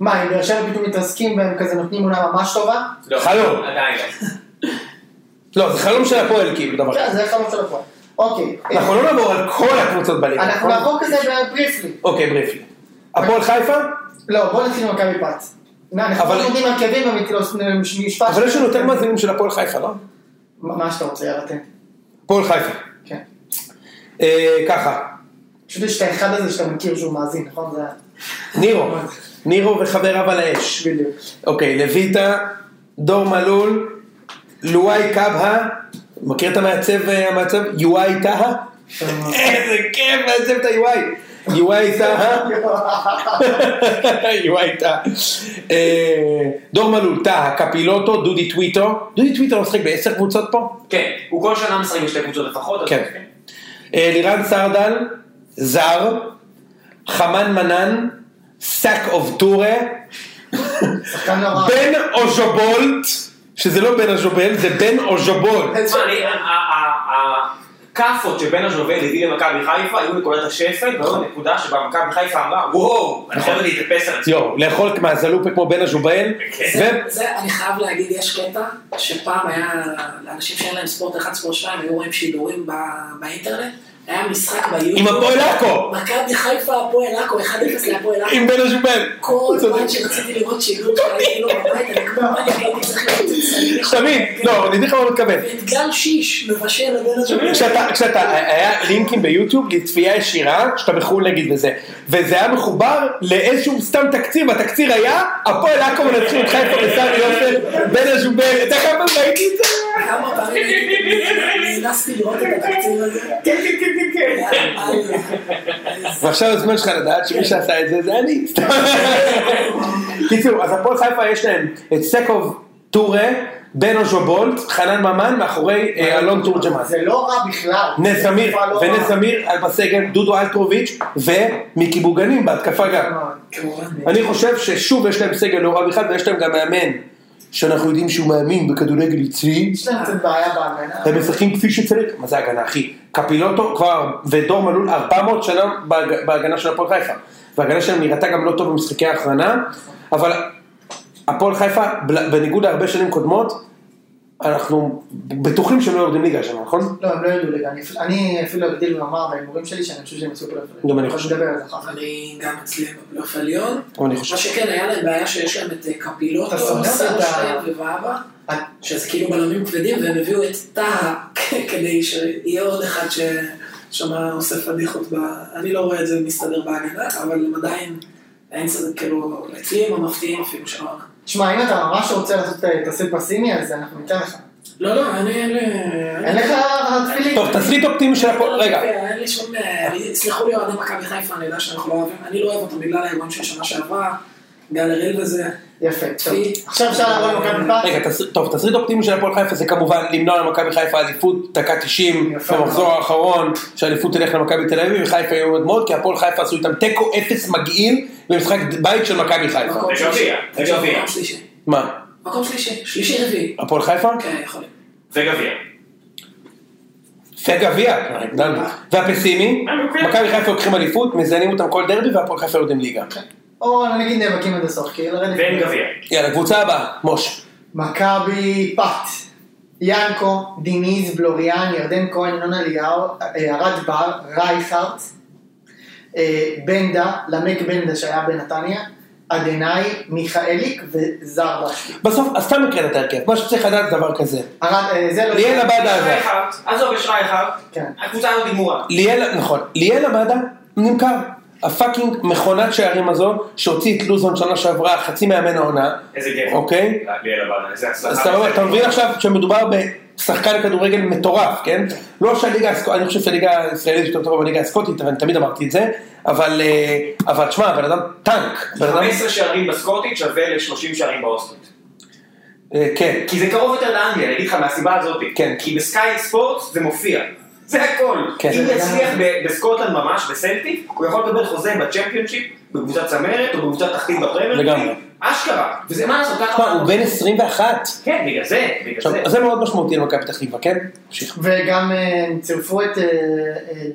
S2: מה, אם באר שבע פתאום מתרסקים והם כזה נותנים עונה ממש טובה?
S4: לא,
S1: חלום.
S4: עדיין לא.
S1: לא, זה חלום של הפועל כאילו דבר כזה.
S2: כן, זה חלום של הפועל. אוקיי.
S1: אנחנו לא
S2: אה,
S1: נעבור על כל הקבוצות בליגה.
S2: אנחנו
S1: נכון?
S2: נעבור כזה בריפלי.
S1: אוקיי, בריפלי. הפועל חיפה?
S2: לא, בוא נתחיל עם מכבי פת. נה, אנחנו לא
S1: אבל-
S2: נותנים הרכבים ומשפט.
S1: אבל יש לנו יותר מאזינים של הפועל חיפה, לא?
S2: מה שאתה רוצה, יאללה תן.
S1: הפועל חיפה.
S2: כן.
S1: אה, ככה,
S2: פשוט יש את האחד הזה שאתה מכיר שהוא מאזין, נכון? זה ה-
S1: נירו. נירו וחבריו על האש.
S2: בדיוק.
S1: אוקיי, לויטה, דור מלול, לואי קבהה, מכיר את המעצב, אה, המעצב? יואי טהה?
S2: אה,
S1: איזה כיף מעצב את היואי. יואי <laughs> טהה. יואי טאה. אה, דור מלול, טאה, קפילוטו, דודי טוויטו. דודי טוויטו משחק בעשר קבוצות פה.
S4: כן, הוא כל שנה משחק בשתי קבוצות לפחות. אז- אוקיי.
S1: כן. אה, לירן סרדל, זר, חמן מנן, סאק אוף טורה,
S2: שחקן לא רע.
S1: בן אוז'ובולט, שזה לא בן אוז'ובולט, זה בן אוז'ובולט.
S4: תשמע, אני- ה- ה- ה- הכאפות שבין הז'ובל הביא למכבי חיפה היו נקודת השפל, והיו
S1: נכון.
S4: נקודה שבה מכבי חיפה אמרה, וואו, אני חייב להתאפס על עצמי.
S1: יואו, לאכול מהזלופה כמו בן אוז'ובולט.
S3: זה, כן, זה, אני חייב להגיד, יש קטע שפעם היה, לאנשים שאין להם ספורט 1, ספורט 2, היו רואים שידורים ב- באינטרנט, היה משחק ביוטיוב.
S1: עם הפועל עכו.
S3: מכבי חיפה, הפועל עכו, 1-0 להפועל עכו.
S1: עם בן אוז'ובולט.
S3: כל זמן שרציתי לראות שידור שהייתי לו בבית, אני כבר הייתי צריך לראות את זה.
S1: תמיד, לא, אני אגיד לך מה הוא מתכוון.
S3: ואת גל שיש מבשל לבן הזה.
S1: כשאתה, כשאתה, היה לינקים ביוטיוב לצפייה ישירה, שאתה בחו"ל נגיד וזה, וזה היה מחובר לאיזשהו סתם תקציר, והתקציר היה, הפועל עכו מנצחים את חיפה בסמי עופר, בין הז'ובר, אתה חייב ראיתי את זה?
S3: כמה פעמים הייתי נכנסתי לראות את התקציב הזה.
S1: כן, כן, כן, כן, כן.
S3: יאללה,
S1: ועכשיו הזמן שלך לדעת שמי שעשה את זה זה אני, סתם. קיצור, אז הפועל חיפה יש להם את סקוב טורה, בן אוז'ובולט, חנן ממן, מאחורי אה, אלון תורג'מן.
S2: זה לא רע בכלל.
S1: נס
S2: זה
S1: אמיר,
S2: תקופה לא רעה.
S1: ונס אמיר על בסגל, דודו אלטרוביץ' ומיקי בוגנים בהתקפה גם.
S2: אה,
S3: כמובן.
S1: אני חושב ששוב יש להם סגל לא רע בכלל ויש להם גם מאמן שאנחנו יודעים שהוא מאמין בכדורגל יצרי.
S2: יש להם קצת בעיה בהגנה.
S1: הם משחקים כפי שצריך, מה זה הגנה אחי? קפילוטו כבר ודור מלול 400 שנה בהג- בהגנה של הפועל חיפה. וההגנה שלהם נראתה גם לא טוב במשחקי ההכרנה, אבל הפועל חיפה בל- בניגוד להרבה שנים קודמות, אנחנו בטוחים שהם לא יורדים ליגה השנה, נכון?
S2: לא, הם לא ידעו לגן. אני אפילו אגדיל ואומר בהימורים שלי שאני חושב שהם יצאו פלאפלים.
S1: גם אני חושב.
S2: נדבר על זה אחר כך.
S3: אני גם אצלי בפלייאוף העליון.
S1: אבל אני
S3: מה
S1: חושב.
S3: שכן, היה להם בעיה שיש להם את אה,
S2: אתה
S3: קפילוטו,
S2: שונא
S3: סרשטיין
S2: את ה-
S3: ווואבה,
S2: אה,
S3: שזה כאילו בלמים כבדים, והם הביאו את טאה <laughs> כדי שיהיה עוד אחד ששמע עושה פדיחות ב... אני לא רואה את זה מסתדר בהגנה, אבל הם עדיין, אין סדר, כאילו, אצלי הם המפתיעים אפילו של העונה.
S2: אה, תשמע, אם אתה ממש רוצה לעשות את התסריט פסימי, אז אנחנו ניתן לך.
S3: לא, לא, אני אין לי...
S2: אין לך תפילין.
S1: טוב, תסריט אופטימי של הפועל, רגע,
S3: לא, אין לי שום... סלחו לי אוהדי מכבי חיפה, אני יודע שאנחנו לא אוהבים, אני לא אוהב אותם בגלל האירוע של שנה שעברה, בגלל הראל וזה.
S2: יפה, טוב.
S3: תפילין.
S2: עכשיו אפשר לעבור למכבי
S1: רגע,
S2: חיפה.
S1: תס- טוב, תסריט אופטימי של הפועל חיפה זה כמובן למנוע למכבי חיפה אליפות דקה 90
S2: יפה.
S1: במחזור האחרון שהאליפות תלך למכבי תל אביב וחיפה יהיו אדמות כי הפועל חיפה עשו איתם תיקו אפס מגעיל במשחק בית של מכבי חיפה.
S3: מקום
S4: וגביע,
S3: שלישי.
S4: וגביע.
S3: מקום שלישי.
S1: מה?
S3: מקום שלישי. שלישי רביעי.
S1: הפועל חיפה?
S3: כן, יכול להיות.
S4: וגביע.
S1: זה גביע. כבר הגדלנו. והפסימי?
S4: אה, אוקיי.
S1: מכבי חיפה לוקחים אליפות, מזיינים אותם כל דרבי והפועל חיפה יורדים ליגה.
S2: או אני נגיד נאבקים עד הסוף, כי לרדת...
S4: ואין גביע.
S1: יאללה, קבוצה הבאה, מוש.
S2: מכבי פת. ינקו, דיניז, בלוריאן, ירדן כהן, נונה ליאור, אה, ארד בר, רייכרט, אה, בנדה, למק בנדה שהיה בנתניה, עדנאי, מיכאליק וזר בשקי.
S1: בסוף, אז סתם הקראת את ההרכב, מה שצריך לדעת זה דבר כזה.
S2: ארד, אה, זה לא...
S1: ליאל עבד-
S4: יש רע אחד, עזוב, יש רע אחד.
S2: כן.
S4: הקבוצה הזאת גמורה.
S1: ליאל, נכון, ליאל עמדה נמכר. הפאקינג מכונת שערים הזו, שהוציא את לוזון שנה שעברה, חצי מאמן העונה.
S4: איזה גבר.
S1: אוקיי?
S4: ליאל עבד, איזה הצלחה.
S1: אז סבבה, אתה מבין עכשיו שמדובר בשחקן כדורגל מטורף, כן? לא שהליגה, הסק- אני חושב שהליגה הישראלית יותר טובה בליגה הסקוטית, אבל אני תמיד אמרתי את זה, אבל, אה, אבל שמע, הבן אדם טנק, הבן אדם,
S4: 15 שערים בסקוטית שווה ל-30 שערים באוסטרית.
S1: אה, כן,
S4: כי זה קרוב יותר לאנגליה, אני אגיד לך מהסיבה הזאת.
S1: כן.
S4: כי בסקאי ספורט זה מופיע. זה הכל.
S1: כן.
S4: אם יצליח ב- בסקוטלנד ממש, בסלטיק, הוא יכול לקבל חוזה בצ'מפיונשיפ, בקבוצת צמרת או בקבוצת תחתית בפרמייר. ליג.
S1: לגמרי.
S4: אשכרה. וזה מה לעשות
S1: שמע,
S4: ככה.
S1: הוא בן 21,
S4: כן, בגלל זה, בגלל
S1: עכשיו,
S4: זה.
S1: זה מאוד משמעותי למכבי פתח תקווה, כן? תמשיך.
S2: וגם אה, הם צירפו את אה, אה,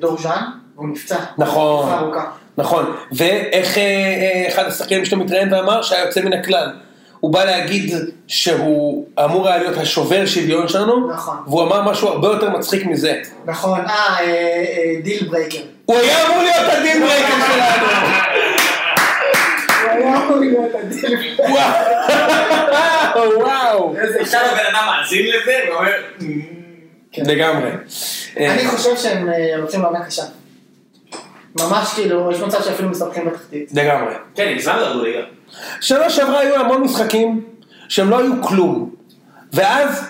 S2: דור ז'אן, והוא נפצע.
S1: נכון,
S2: תקופה ארוכה.
S1: נכון, ואיך אה, אה, אחד השחקנים שלו מתראיין ואמר שהיה יוצא מן הכלל. הוא בא להגיד שהוא אמור היה להיות השובר שוויון שלנו,
S2: נכון.
S1: והוא אמר משהו הרבה יותר מצחיק מזה.
S2: נכון, אה, אה, אה, דיל ברייקר.
S1: הוא היה אמור להיות הדין ברקר שלנו.
S2: הוא היה אמור להיות הדיל ברייקר.
S1: וואו, <laughs> וואו.
S2: איזה
S4: עכשיו הבן אדם מאזין לזה ואומר...
S1: לגמרי.
S2: כן. אני חושב שהם אה, הולכים לעונה קשה. ממש כאילו, יש מצב שאפילו מסתבכים בתחתית.
S1: לגמרי.
S4: כן, הם מזמן לא ירדו ליגה.
S1: שנה שעברה היו המון משחקים שהם לא היו כלום. ואז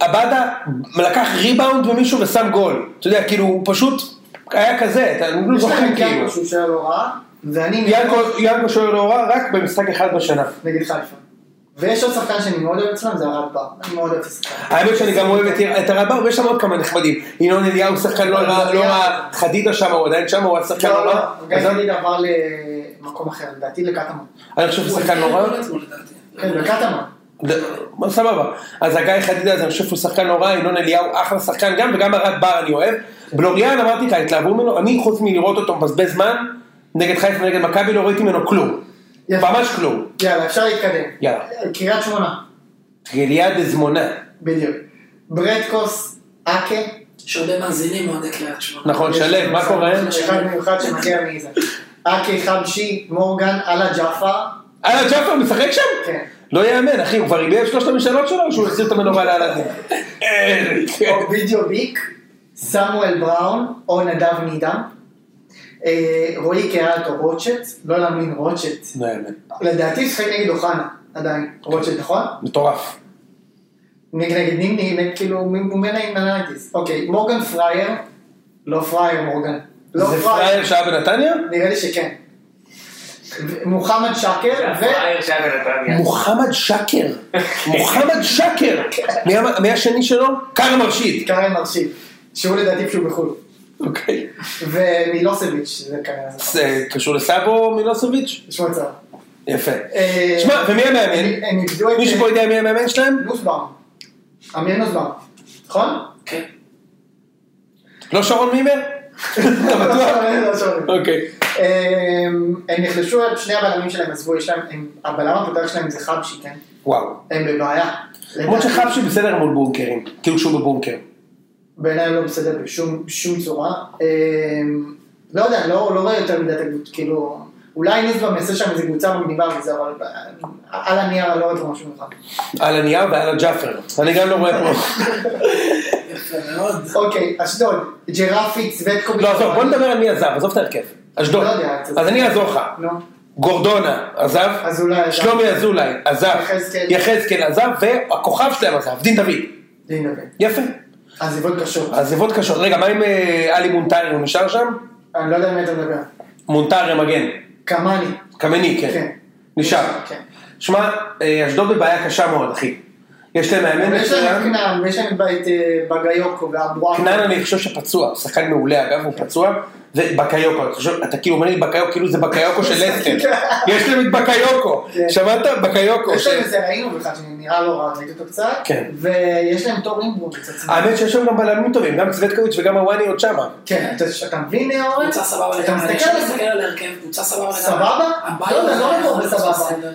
S1: עבדה לקח ריבאונד ממישהו ושם גול. אתה יודע, כאילו, הוא פשוט היה כזה, אתה אני לא
S2: יש
S1: זוכר
S2: לכם
S1: כאילו.
S2: ינקו שהוא שהיה לא רע, ואני
S1: ינקו- ינקו שוער לא רע רק במשחק אחד בשנה.
S2: נגד חיפה. ויש עוד שחקן שאני מאוד אוהב אצלם, זה הרד בר. אני מאוד אוהב את השחקן.
S1: האמת שאני גם אוהב את- את הרבר, ויש שם עוד כמה נחמדים. ינון אליהו שחקן לא רע, לא רע, חדידה שם, הוא עדיין שם, הוא השחקן
S2: לא,
S1: לא
S2: לא,
S1: רע.
S2: גיא
S1: אז אני-
S2: תגיד עבר למקום אחר, לדעתי לקטמון.
S1: אני חושב שהוא שחקן לא
S3: הוא
S1: רע.
S3: היה אתמול, לדעתי.
S2: כן, לקטמון.
S1: ד- סבבה. אז הגיא חדידה הזה, אני חושב שהוא שחקן לא רע, ינון אליהו אחלה שחקן גם, וגם ארד בר אני אוהב. בלוריאן אמרתי לך, התלהבו ממנו, אני חוץ מלראות אותו מבזבז זמן, נגד חיפה ונגד מכבי לא ראיתי ממנו כלום.
S2: יפה.
S1: ממש כלום.
S2: יאללה, אפשר להתקדם.
S1: יאללה.
S2: קריית שמונה,
S1: גליה דזמונה.
S2: בדיוק. ברדקוס, אקה,
S3: יש הרבה מאזינים אוהדי קריית שמונה.
S1: נכון, שלו, מה קורה?
S2: אחד מיוחד שמגיע מאיזה. אקה, חבשי, מורגן, אללה ג'אפר,
S1: אהלן ג'אפר משחק שם?
S2: כן.
S1: לא יאמן, אחי, הוא כבר איבד את שלושת המשאלות שלו, או שהוא החזיר את המנורה
S2: <laughs>
S1: לאלאדין? <laughs> אה, כן.
S2: אובידיו ביק, סמואל בראון, או נדב נידם. אה, רועי קהלטו רוטשט, לא להאמין רוטשט.
S1: לא יאמן.
S2: לדעתי הוא שחק נגד אוחנה, עדיין. רוטשט, נכון?
S1: מטורף.
S2: נגד נגד נימני, נגד כאילו מומנה עם הנייטיס. אוקיי, מורגן פרייר, לא פרייר מורגן. לא
S1: זה
S2: פרייר.
S1: פרייר שהיה בנתניה?
S2: נראה לי שכן. ו- מוחמד שקר, ו...
S4: הפראייר שהיה בנתניה.
S1: מוחמד שקר, מוחמד שקר, מי המ- מי השני שלו? כרם מרשיד.
S2: קארן מרשיב, שהוא לדעתי פשוט בחו"ל.
S1: אוקיי.
S2: ומילוסביץ', זה כנראה.
S1: זה קשור לסאבו מילוסוביץ'?
S2: יש מצב.
S1: יפה.
S2: אה,
S1: שמע, ומי
S2: הם-
S1: המאמן?
S2: הם איבדו את...
S1: מישהו פה יודע מי המאמן שלהם?
S2: אה, נוסבאום. אמיר נוסבאום. נכון?
S3: כן.
S1: לא שרון מימר? אתה בטוח?
S2: לא שומעים.
S1: אוקיי.
S2: אמ, הם נחלשו, שני הבלמים שלהם עזבו, יש להם, הם- הבלם הפותח שלהם זה חבשי, כן?
S1: וואו.
S2: הם בבעיה.
S1: למרות שחבשי בסדר מול בונקרים, כאילו שהוא בבונקר.
S2: בעיניי לא בסדר בשום, בשום צורה. אמ, לא יודע, לא, לא רואה יותר מדי את הקבוצה, כאילו, אולי ניסבאום יעשה שם איזה קבוצה מגניבה וזה, אבל אה, על הנייר לא עוד משהו מיוחד.
S1: על הנייר ועל הג'אפר. אני גם לא רואה פה.
S3: יפה מאוד.
S2: אוקיי, אשדוד, ג'רפי, צוודקוביץ'.
S1: לא, עזוב, בוא נדבר על מי עזב, עזוב את ההרכב. אשדוד.
S2: לא יודע, אתה-
S1: אז אני אעזור לך.
S2: נו,
S1: גורדונה עזב.
S2: אזולאי עזב.
S1: שלומי אזולאי עזב.
S2: יחזקאל.
S1: יחזקאל עזב, והכוכב שלהם עזב, דין דוד.
S2: דין דוד.
S1: יפה.
S2: עזיבות קשות.
S1: עזיבות קשות. רגע, מה עם אה, עלי מונטרי, הוא נשאר שם?
S2: אני לא יודע על מי אתה מדבר.
S1: מונטרי מגן.
S2: קמאני.
S1: קמני, כן.
S2: כן.
S1: נשאר.
S2: כן.
S1: שמע, אה, אשדוד בבעיה קשה מאוד, אחי. יש להם מאמן
S2: ויש להם
S1: מצוין.
S2: כנען, ויש להם את אה, בגיוקו ואבו עכו.
S1: כנען אני חושב שפצוע, הוא שחקן מעולה אגב, הוא פצוע. ובקיוקו, אני חושב, אתה כאילו אומר לי בקיוקו, כאילו זה בקיוקו
S2: <laughs>
S1: של לסטר. יש להם את בקיוקו.
S2: כן.
S1: שמעת? בקיוקו.
S2: יש להם
S1: ש-
S2: את זה, ראינו בכלל, שנראה לא רע, ראיתי אותו קצת.
S1: כן.
S2: ויש להם תור אימברום קצת.
S1: האמת שיש שם גם בלמים טובים, גם צוודקוביץ' וגם הוואני עוד שמה.
S2: כן, אתה- אתה מבין, אורן?
S3: קבוצה סבבה
S2: אתה
S3: לגמרי, אני
S2: מסתכל
S3: עכשיו
S2: על זה.
S3: מסתכל על ההרכב, קבוצה סבבה לגמרי.
S2: סבבה?
S3: הבעיה
S2: לא, אתה
S3: זה
S2: לא
S3: איך
S2: אומר
S3: זה
S2: סבבה.
S3: בסדר.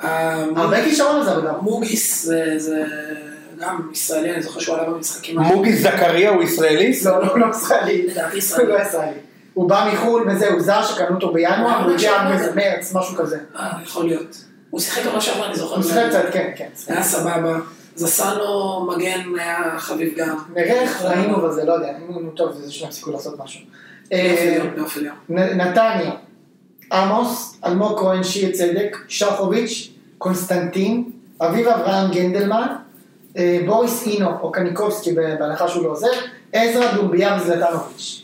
S3: המוג-
S2: הרבה כישרון לזה, אבל גם.
S3: מוגיס זה- זה גם ישראלי, אני זוכר שהוא עלה במשחקים.
S1: מוגי זכריה הוא ישראלי?
S2: לא, לא, לא ישראלי.
S3: לדעתי
S2: הוא
S3: ישראלי.
S2: לא ישראלי. הוא בא מחו"ל וזה, הוא זר שקנו אותו בינואר,
S3: אה,
S2: הוא הגיע
S3: אה,
S2: במרץ, משהו כזה.
S3: אה, יכול להיות. הוא שיחק עונה שעברה, אני זוכר.
S2: הוא שיחק קצת, כן, כן.
S3: היה סבבה. זסנו מגן היה חביב גם.
S2: נראה איך ראינו בזה, לא יודע, אם הוא טוב, זה שהם יפסיקו לעשות משהו. אה,
S3: באופן יום, באופן יום.
S2: נ- נתניה, עמוס, אלמוג כהן, שיר צדק, שחוביץ', קונסטנטין, אביב אברהם גנדלמן, אה, בוריס אינו, או קניקובסקי, ב- בהנחה שהוא לא עוזר, עזרא דומביה וזלטנוביץ'.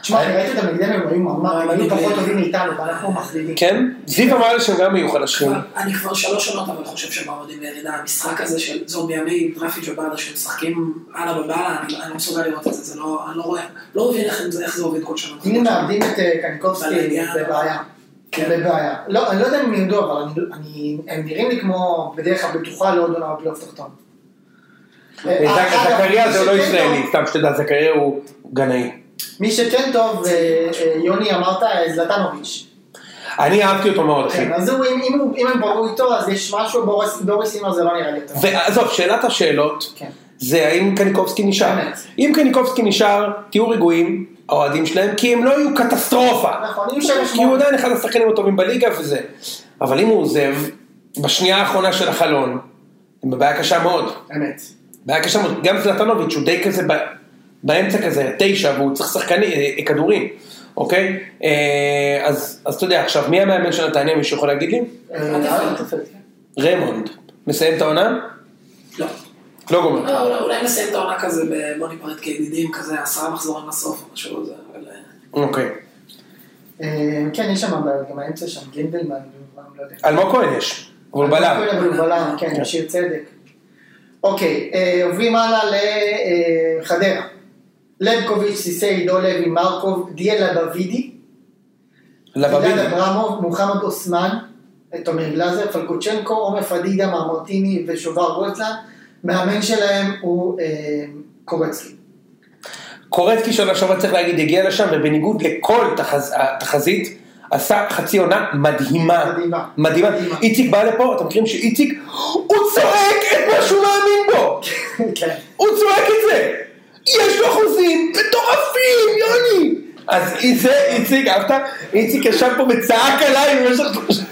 S2: תשמע, אני ראיתי אותם נגדנו, הם היו ממש, הם היו פחות טובים מאיתנו, ואנחנו מחלידים.
S1: כן? זיו אמר לי שהם גם יהיו
S2: כן.
S1: חלשים.
S3: אבל אני כבר שלוש עונות אבל חושב שהם מעמדים לירידה. המשחק הזה של זון מימי, דרפיג' ובאדה שמשחקים הלאה בבאללה, אני אני לא מסוגל לראות את זה, זה לא, אני לא רואה, לא מבין איך זה- איך זה עובד כל שנה.
S2: אם הם מאבדים את אה, קניקובסקי,
S3: בלגן.
S2: זה בעיה.
S3: כן.
S2: בבעיה. לא, אני לא יודע אם הם ירדו, אבל אני- אני- הם נראים לי כמו בדרך הבטוחה לעוד עונה בפלייאוף תחתון. אה,
S1: זק-
S2: אגב,
S1: זכריה
S2: מי
S1: זה לא
S2: שכן
S1: ישראלי,
S2: טוב-
S1: סתם שתדע, זכריה הוא גנאי.
S2: מי שכן טוב, אה, אה, יוני אמרת, אה, זלטנוביץ'.
S1: אני אהבתי אותו מאוד, אחי.
S2: כן, אז הוא, אם- אם הוא- אם הם ברו איתו, אז יש משהו, בוריס- בוריס אינו זה לא נראה לי טוב.
S1: ועזוב, שאלת השאלות,
S2: כן.
S1: זה האם קניקובסקי נשאר.
S2: באמת.
S1: אם קניקובסקי נשאר, תהיו רגועים, האוהדים שלהם, כי הם לא יהיו קטסטרופה.
S2: נכון, אם שבע
S1: כי הוא
S2: שמונה.
S1: עדיין אחד השחקנים הטובים בליגה וזה. אבל אם הוא עוזב, בשנייה האחרונה של החלון, הם בבעיה קשה מאוד.
S2: אמת.
S1: בעיה קשה מאוד. גם זלטנוביץ' הוא די כזה ב... באמצע כזה, תשע, והוא צריך שחקני, אה, כדורים, אוקיי? אה, אז, אז אתה יודע, עכשיו, מי המאמן של נתניה, מישהו יכול להגיד לי?
S2: אה,
S3: אה,
S1: ריימונד. מסיים את העונה?
S3: לא.
S1: לא גומר.
S3: לא, אולי- אולי נסיים את העונה כזה ב- בוא ניפרד כידידים, כזה עשרה מחזורים לסוף או משהו כזה, אבל... אה,
S1: אוקיי.
S2: אה, כן, יש שם בעיות, גם האמצע שם, גינדלמן, לא יודע.
S1: אלמוג כהן יש, אבל הוא בלם.
S2: אבל הוא בלם, כן, שיר צדק. אוקיי, אה, עוברים הלאה לחדרה. לבקוביץ', סיסי, דו לוי, מרקוב, דיאלה דוידי,
S1: לבביד.
S2: אלעד אברמוב, מוחמד אוסמן, אה, תומר גלאזר, פלקוצ'נקו, עומר פדידה, מרמרטיני ושובר גולדסלן. מאמן שלהם הוא אה, קורצקי. <laughs>
S1: קורצקי שנה שעברה צריך להגיד, הגיע לשם, ובניגוד לכל תחז... התחזית, עשה חצי עונה מדהימה.
S2: מדהימה.
S1: מדהימה.
S2: מדהימה.
S1: איציק בא לפה, אתם מכירים שאיציק, הוא צועק את מה שהוא מאמין בו!
S2: כן.
S1: הוא צועק את זה! יש לו אחוזים מטורפים, יוני! אז זה, איציק, אהבת? איציק ישב פה וצעק עליי במשך שלושה-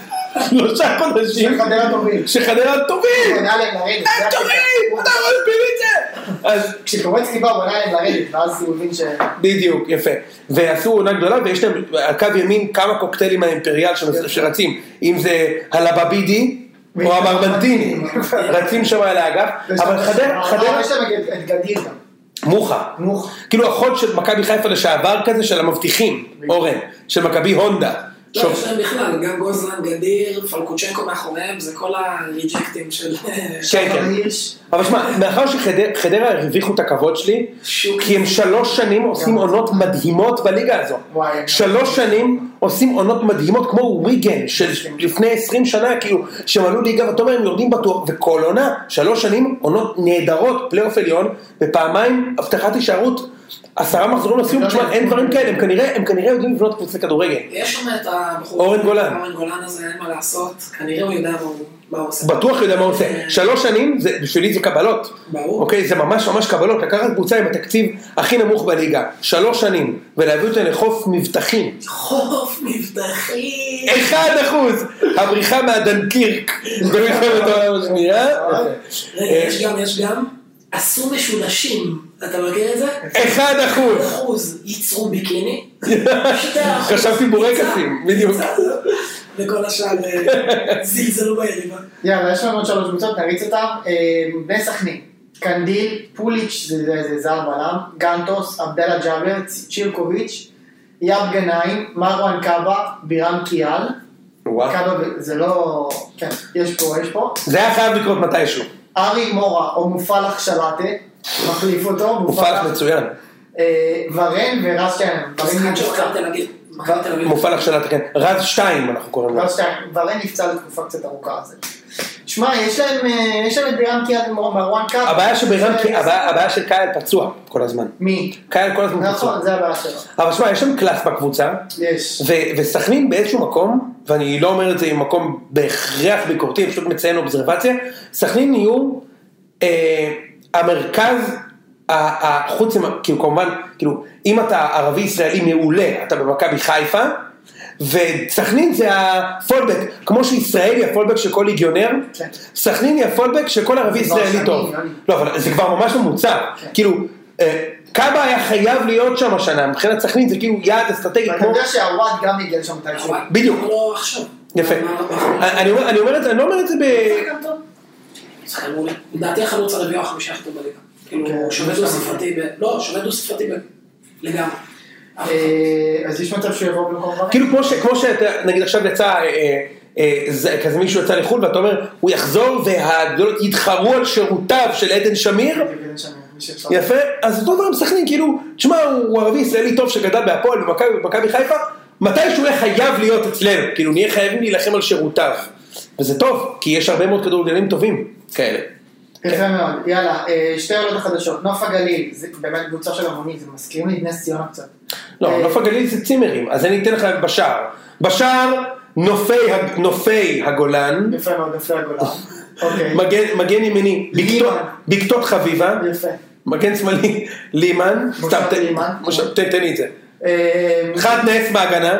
S1: שלושה חודשים.
S2: שחדרה טובים.
S1: שחדרה
S2: הוא
S1: טובים!
S2: עונה להם לרדת. זה
S1: הם
S2: הקטע.
S1: טובים! אתה לא מבין את זה! אז
S2: כשקורצקי בא הוא עונה להם לרדת, ואז הוא הבין ש...
S1: בדיוק, יפה. ועשו עונה גדולה, ויש להם על קו ימין כמה קוקטיילים מהאימפריאל ש- שרצים. אם זה הלבבידי, או המרמנטיני, רצים שם על האגף. אבל חדרה, חדרה,
S2: יש להם את- את גדיר גם.
S1: מוחה.
S2: נו.
S1: כאילו החוד של מכבי חיפה לשעבר כזה של המבטיחים, אורן, של מכבי הונדה.
S3: לא,
S1: שוב,
S3: יש להם בכלל, גם גוזלן, גדיר, פלקוצ'נקו מאחוריהם, זה כל הריג'קטים של...
S1: כן, כן.
S2: הירש.
S1: אבל שמע, מאחר שחדרה הרוויחו את הכבוד שלי,
S3: שוק.
S1: כי הם שלוש שנים עושים עונות מדהימות בליגה הזו.
S2: וואי, אני-
S1: שלוש שנים עושים עונות מדהימות כמו וויגן של לפני עשרים שנה, כאילו, שהם עלו ליגה ואתה אומר הם יורדים בטוח, וכל עונה, שלוש שנים עונות נהדרות, פלייאוף עליון, ופעמיים הבטחת הישארות, עשרה מחזורים
S3: לא
S1: לסיום, תשמע, אין דברים כאלה, הם כנראה- הם כנראה יודעים לבנות קבוצה כדורגל.
S3: יש שם את הבחור...
S1: אורן גולן.
S3: אורן גולן הזה, אין מה לעשות, כנראה הוא יודע מה הוא- מה הוא עושה.
S1: בטוח יודע מה הוא עושה.
S3: אה,
S1: שלוש שנים, זה, בשבילי זה קבלות.
S3: ברור.
S1: אוקיי, זה ממש ממש קבלות. לקחת קבוצה עם התקציב הכי נמוך בליגה, שלוש שנים, ולהביא אותה לחוף מבטחים.
S3: חוף מבטחים!
S1: אחד אחוז! הבריחה מהדנקירק במלחמת העולם השנייה.
S3: רגע,
S1: אה.
S3: יש גם, יש גם, עשו משולשים, אתה מכיר את זה?
S1: אחד אחוז! <laughs>
S3: אחוז ייצרו ביקיני,
S1: חשבתי בורקסים, בדיוק.
S3: וכל השאר אה, זלזלו ביריבה.
S2: יאללה, יש לנו עוד שלוש קבוצות, נריץ אותן. אה, בני סכנין, קנדיל, פוליץ', זה- זה זה זר בלם, גנטוס, עבדאללה ג'אבר, צ'ירקוביץ', יאב גנאים, מרואן קאבה, בירם קיאל.
S1: וואו.
S2: קאבה, ו- זה לא... כן, יש פה, יש פה.
S1: זה היה חייב לקרות מתישהו.
S2: ארי מורה או מופלח שלטה, מחליף אותו,
S1: הוא פלח מצוין.
S2: אה, ורן ורשטיין, ורן
S3: משחק של מכבי
S2: נפצע.
S3: תל אביב. מכבי תל אביב.
S1: מופע לך שאלה, כן. רז 2 אנחנו קוראים לו.
S2: רשטיין, ורן נפצע לתקופה קצת ארוכה על זה. שמע, יש להם אה, יש להם את בירם קיאל ומרואן קאבה.
S1: הבעיה שבירם, כי- הבעיה הבעיה של קהל פצוע כל הזמן.
S2: מי?
S1: קהל כל הזמן פצוע.
S2: נכון, זה הבעיה שלו.
S1: אבל שמע, יש שם קלאס בקבוצה,
S2: יש.
S1: ו- וסכנין באיזשהו מקום, ואני לא אומר את זה ממקום בהכרח ביקורתי, אני פשוט מציין אובזרבציה, סכנין יהיו אה, המרכז, ה- ה- חוץ, מ- כאילו כמובן, כאילו, אם אתה ערבי ישראלי מעולה, אתה במכבי חיפה, וסכנין זה הפולבק, כמו שישראל היא הפולבק של כל ליגיונר,
S2: כן.
S1: סכנין היא הפולבק של כל ערבי
S2: כבר
S1: ישראלי
S2: שנים,
S1: טוב.
S2: יוני.
S1: לא, אבל זה כבר ממש ממוצע.
S2: כן.
S1: כאילו, אה, קאבה היה חייב להיות שם השנה, מבחינת סכנין זה כאילו יעד אסטרטגי
S2: ואתה
S1: כמו...
S2: יודע שהוואט גם הגיע לשם מתישהו.
S3: אבל-
S1: בדיוק.
S3: לא עכשיו.
S1: יפה.
S3: מה- מה-
S1: אני- אני אומר- אני אומר את זה, אני לא אומר את זה ב...
S2: זה גם טוב.
S3: שחקן מעולה. לדעתי החלוץ הרביעי או החמישי הכי טוב בליגה. כאילו,
S2: כן,
S3: הוא שווה
S2: יש
S3: דו
S2: לנו.
S3: ספרתי, ב- לא, שווה דו ספרתי ב- לגמרי. אבל-
S2: אה, אז יש מצב שהוא יבוא במקום ורן?
S1: כאילו כמו ש- כמו שאתה, נגיד עכשיו יצא, אה, אה, אה, זה- כזה מישהו יצא לחו"ל ואתה אומר, הוא יחזור והגדולות יתחרו על שירותיו של עדן שמיר,
S2: כן, שם, מי שאפשר.
S1: יפה, אז אותו דבר עם סכנין, כאילו, תשמע, הוא הוא ערבי ישראלי טוב שגדל בהפועל במכבי- במכבי חיפה, מתי שהוא יהיה חייב להיות אצלנו, כאילו נהיה חייבים להילחם על שירותיו, וזה טוב, כי יש הרבה מאוד כדורגלנים טובים כאלה.
S2: יפה מאוד, יאללה, אה, שתי עולות החדשות, נוף הגליל, זה באמת קבוצה של המונים, זה מזכיר לי את נס ציונה קצת.
S1: לא,
S2: אה,
S1: נוף הגליל זה צימרים, אז אני אתן לך בשער. בשער, נופי, ה- נופי הגולן,
S2: יפה מאוד, יפה
S1: <laughs>
S2: הגולה. אוקיי,
S1: מגן, מגן ימיני, בקתות-
S2: לימן. אה.
S1: בקתות חביבה,
S2: יפה.
S1: מגן שמאלי, לימן,
S2: משה
S1: סתם, תן-
S2: לימן.
S1: משה, תן תן לי את זה.
S2: אה,
S1: אחד נס בהגנה,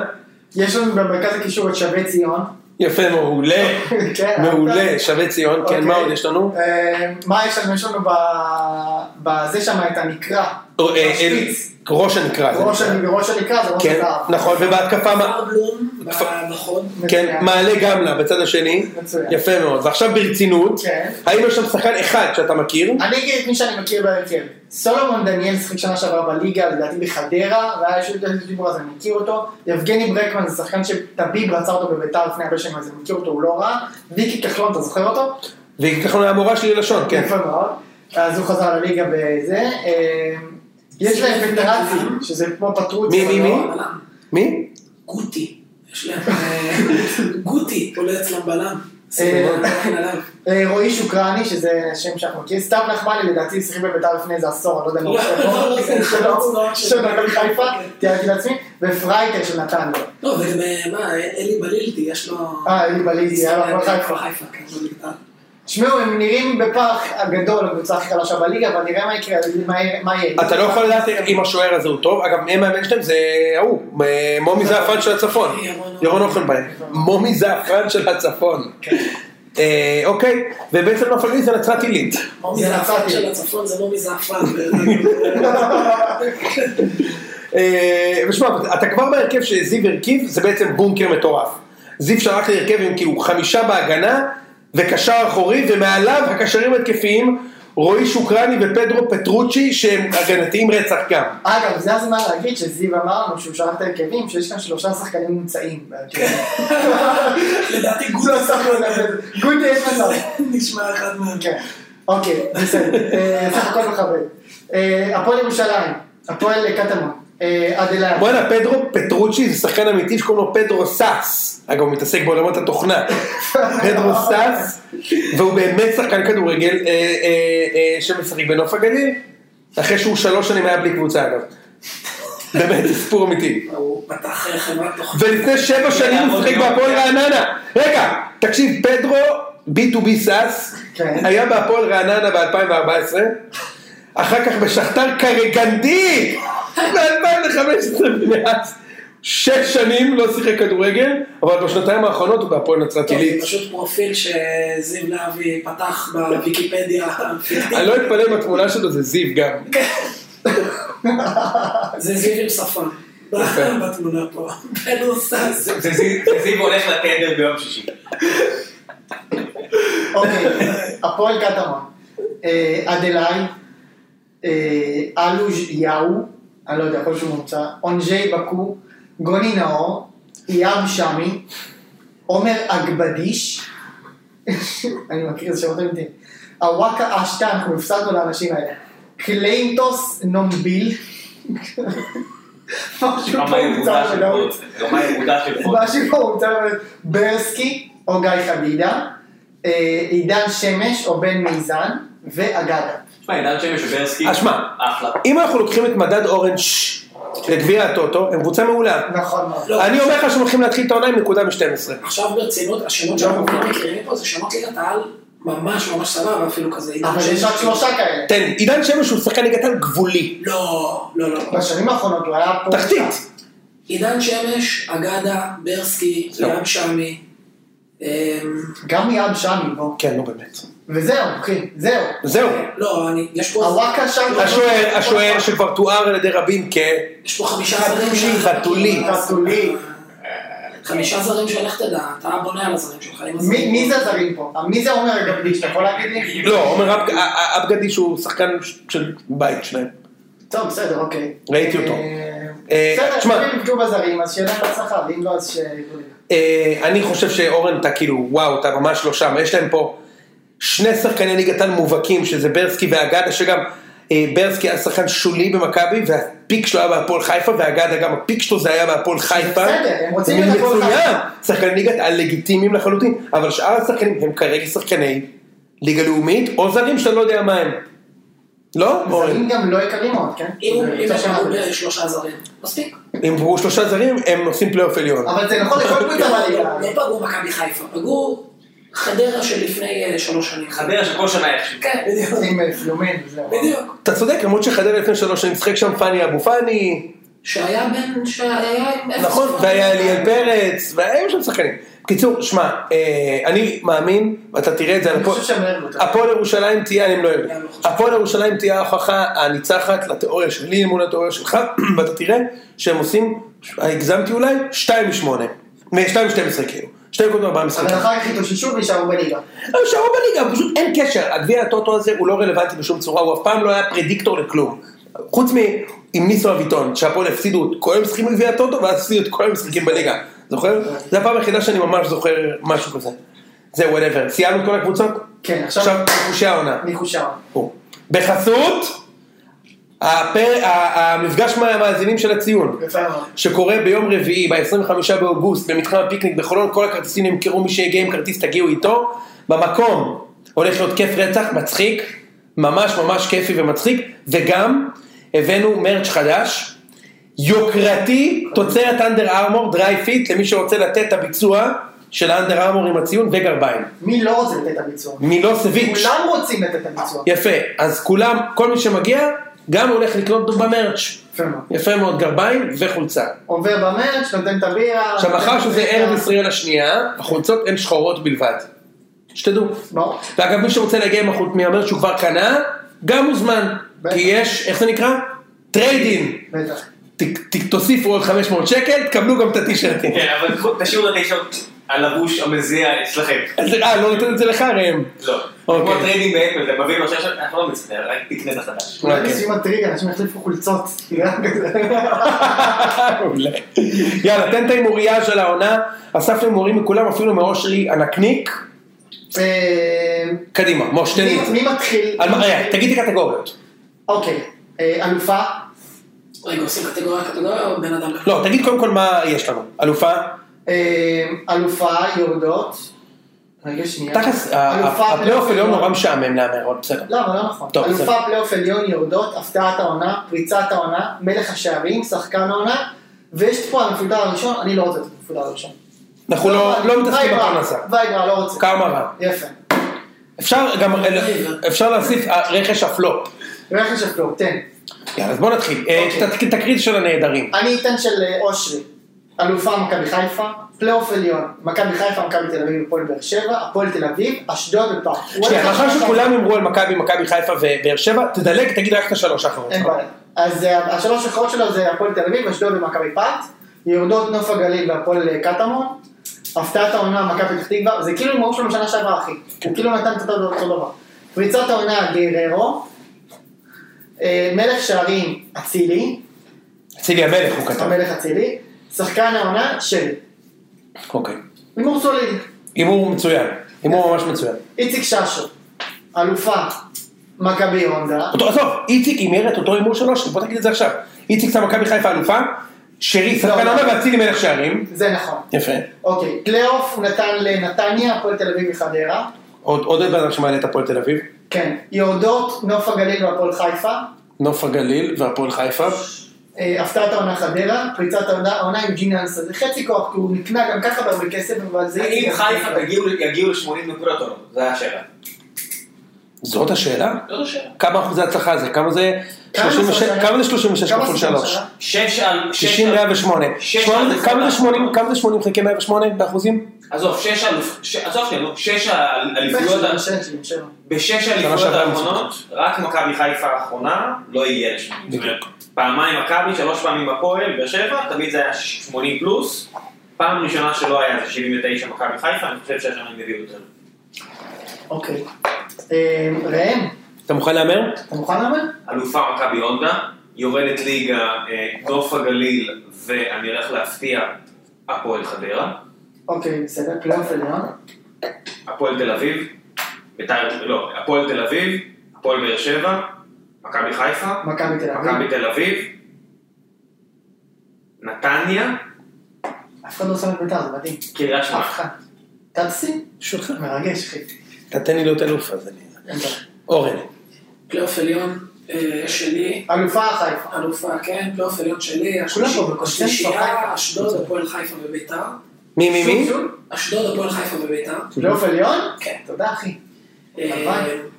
S2: יש לנו במרכז הקישור את שבי ציון.
S1: יפה, מעולה,
S2: <laughs> כן,
S1: מעולה,
S2: אהבת?
S1: שווה ציון,
S2: אוקיי.
S1: כן, מה עוד יש לנו?
S2: אה, מה יש לנו? יש לנו ב- בזה שם את הנקרא.
S1: אה, אה,
S2: השפיץ.
S1: ראש הנקרא, זה
S2: ראש
S1: נקרא.
S2: הנ- ראש הנקרא זה ראש
S1: כן,
S2: הזהב.
S1: נכון, ובהתקפה, מה-
S3: כפר בלום,
S1: כפר-
S3: נכון.
S1: כן,
S2: מצוין.
S1: מעלה גמלה בצד השני,
S2: מצוין.
S1: יפה מאוד, ועכשיו ברצינות,
S2: כן.
S1: האם יש שם שחקן אחד שאתה מכיר?
S2: אני אגיד את מי שאני מכיר בהרכב. סולומון דניאל שיחק שנה שעברה בליגה, לדעתי בחדרה, והיה יש לי איזה דיבור אז אני מכיר אותו. יבגני ברקמן זה שחקן שטביב רצה אותו בביתר לפני הרבה שנים, אז אני מכיר אותו, הוא לא רע. ויקי כחלון, אתה זוכר אותו?
S1: וכחלון היה המורה שלי ללשון, כן.
S2: יפה מאוד. אז הוא חזר לליגה בזה. אה, יש להם פטרצי, שזה כמו פטרוצי.
S1: מי, מי,
S2: אבל לא.
S1: מי?
S3: בלם.
S1: מי?
S3: גוטי. יש להם... אה, גוטי עולה אצלם בלם. לא
S2: אה,
S3: עליו.
S2: אה, רועי שוקרני, שזה שם שאנחנו מכירים, סתיו נחמני לדעתי שיחק בביתר לפני איזה עשור, אני לא יודע מה הוא
S3: לא,
S2: עושה
S3: זה
S2: פה,
S3: חלוץ,
S2: של
S3: לא,
S2: מכבי
S3: של-
S2: חיפה, תיארתי לעצמי, ופרייטר של נתניה.
S3: לא, וגם אה, מה, אלי בלילטי, יש לו...
S2: אה, אלי בליזי, היה לו הפועל חיפה.
S3: חיפה, כן, הוא נקטע.
S2: תשמעו, הם נראים בפער הגדול, הקבוצה הכי חלשה בליגה, אבל נראה מה יקרה, מה יהיה- מה יהיה.
S1: אתה לא יכול לדעת אם השוער הזה הוא טוב, אגב, מי המאמן שלהם זה ההוא, מ- מומי זעפן של הצפון, ירון אוכלביים, מומי זעפן של הצפון. אה, אוקיי, ובעצם נוף הגליל זה נצרת עילית.
S3: מומי
S2: זה
S3: זעפן
S2: נצרתי.
S3: של הצפון זה לא מומי
S2: <laughs>
S3: זעפן.
S1: אה, ושמע, אתה כבר בהרכב שזיו הרכיב, זה בעצם בונקר מטורף. זיו שלח לי הרכב עם כאילו חמישה בהגנה, וקשר אחורי, ומעליו הקשרים התקפיים, רועי שוקרני ופדרו פטרוצ'י, שהם הגנתיים רצח גם.
S2: אגב, זה הזמן להגיד שזיו אמר לנו שהוא שלח את ההרכבים, שיש כאן שלושה שחקנים מומצאים. בהרכבים.
S3: לדעתי
S2: הוא לא
S3: גוטי
S2: שם לו את זה. גוטי יש מצב.
S3: נשמע אחד מהם.
S2: כן, אוקיי, בסדר, אה, סך הכל מכבד. אה, הפועל ירושלים, הפועל קטמון, אה, עד אליי.
S1: בואנה, פדרו פטרוצ'י זה שחקן אמיתי שקוראים לו פדרו סאס. אגב, הוא מתעסק בעולמות התוכנה. פדרו סאס, והוא באמת שחקן כדורגל אה, אה, אה, שמשחק בנוף הגליל, אחרי שהוא שלוש שנים היה בלי קבוצה, אגב. באמת, זה סיפור אמיתי.
S3: הוא פתח אה, חברת תוכנית.
S1: ולפני שבע שנים הוא
S4: לעבוד
S1: שיחק
S4: ביום.
S1: בהפועל רעננה. רגע, תקשיב, פדרו, B2B סאס,
S2: כן.
S1: היה בהפועל רעננה ב-2014, אחר כך בשכתר קרגנדי ב-2015, מאז שש שנים לא שיחק כדורגל, אבל בשנתיים האחרונות הוא בהפועל נצרת
S3: טוב,
S1: עילית.
S3: זה פשוט פרופיל שזיו להבי פתח בוויקיפדיה.
S1: אני לא אתפלא אם התמונה שלו זה זיו גם.
S3: זה זיו עם שפם. <laughs> בתמונה פה, בנוסס.
S4: זה- זה זיו זה זיו הולך לטנדר ביום שישי.
S2: אוקיי, הפועל קטמון. אה, אדלאי, אה, אלוז' יאו, אני לא יודע, כל שהוא מומצא, אונג'י בקו, גוני נאור, יאב שמי, עומר אגבדיש, אני מכיר את שמות אמיתיים, הוואקה אשטה, אנחנו הפסדנו לאנשים האלה, קליינטוס נומביל, משהו
S4: רמה
S2: פה לא?
S4: ירודה
S2: מומצא
S4: של
S2: בוודאות.
S4: פרוט. רמה ירודה של פרוט.
S2: משהו פה הוא צריך להיות ברסקי או גיא חדידה, אה, עידן שמש או בן מיזן ואגדה.
S4: תשמע, עידן שמש וברסקי.
S1: אז אה, שמע.
S4: אחלה.
S1: אם אנחנו לוקחים את מדד אורנג' לגביע הטוטו, הם קבוצה מעולה.
S2: נכון מאוד.
S3: לא.
S1: אני אומר לך שהם הולכים להתחיל את העונה עם נקודה מ-12.
S3: עכשיו ברצינות, השמות
S2: לא.
S3: שאנחנו כבר מכירים פה זה שמות ליגת העל ממש ממש סבבה, אפילו כזה
S1: לא,
S3: עידן
S2: אבל יש רק שלושה כאלה.
S1: תן, לי. עידן שמש הוא שחקן ליגת העל גבולי.
S3: לא, לא, לא. לא.
S2: בשנים האחרונות הוא היה פה...
S1: תחתית.
S3: עידן שמש, אגדה, ברסקי,
S1: לא.
S3: ים שמי. אמ,
S2: גם מיאב שמי, בוא.
S1: כן, נו באמת.
S2: וזהו, אחי, זהו.
S1: זהו.
S3: לא, אני, יש פה...
S2: הוואקה שם.
S1: השוער, השוער שכבר תואר על ידי רבים כ...
S3: יש פה חמישה זרים
S1: חתולי,
S3: ש-
S1: חתולי.
S2: חתולי.
S3: חמישה זרים שלך תדע, אתה בונה על הזרים שלך. עם
S2: מי
S3: הזרים.
S2: מי זה הזרים פה? מי זה עומר אגבדיש? אתה יכול להגיד לי?
S1: לא, עומר אב- א- אבגדי שהוא שחקן ש- של בית שלהם.
S2: טוב, בסדר, אוקיי.
S1: ראיתי אותו.
S2: אה,
S1: אה, תשמע.
S2: בסדר, אם יפגעו בזרים, אז שיהיה להם הצלחה, ואם לא, אז ש...
S1: אה, אני חושב שאורן אתה כאילו, וואו, אתה ממש לא שם, יש להם פה שני שחקני ליגת על מובהקים, שזה ברסקי ואגדה, שגם אה, ברסקי היה שחקן שולי במכבי, והפיק שלו היה בהפועל חיפה, ואגדה גם הפיק שלו זה היה בהפועל חיפה.
S2: בסדר, הם רוצים
S1: הוא
S2: את הפועל
S1: מצוין.
S2: חיפה.
S1: שחקני ליגת על לגיטימיים לחלוטין, אבל שאר השחקנים הם כרגע שחקני ליגה לאומית, או זרים שאתה לא יודע מה הם. לא? אורן.
S2: זרים גם לא יקרים מאוד, כן?
S3: אם
S2: זה
S3: אם יש
S2: קצת שונה.
S3: לך הרבה שלושה זרים, מספיק.
S1: אם עברו שלושה זרים, הם עושים פלייאוף עליון.
S2: אבל זה נכון לכל קבוצה בליגה.
S3: לא לא פגעו מכבי חיפה, פגעו חדרה שלפני אה, שלוש שנים.
S4: חדרה של כל שנה איכשהו.
S3: כן, בדיוק.
S2: עם אה, פלומן, זהו.
S3: בדיוק.
S1: אתה צודק, למרות שחדרה לפני שלוש שנים משחק שם פאני אבו פאני.
S3: שהיה בין, שהיה עם אפס
S1: נכון,
S3: הפרש.
S1: והיה אליאל פרץ, והיו שם שחקנים. בקיצור, שמע, אה, אני מאמין, ואתה תראה את זה, על
S2: אני
S1: הפועל-
S2: חושב שהם לא ירדו.
S3: אה,
S1: הפועל ירושלים תהיה, אני לא יודע,
S3: אני לא חושב.
S1: הפועל ירושלים תהיה ההוכחה הניצחת לתיאוריה שלי מול התיאוריה שלך, <clears throat> ואתה תראה שהם עושים, הגזמתי אולי, 2 מ-8, 2 מ-12 כאילו, 2 קודם 4 משחקים.
S2: אבל אחר כך התאוששו והשארו בליגה.
S1: הם שערו בליגה, פשוט אין קשר. הגביע הטוטו הזה הוא לא רלוונטי בשום צורה, הוא אף פעם לא היה פרדיקטור לכלום. חוץ מעם ניסו אביטון, שהפועל הפסידו את כל המשחקים בגביע הטוטו, ואז הפסידו את כל המשחקים בליגה. זוכר? זו הפעם היחידה שאני ממש זוכר משהו כזה. זה וואטאבר. סיימנו את כל הקבוצות?
S2: כן, עכשיו-
S1: עכשיו חושי העונה.
S2: ניחושיו.
S1: פה. בחסות הפר- ה- המפגש מהמאזינים של הציון.
S2: יפה מאוד.
S1: שקורה ביום רביעי, ב-25 באוגוסט, במתחם הפיקניק בחולון, כל הכרטיסים נמכרו, מי שיגיע עם כרטיס תגיעו איתו. במקום הולך להיות כיף רצח, מצחיק, ממש ממש כיפי ומצחיק, וגם הבאנו מרץ' חדש, יוקרתי, תוצרת אנדר ארמור, דרי פיט, למי שרוצה לתת את הביצוע של האנדר ארמור עם הציון וגרביים.
S2: מי לא רוצה לתת את הביצוע?
S1: מילוסביץ',
S2: כולם רוצים לתת את הביצוע.
S1: יפה, אז כולם, כל מי שמגיע, גם הולך לקנות במרץ'.
S2: יפה מאוד.
S1: יפה מאוד, גרביים וחולצה.
S2: עובר במרץ', נותן את הבירה.
S1: עכשיו,
S2: נותן
S1: מאחר
S2: את
S1: שזה
S2: הבירה.
S1: ארץ ישראל השנייה, החולצות הן שחורות בלבד. שתדעו.
S2: ברור.
S1: ואגב, מי שרוצה להגיע עם החולצה, מי אומר שהוא כבר קנה, גם מוזמן.
S2: בטח.
S1: כי יש, איך זה נקרא? טריידין.
S2: בטח.
S1: תוסיפו עוד 500 שקל, תקבלו גם את הטישרטים.
S4: כן, אבל קחו- תשאירו את האישה הלבוש המזיע אצלכם.
S1: אז- אה, לא נותן את זה לך, ראם. <laughs>
S4: לא.
S1: אוקיי.
S4: כמו הטריידים באפל, אתה מבין מה שיש? אנחנו לא מצטער, רק תקנה את החדש.
S2: אולי
S1: אוקיי.
S2: בסיום הטריגר, אנשים יחליפו חולצות. נראה כזה.
S1: מעולה. יאללה, תן את ההימוריה של העונה. אספנו הימורים מכולם, אפילו מאושרי ענקניק.
S2: אה,
S1: קדימה, מוש, תן לי את
S2: מי-
S1: זה.
S2: מי מתחיל?
S1: על מה- רגע, תגיד לי קטגוריות.
S2: אוקיי. אה, אלופה?
S3: רגע, עושים קטגוריה קטגוריה או בן אדם? אחד?
S1: לא, תגיד קודם כל מה יש לנו. אלופה?
S2: אה, אלופה, יורדות. רגע, שנייה.
S1: תכלס, ה-
S2: אלופה,
S1: ה- הפלייאוף עליון
S2: יורדות.
S1: נורא משעמם להמר, אבל בסדר.
S2: לא, אבל לא נכון.
S1: טוב,
S2: אלופה
S1: בסדר.
S2: פלייאוף עליון יורדות, הפתעת העונה, פריצת העונה, מלך השערים, שחקן העונה, ויש פה המפודר הראשון, אני לא רוצה את המפודר הראשון.
S1: אנחנו לא לא מתעסקים
S2: וייגרא,
S1: בפרנסה.
S2: וייגרא, לא רוצה.
S1: כמה רע.
S2: יפה.
S1: אפשר גם,
S2: לא,
S1: אפשר להוסיף אה, רכש הפלופ.
S2: רכש הפלור, תן.
S1: יאללה, אז בוא נתחיל. אה,
S2: אוקיי.
S1: ת- תקרית של הנעדרים.
S2: אני אתן של אה, אושרי. אלופה מכבי חיפה, פלייאוף עליון, מכבי חיפה, מכבי תל אביב, הפועל באר שבע, הפועל תל אביב, אשדוד ופארק.
S1: שנייה, מאחר שכולם אמרו על מכבי, מכבי חיפה ובאר שבע, תדלג, תגיד רק את השלוש האחרונות.
S2: אין בעיה. אז אה, השלוש האחרות שלו זה הפועל תל אביב, אשדוד ומכבי פת, יורדות נוף הגליל והפועל אה, קטמון, הפתעת העונה מכבי פתח תקווה, זה כאילו עם ההוא שלו משנה שעברה אחי, הוא כאילו נתן את אותו אותו דבר. פריצת העונה גררו, אה, מלך שערים אצילי,
S1: אצילי המלך הוא כתב.
S2: המלך אצילי, שחקן העונה שלי,
S1: אוקיי.
S2: הימור סולידי,
S1: הימור מצוין. הימור ממש מצוין.
S2: איציק ששו, אלופה, מכבי הונדה,
S1: אותו, עזוב, איציק הימר את אותו הימור שלו, בוא תגיד את זה עכשיו. איציק שם מכבי חיפה אלופה, שרי שחקן
S2: לא.
S1: עונה ואצילי מלך שערים.
S2: זה נכון.
S1: יפה.
S2: אוקיי, פלייאוף נתן לנתניה, הפועל תל אביב מחדרה.
S1: עוד עוד בן אדם שמעלה את הפועל תל אביב.
S2: כן. יורדות, נוף הגליל והפועל חיפה.
S1: נוף הגליל והפועל חיפה.
S2: אה, הפתעת העונה חדרה, פריצת העונה, העונה עם ג'ינאנס, זה חצי כוח, כי הוא נקנה גם ככה בהרבה כסף, אבל זה...
S4: אם חיפה תגיעו- יגיעו ל-80 נקודות או לא? זו השאלה.
S1: זאת השאלה?
S3: לא
S4: זאת השאלה.
S1: כמה אחוזי הצלחה זה? כמה זה?
S2: כמה
S1: 36
S2: זה
S1: כמה זה 36
S2: כמה
S1: כפול
S2: זה
S1: 3?
S4: 6 על... שש
S1: 60,
S4: על-
S1: 108.
S4: שש
S1: שמונה-
S4: על-
S1: כמה זה 80? כמה זה 80 חלקי 108 באחוזים?
S4: עזוב, שש אלופ- ש- עזוב שנייה, נו, שש ה- האליפויות, ה- בשש
S1: שנה
S4: האליפויות
S1: שעברה
S4: האחרונות, רק מכבי חיפה האחרונה לא יהיה לשמונים.
S1: בדיוק.
S4: זאת אומרת, פעמיים מכבי, שלוש פעמים הפועל, באר שבע, תמיד זה היה ש- 80 פלוס. פעם ראשונה שלא היה זה 79 מכבי חיפה, אני חושב שהשנה הם יביאו יותר.
S2: אוקיי. אה, ראם,
S1: אתה מוכן להמר?
S2: אתה מוכן לומר?
S4: אלופה מכבי הונדה, יורדת ליגה, אה, נוף הגליל, ואני הולך להפתיע, הפועל חדרה,
S2: אוקיי, בסדר, פלייאוף עליון.
S4: הפועל תל אביב, בית"ר, לא, הפועל תל אביב, הפועל באר שבע, מכבי חיפה,
S2: מכבי תל אביב.
S4: מכבי תל אביב, נתניה,
S2: אף אחד לא שם את בית"ר, זה מדהים.
S4: קריית
S2: אף
S4: שמונה.
S2: אחד. תפסי?
S1: שלך.
S2: מרגש, אחי.
S1: אתה תן לי להיות אלוף, אז אני...
S2: אין בעיה.
S1: אורן.
S3: פלייאוף עליון אה, שלי,
S2: אלופה חיפה.
S3: אלופה, כן, פלייאוף עליון שלי,
S2: פה
S3: השלישי-
S2: בקונסנזוס,
S3: השלישייה,
S2: חיפה.
S3: אשדוד, הפועל חיפה וביתר.
S1: מי מי מי?
S2: שוב, שוב.
S3: אשדוד, הפועל חיפה וביתר.
S2: פלייאוף עליון?
S3: כן.
S2: תודה אחי.
S3: אה,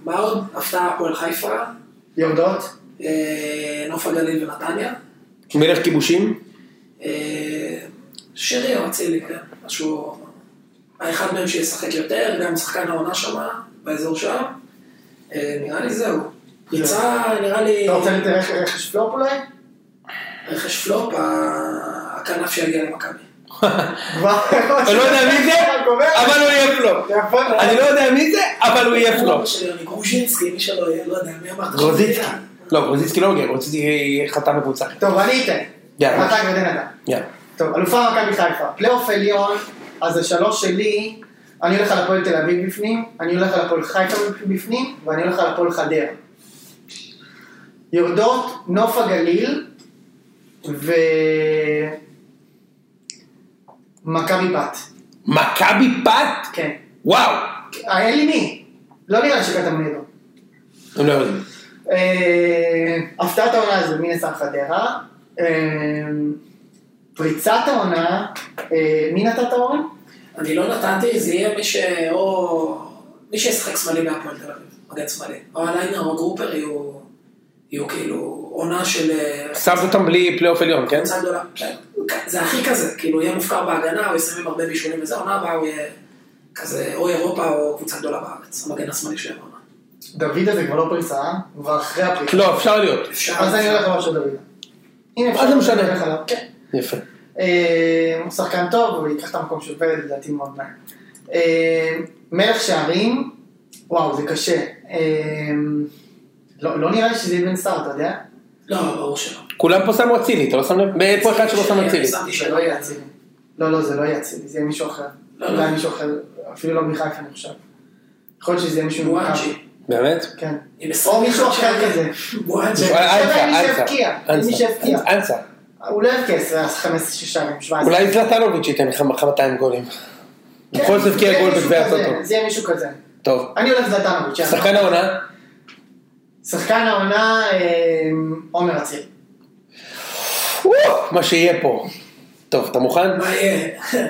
S3: מה עוד? הפתעה, הפועל חיפה,
S2: יורדות?
S3: אה, נוף הגליל ונתניה.
S1: מלך כיבושים?
S3: אה, שרי או אצילי, כן, משהו... האחד מהם שישחק יותר, גם שחקן העונה שמה, באזור שם. אה, נראה לי זהו. פריצה, נראה לי...
S2: אתה רוצה להתארך רכש פלופ אולי?
S3: רכש פלופ, ה- הכנף שיגיע למכבי.
S2: כבר...
S1: אני לא יודע מי זה, אבל הוא יהיה פלופ.
S2: יפה מאוד.
S1: אני לא יודע מי זה, אבל הוא לא יהיה פלופ.
S3: גרושינסקי, מי שלא יהיה, לא יודע, מי אמרת?
S1: גרוזיצקי. לא, גרוזיצקי לא מגיע, גרוזיצקי חתם בקבוצה אחרת.
S2: טוב, אני אתן.
S1: יאללה.
S2: מתן ודן אדם.
S1: יאללה.
S2: טוב, אלופה מכבי חיפה. פלייאוף עליון, אז השלוש שלי, אני הולך על הפועל תל אביב בפנים, אני הולך על הפועל חיפה בפנים, ואני הולך על הפועל חדרה. יורדות נוף הגליל ו... מכבי בת.
S1: מכבי פת?
S2: כן.
S1: וואו.
S2: אה, אין לי מי. לא נראה לי שקטמון ידעו.
S1: הם לא יודעים.
S2: אה, הפתעת העונה זה מי נשא חדרה. אה, פריצת העונה, אה, מי נתת אורן?
S3: אני לא נתתי, זה יהיה מי ש... או... מי שישחק שמאלי מהפועל תל אביב, מגן שמאלי. או הליינר או גרופר יהיו... יהיו כאילו עונה של... אה,
S1: שמת אותם בלי פלייאוף עליון, כן?
S3: קבוצה גדולה. כן. זה הכי כזה, כאילו יהיה מופקר בהגנה, הוא יסיים עם הרבה בישולים וזה, עונה הבאה הוא יהיה כזה, או אירופה או קבוצה גדולה בארץ, המגן השמאלי שלהם עונה.
S2: דוד הזה כבר לא פריצה, אה? הוא כבר אחרי הפריצה.
S1: לא, אפשר להיות.
S3: אפשר...
S2: אז אני הולך על משהו דוד. הנה
S1: מה זה משנה?
S2: אני הולך עליו, כן.
S1: יפה.
S2: אה, הוא שחקן טוב, הוא ייקח את המקום של ורד, לדעתי מאוד מהר. אה, מלך שערים, וואו, זה קשה. אה, לא לא נראה לי שזה יהיה בן סער, אתה יודע?
S3: לא, ברור שלא.
S1: כולם פה שמו אצילי, אתה לא שם לב? מאיפה אחד שלא שם אצילי?
S3: שמתי
S2: זה
S3: שלא
S2: לא
S3: יהיה.
S2: יהיה אצילי. לא, לא, זה לא יהיה אצילי, זה יהיה מישהו אחר.
S3: לא,
S2: אולי
S3: לא.
S2: מישהו אחר, אפילו לא מחיפה אני חושב. יכול להיות שזה יהיה מישהו
S3: בואנג'י.
S1: באמת?
S2: כן.
S3: עם
S2: או
S3: 21
S2: מישהו אחר
S3: שערים.
S2: כזה.
S3: בואנג'י.
S2: אה,
S1: אנסה,
S2: מי
S1: אנסה.
S2: שהבקיע, מי שהבקיע.
S1: אנסה. אנסה.
S2: הוא לא יבקיע 15 שערים, 17.
S1: אולי זלטנוביץ' ייתן לך 200 גולים.
S2: כן,
S1: בכל זאת
S2: זה
S1: הבקיע
S2: יהיה
S1: גול
S2: מישהו
S1: בגביע
S2: כזה, כן.
S1: הטוטו.
S2: זה יהיה מישהו כזה.
S1: טוב.
S2: אני הולך זלטנוביץ'. יאללה.
S1: שחקן העונה?
S2: שחקן העונה, אה, עומר אציל.
S1: וואו, מה שיהיה פה. טוב, אתה מוכן?
S3: מה יהיה?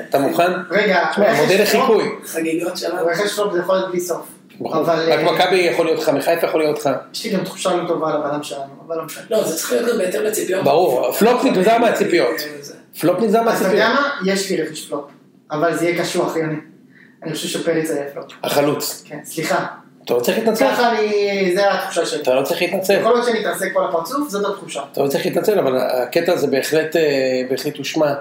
S1: אתה מוכן?
S2: רגע,
S1: תשמע,
S2: רכש
S1: לא, מודל
S2: פלופ-
S1: לחיקוי.
S3: חגיגות שלנו.
S2: רכש פלופ זה יכול להיות בלי סוף. אבל
S1: רק
S2: אה,
S1: מכבי יכול להיות לך, מחיפה יכול להיות לך.
S2: יש לי גם תחושה לא טובה על הבנם שלנו, אבל לא משנה.
S3: לא, זה צריך להיות גם בהתאם לציפיות. אוקיי, אה,
S1: ברור, פלופ נגזר מהציפיות.
S3: זה.
S1: פלופ נגזר
S2: אז אתה יודע
S1: מהציפיות.
S2: מה? יש לי רכש פלופ. אבל זה יהיה קשוח, יוני. אני חושב שפריץ היה פלופ.
S1: החלוץ.
S2: כן, סליחה.
S1: אתה לא צריך להתנצל.
S2: ככה אני, זה התחושה שלי.
S1: אתה לא צריך להתנצל.
S2: כל עוד שנתעסק כל הפרצוף, זאת התחושה.
S1: אתה לא צריך להתנצל, אבל הקטע הזה בהחלט, אה, בהחלט הושמע,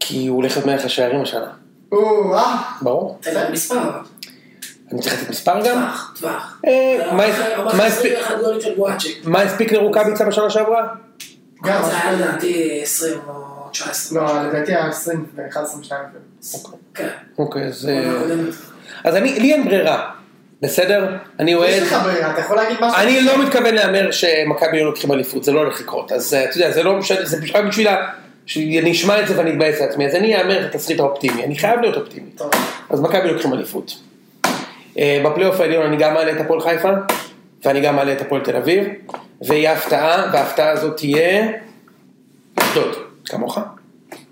S1: כי הוא הולך להיות מלך השערים השנה.
S2: או, אה,
S1: ברור.
S3: תן לי מספר.
S1: אני צריך לתת מספר גם?
S3: טווח, טווח.
S1: אה, מה- מה הספיק-
S3: 21 גולים של בואצ'יק.
S1: מה הספיק לרוקאביצה בשנה שעברה?
S2: גם
S3: זה היה
S2: משהו.
S3: לדעתי 20 או 19.
S2: אה, לא, לדעתי היה 20 ו-11-22.
S3: כן.
S1: אוקיי, אז...
S3: עונה
S1: אה,
S3: קודמת.
S1: אז אני, לי אין ברירה, בסדר? אני אוהד...
S2: יש לך ברירה, אתה יכול להגיד משהו?
S1: אני לא מתכוון להמר שמכבי לא לוקחים אליפות, זה לא הולך לקרות. אז אה, אתה יודע, זה לא משנה, זה רק בשביל ה- שאני אשמע את זה ואני אתבאס לעצמי. אז אני אאמר את התסריט האופטימי, אני חייב להיות אופטימי.
S2: טוב,
S1: אז מכבי לוקחים אליפות. אה, בפלייאוף העליון אני גם מעלה את הפועל חיפה, ואני גם מעלה את הפועל תל אביב, ויהיה הפתעה, וההפתעה הזאת תהיה... אשדוד, כמוך.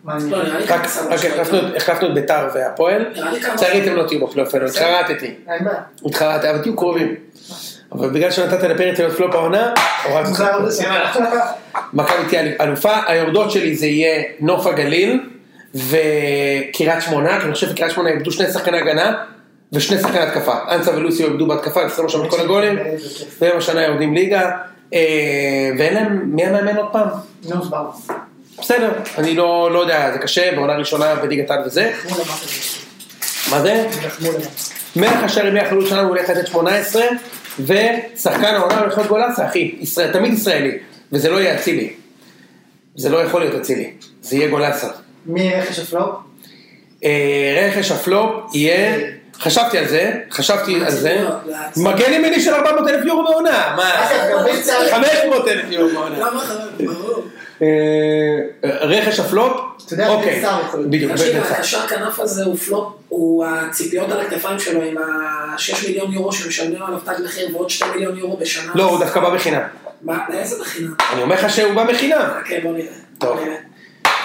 S2: מעניין.
S3: לא, נראה לי
S1: רק
S3: כמה
S1: רק החלפנו- החלפנו את ביתר והפועל.
S3: נראה לי כמה-
S1: לצערי אתם לא תהיו בפלייאוף העליון, התחרטתי.
S2: אין בעיה.
S1: התחרטתי, אבל תהיו קרובים. אבל בגלל שנתת לפרץ להיות פלופ העונה, הורדתי אותך.
S2: מוזר זה.
S1: מכבי תהיה אלופה, היורדות שלי זה יהיה נוף הגליל וקריית שמונה, כי אני חושב שקריית שמונה איבדו שני שחקני הגנה ושני שחקני התקפה. אנסה ולוסיו איבדו בהתקפה, הם שמו שם את כל הגולים, והם השנה יורדים ליגה, אה, ואין להם, מי המאמן עוד פעם?
S2: נו, סבבה.
S1: בסדר, אני לא, לא יודע, זה קשה, בעונה ראשונה בליגת העל וזה.
S2: תחמו למה כזה.
S1: מה זה?
S2: תחמו למה.
S1: מלך השערים מהחלוץ שלנו הולך לתת 18, ושחקן העונה הולך להיות גולסה, אחי, ישראל, תמיד ישראלי, וזה לא יהיה אצילי. זה לא יכול להיות אצילי, זה יהיה גולסה.
S2: מי רכש הפלופ?
S1: אה, רכש הפלופ יהיה, חשבתי על זה, חשבתי על זה,
S2: לא,
S1: מגן ימיני של 400 אלף יורו בעונה, מה?
S2: אגב, גם ביצה...
S1: 500 אלף יורו
S2: לא.
S1: בעונה.
S3: למה חרב? ברור.
S1: אה, רכש הפלופ,
S2: אתה יודע,
S1: אוקיי,
S2: בן סער יכול להיות.
S1: בדיוק,
S3: תקשיב,
S1: בן סער.
S3: הקשר כנף הזה הוא פלופ, הוא הציפיות על הכתפיים שלו עם ה-6 מיליון יורו שמשלמים עליו תג מחיר ועוד 2 מיליון יורו בשנה.
S1: לא, הוא דווקא בא בחינם.
S3: מה, לאיזה בחינם?
S1: אני אומר לך שהוא בא בחינם.
S3: חכה, בוא נראה.
S1: טוב.
S3: בוא נראה.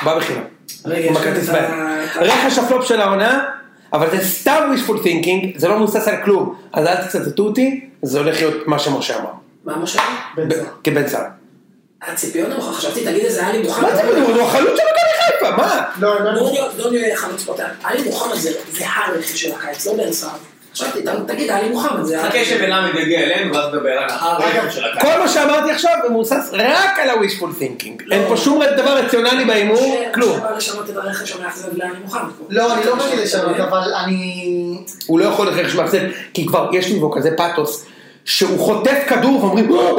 S1: בא בחינם.
S3: רגע,
S1: עם
S3: יש
S1: הכרטיס
S3: לנו את
S1: בעיה.
S3: ה-
S1: רכש הפלופ של העונה, אבל זה סתם wishful thinking, זה לא מבוסס על כלום. אז אל תצטטו אותי, זה הולך להיות מה שמשה אמר.
S3: מה משה?
S2: בן
S1: ב-
S2: סער.
S1: כבן סער.
S3: הציפיות נמוך, חשבתי, תגיד איזה עלי מוחמד.
S1: מה זה בדיוק? הוא החלוץ של מכבי חיפה, מה?
S2: לא, לא, לא.
S3: דוניו- דוניו יהיה חלוץ פותח. עלי מוחמד זה זה הרכיב של הקיץ, לא בן סער. חשבתי, ת- תגיד, עלי מוחמד זה...
S4: חכה שבלמד יגיע אלינו ואז נדבר על
S2: אגב,
S4: הרעיון של הקהל.
S1: אה, כל מה שאמרתי עכשיו הוא מבוסס רק על ה-wishful thinking.
S2: לא.
S1: אין פה שום דבר רציונלי בהימור,
S3: משה-
S1: כלום.
S3: משה בא לשנות את הרכש המאכזב לעלי מוחמד.
S2: לא, אני לא באתי לשנות, אבל אני...
S1: הוא לא יכול לרכש מאכזב, כי כבר יש לי בו כזה פאתוס, שהוא חוטף כדור ואומרים, וואו,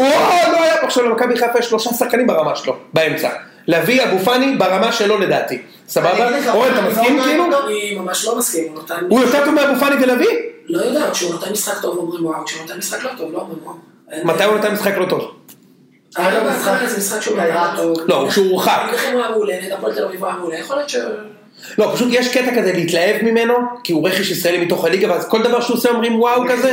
S1: לא היה פה עכשיו למכבי חיפה יש שלושה שחקנים ברמה שלו, באמצע. לביא אבו פאני ברמה שלו לדעתי,
S2: אני
S1: סבבה?
S2: אגיד לך,
S1: אורן, אתה
S2: אני
S1: מסכים
S2: לא
S1: כאילו?
S2: יודע.
S3: אני ממש לא מסכים, הוא נתן...
S1: הוא יותר טוב מאבו פאני ולביא?
S3: לא יודע, כשהוא נותן משחק טוב אומרים וואו, כשהוא נותן משחק לא טוב לא אומרים וואו. אין-
S1: מתי הוא נתן משחק לא טוב?
S3: היה לו משחק, זה משחק שהוא היה טוב.
S1: לא, כשהוא הורחק.
S3: נגדכם הוא היה מעולה, נגד הפועל תל אביב הוא היה מעולה, יכול להיות ש...
S1: לא, פשוט יש קטע כזה להתלהב ממנו, כי הוא רכש ישראלי מתוך הליגה, ואז כל דבר שהוא עושה אומרים וואו כזה.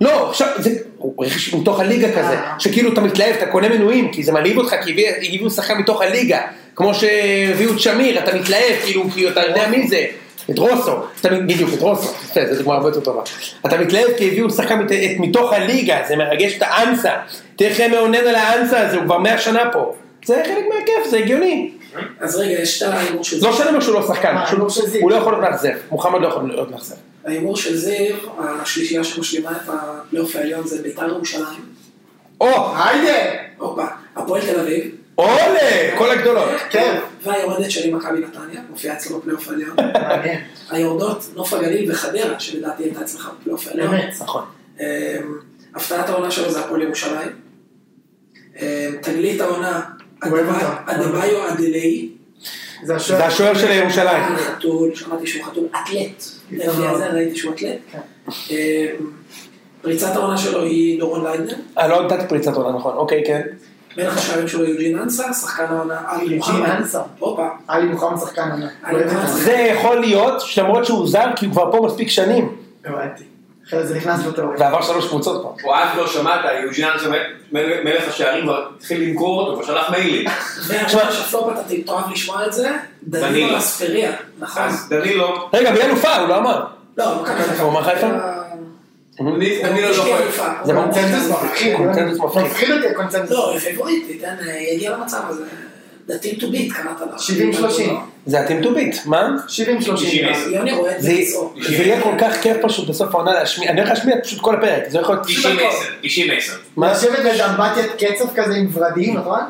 S1: לא, עכשיו, זה הוא רכש מתוך הליגה כזה,
S2: אה.
S1: שכאילו אתה מתלהב, אתה קונה מנויים, כי זה מלהיב אותך, כי הביא- הביאו שחקן מתוך הליגה, כמו שהביאו את שמיר, אתה מתלהב, כאילו, כי אתה יודע מי זה, את רוסו, אתה, בדיוק, את רוסו, יפה, זו דוגמה הרבה יותר טובה. אתה מתלהב כי הביאו שחקן מת, את, מתוך הליגה, זה מרגש את האנסה, תראה איך הם מאונן על האנסה הזה, הוא כבר מאה שנה פה. זה חלק מהכיף, זה הגיוני.
S3: אז רגע, יש את ההימור של
S1: זה
S3: זיו.
S1: לא משנה מה שהוא לא שחקן,
S2: מה,
S1: פשוט
S2: לא של זיו.
S1: הוא לא יכול להיות מאכזב, מוחמד לא יכול להיות מאכזב.
S3: ההימור של זיו, השלישייה שמשלימה את הפלייאוף העליון זה בית"ר ירושלים.
S1: או,
S2: אה, היידה!
S3: הופה, הפועל תל אביב.
S1: עולה, כל הגדולות.
S2: כן.
S3: והיורדת שלי מכבי נתניה, מופיעה אצלו בפלייאוף העליון.
S2: מעניין.
S3: היורדות, נוף הגליל וחדרה, שלדעתי הייתה אצלך בפלייאוף העליון.
S2: באמת.
S1: נכון.
S3: אמ, הפתעת העונה שלו זה הפועל ירושלים. אמ, תגלית העונה,
S2: אוהב
S3: הדבא-
S2: אותה.
S3: הדבאיו אדלי.
S2: זה השוער.
S1: זה השוער של ירושלים.
S3: אה, חתול, שמעתי שהוא חתול אתלט.
S2: יפה
S3: לפי
S2: מאוד.
S3: הזה ראיתי שהוא אתלט.
S2: כן.
S3: אמ, פריצת העונה שלו היא דורון ליידנר.
S1: אה, לא נתתי פריצת עונה, נכון, אוקיי, כן.
S3: מלך השערים שלו יוג'ין אנסה, שחקן העונה עלי
S2: יוג'ין
S3: מוחמד.
S2: אנסה.
S3: הופה.
S2: עלי מוחמד שחקן ענק.
S3: עלי
S2: אוהב
S3: מוחמד.
S2: אותו.
S1: זה יכול להיות, למרות שהוא זר, כי הוא כבר פה מספיק שנים,
S2: הבנתי. אחרי זה נכנס בתיאוריה.
S1: ועבר שלוש קבוצות פה.
S4: הוא אז לא שמעת, יוג'יאן מלך השערים כבר התחיל למכור אותו, כבר שלח מיילים.
S3: ועכשיו שפלופ, אתה תאהב לשמוע את זה, דנינו
S4: דנילו.
S3: אספריה, נכון?
S4: אז דנילו,
S1: רגע, מי אלופה? הוא לא אמר.
S3: לא, מכבי חיפה.
S1: הוא אמר חיפה?
S4: אני אני לא
S3: יש לי
S4: יכול.
S3: אלופה.
S1: זה
S2: קונצנזוס מפחיד. לא?
S1: קונצנזוס מפחיד.
S2: מפחיד אותי
S4: לא.
S2: הקונצנזוס.
S3: לא, היא פייבוריטית, אין, אה, היא הגיעה למצב הזה. The team to beat, קראת לה.
S2: 70-30.
S1: זה ה-team to beat, מה?
S2: 70-30.
S4: תשעים.
S3: יוני רואה את זה
S1: זה
S3: לצעוק.
S1: זה יהיה כל כך כיף פשוט בסוף העונה להשמיע, אני הולך להשמיע פשוט כל הפרק, זה יכול להיות...
S4: 90-10.
S1: מה?
S2: לשבת באיזה אמבטיית קצב כזה עם ורדים, נכון?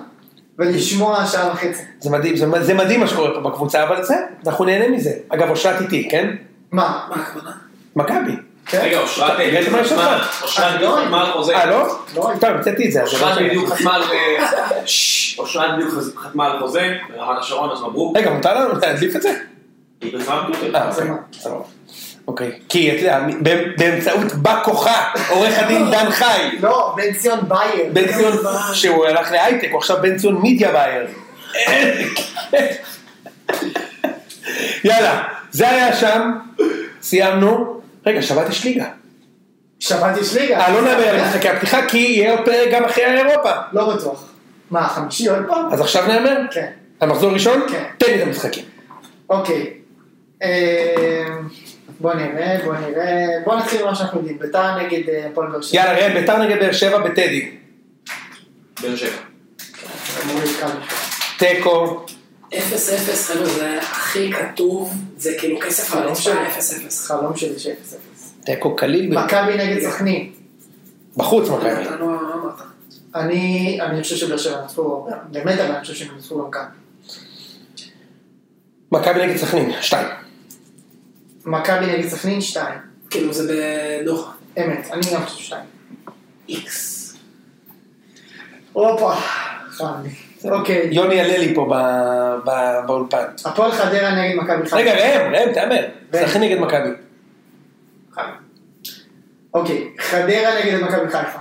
S2: ולשמוע שעה וחצי.
S1: זה מדהים, זה זה מדהים מה שקורה פה בקבוצה, אבל זה, אנחנו נהנה מזה. אגב, אושרת איתי, כן?
S2: מה?
S3: מה הכוונה?
S1: מכבי.
S2: כן?
S4: רגע, אושרת,
S1: רגע,
S4: בדיוק
S1: מה יש לך?
S4: חתמה- אושרת
S2: אה,
S4: בדיוק
S2: לא.
S4: חתמה על חוזה.
S1: אה, לא?
S2: לא.
S1: טוב, המצאתי את זה. אז זה לא
S4: אושרת
S1: שייך.
S4: בדיוק חתמה על... ששש, אושרת בדיוק חתמה על חוזה, ברמת השרון, אז מברוק.
S1: רגע, מותר לנו להדליף את זה?
S4: היא פרסמה בטוויטר.
S1: אה, אוקיי, סבבה. אוקיי. כי, אתה יודע, ב- באמצעות בא כוחה, עורך הדין דן חי.
S2: לא, בן ציון בייר.
S1: בן ציון, שהוא הלך להייטק, הוא עכשיו בן ציון מידיה בייר. יאללה, זה היה שם, סיימנו. רגע, שבת יש ליגה.
S2: שבת יש ליגה.
S1: אה, לא נדבר על משחקי הפתיחה, כי יהיה עוד פרק גם אחרי אירופה.
S2: לא בטוח. מה, חמישי עוד פעם?
S1: אז עכשיו נאמר?
S2: כן.
S1: המחזור ראשון?
S2: כן.
S1: תן לי את המשחקים.
S2: אוקיי. אה, בוא נראה, בוא נראה. בוא נתחיל ממה שאנחנו יודעים. ביתר נגד אה, הפועל באר שבע.
S1: יאללה, ראם, ביתר נגד באר שבע בטדי.
S4: באר שבע.
S2: אמור להיות קל.
S1: תיקו.
S3: אפס אפס, חבר'ה, זה הכי כתוב, זה כאילו כסף על
S1: לא
S2: חלום
S3: הרצפה,
S2: שלי.
S3: אפס אפס.
S2: חלום שלי שאפס אפס.
S1: תיקו קליל. ב-
S2: מכבי נגד סכנין.
S1: בחוץ מכבי.
S3: אתה לא לא אמרת.
S2: אני אני חושב שבאר שבע נצחו, באמת אבל אני חושב שהם נצחו גם כאן.
S1: מכבי נגד סכנין, שתיים.
S2: מכבי נגד סכנין שתיים.
S3: כאילו זה בדוחה.
S2: אמת, אני גם חושב שתיים.
S3: איקס.
S2: הופה, חם לי. אוקיי.
S1: יוני יעלה לי פה ב- ב- באולפן.
S2: הפועל חדרה נגד מכבי חיפה.
S1: רגע, ראם, ראם, תהמר.
S2: ראם.
S1: סכנין נגד מכבי.
S2: אוקיי, חדרה נגד מכבי חיפה.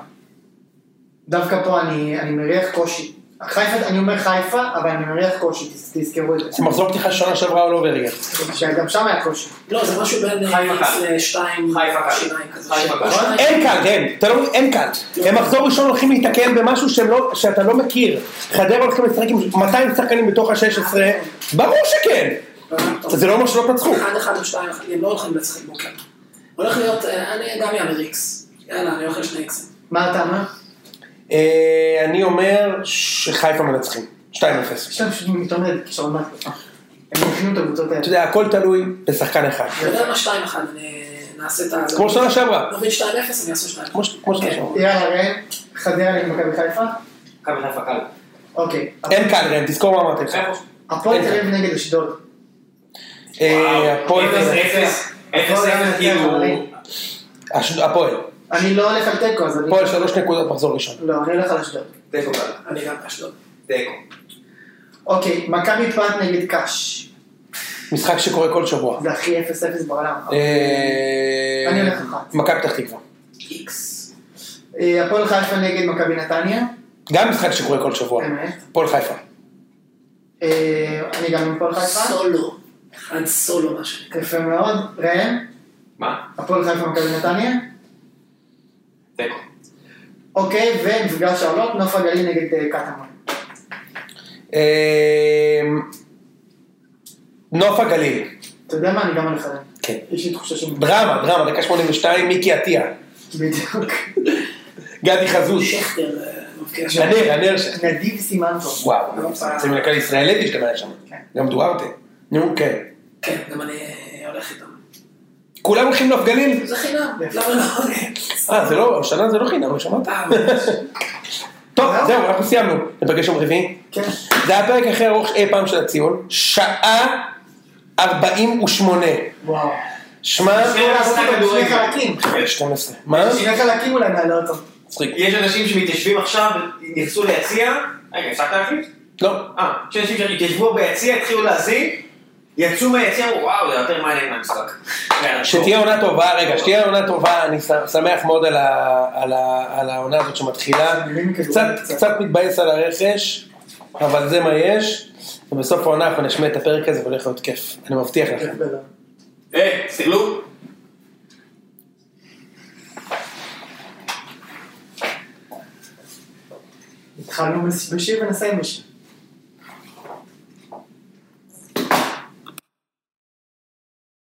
S2: דווקא פה אני אני מריח קושי. חיפה, אני אומר חיפה, אבל אני מריח קושי, תז- תזכרו את זה.
S1: זה מחזור פתיחה שנה שעברה או לא ברגע.
S2: שגם שם היה קושי.
S3: לא, זה משהו בין
S4: חיפה
S3: איקס
S4: קל.
S3: לשתיים,
S4: חיפה קל.
S3: שיניים כזה.
S4: חיפה קל.
S3: שניים.
S1: אין קל, ראם. אתה לא- אין קל. הם מחזור ראשון הולכים להיתקל במשהו שהם לא- שאתה לא מכיר. חדרה הולכים לשחק עם 200 שחקנים בתוך ה-16. ברור שכן. זה לא אומר שלא תצחו.
S3: אחד אחד או שתיים, אחד, הם לא הולכים לשחק בוקר. הולך להיות, אה, אני גם יאמר איקס. יאללה, אני הולך לשני איקסים.
S2: מה אתה אומר?
S1: אה, אני אומר שחיפה מנצחים, 2-0.
S2: יש להם פשוט מתעמד, כישרון מהתקופה. הם מכינים את הקבוצות האלה.
S1: אתה יודע, הכל תלוי בשחקן אחד.
S3: אני יודע מה שתיים אחד, אני אה, נעשה את ה...
S1: כן. כמו שנה שעברה.
S3: נוביל שתיים אפס, אני אעשה שתיים.
S1: כמו ש- כמו שנה שעברה.
S2: יאללה ראם, חדרה נגד מכבי חיפה?
S4: מכבי חיפה קל.
S2: אוקיי.
S1: אין קל, ראם, תזכור מה אמרתי לך.
S2: הפועל
S1: אין
S2: תל אביב נגד אשדוד.
S1: אה, הפועל,
S4: אפס אפס. אפס אפס כאילו...
S1: אש- הפועל,
S2: אני לא הולך על תיקו, אז אני...
S1: הפועל שלוש נקודות מחזור ראשון.
S2: לא, אני הולך על אשדוד.
S4: תיקו קל.
S3: אני גם באשדוד.
S4: תיקו.
S2: אוקיי, מכבי פת נגד קאש.
S1: משחק שקורה כל שבוע.
S2: זה הכי 0-0 בעולם.
S1: אה,
S2: אני הולך אחת.
S1: מכבי פתח תקווה.
S3: איקס.
S2: אה, הפועל חיפה נגד מכבי נתניה.
S1: גם משחק שקורה כל שבוע.
S2: אמת.
S1: הפועל חיפה.
S2: אה, אני גם עם הפועל חיפה.
S3: סולו. אחד סולו מה שנקרא.
S2: יפה מאוד. ראם,
S4: מה?
S2: הפועל חיפה מכבי נתניה.
S4: תיקו.
S2: אוקיי, ומפגש העולות, נוף הגליל נגד אה, קטמון.
S1: אה, נוף הגליל.
S2: אתה יודע מה? אני גם הולך עליהם.
S1: כן.
S2: יש לי תחושה שהם...
S1: דרמה, דרמה, דקה 82, מיקי עטיה.
S2: בדיוק. <laughs>
S1: גדי חזוש.
S3: שכטר אה, מבקיע שם.
S1: הנר, הנר ש...
S2: נדיב סימנטוב.
S1: וואו, זה מנכ"ל ישראלי שגם היה שם.
S2: לא כן.
S1: גם דוארטה. נו, כן.
S3: כן, גם אני אה, הולך איתם.
S1: כולם הולכים לנוף גליל?
S3: זה חינם,
S2: יפה.
S3: למה לא?
S1: אה, זה לא, השנה זה לא חינם, שמעת?
S3: אה, ממש.
S1: טוב,
S2: זהו.
S1: זהו, אנחנו סיימנו. נפגש יום רביעי.
S2: כן.
S1: זה היה הפרק הכי ארוך אי פעם של הציון. שעה 48.
S2: וואו.
S1: שמע...
S2: שני שני חלקים.
S4: יש-
S1: 12. מה?
S2: שני חלקים אולי נעלה אותו.
S1: צחיק.
S4: יש אנשים שמתיישבים עכשיו, נכנסו ליציע, רגע, הפסקת להחליט?
S1: לא.
S4: אה, יש אנשים שהתיישבו ביציע, התחילו להזין, יצאו מהיציע, אמרו, וואו, זה יותר מעניין מהמשחק. יאללה,
S1: שתהיה עונה טובה, רגע, שתהיה עונה טובה, אני ש- שמח מאוד על ה- על ה- על העונה הזאת שמתחילה. קצת, קצת מתבאס על הרכש, אבל זה מה יש. ובסוף העונה אנחנו נשמיע את הפרק הזה והולך להיות כיף, אני מבטיח
S2: כן,
S1: לכם.
S4: טוב. היי, תסתכלו.
S2: התחלנו בשיר ונסיים בשיר.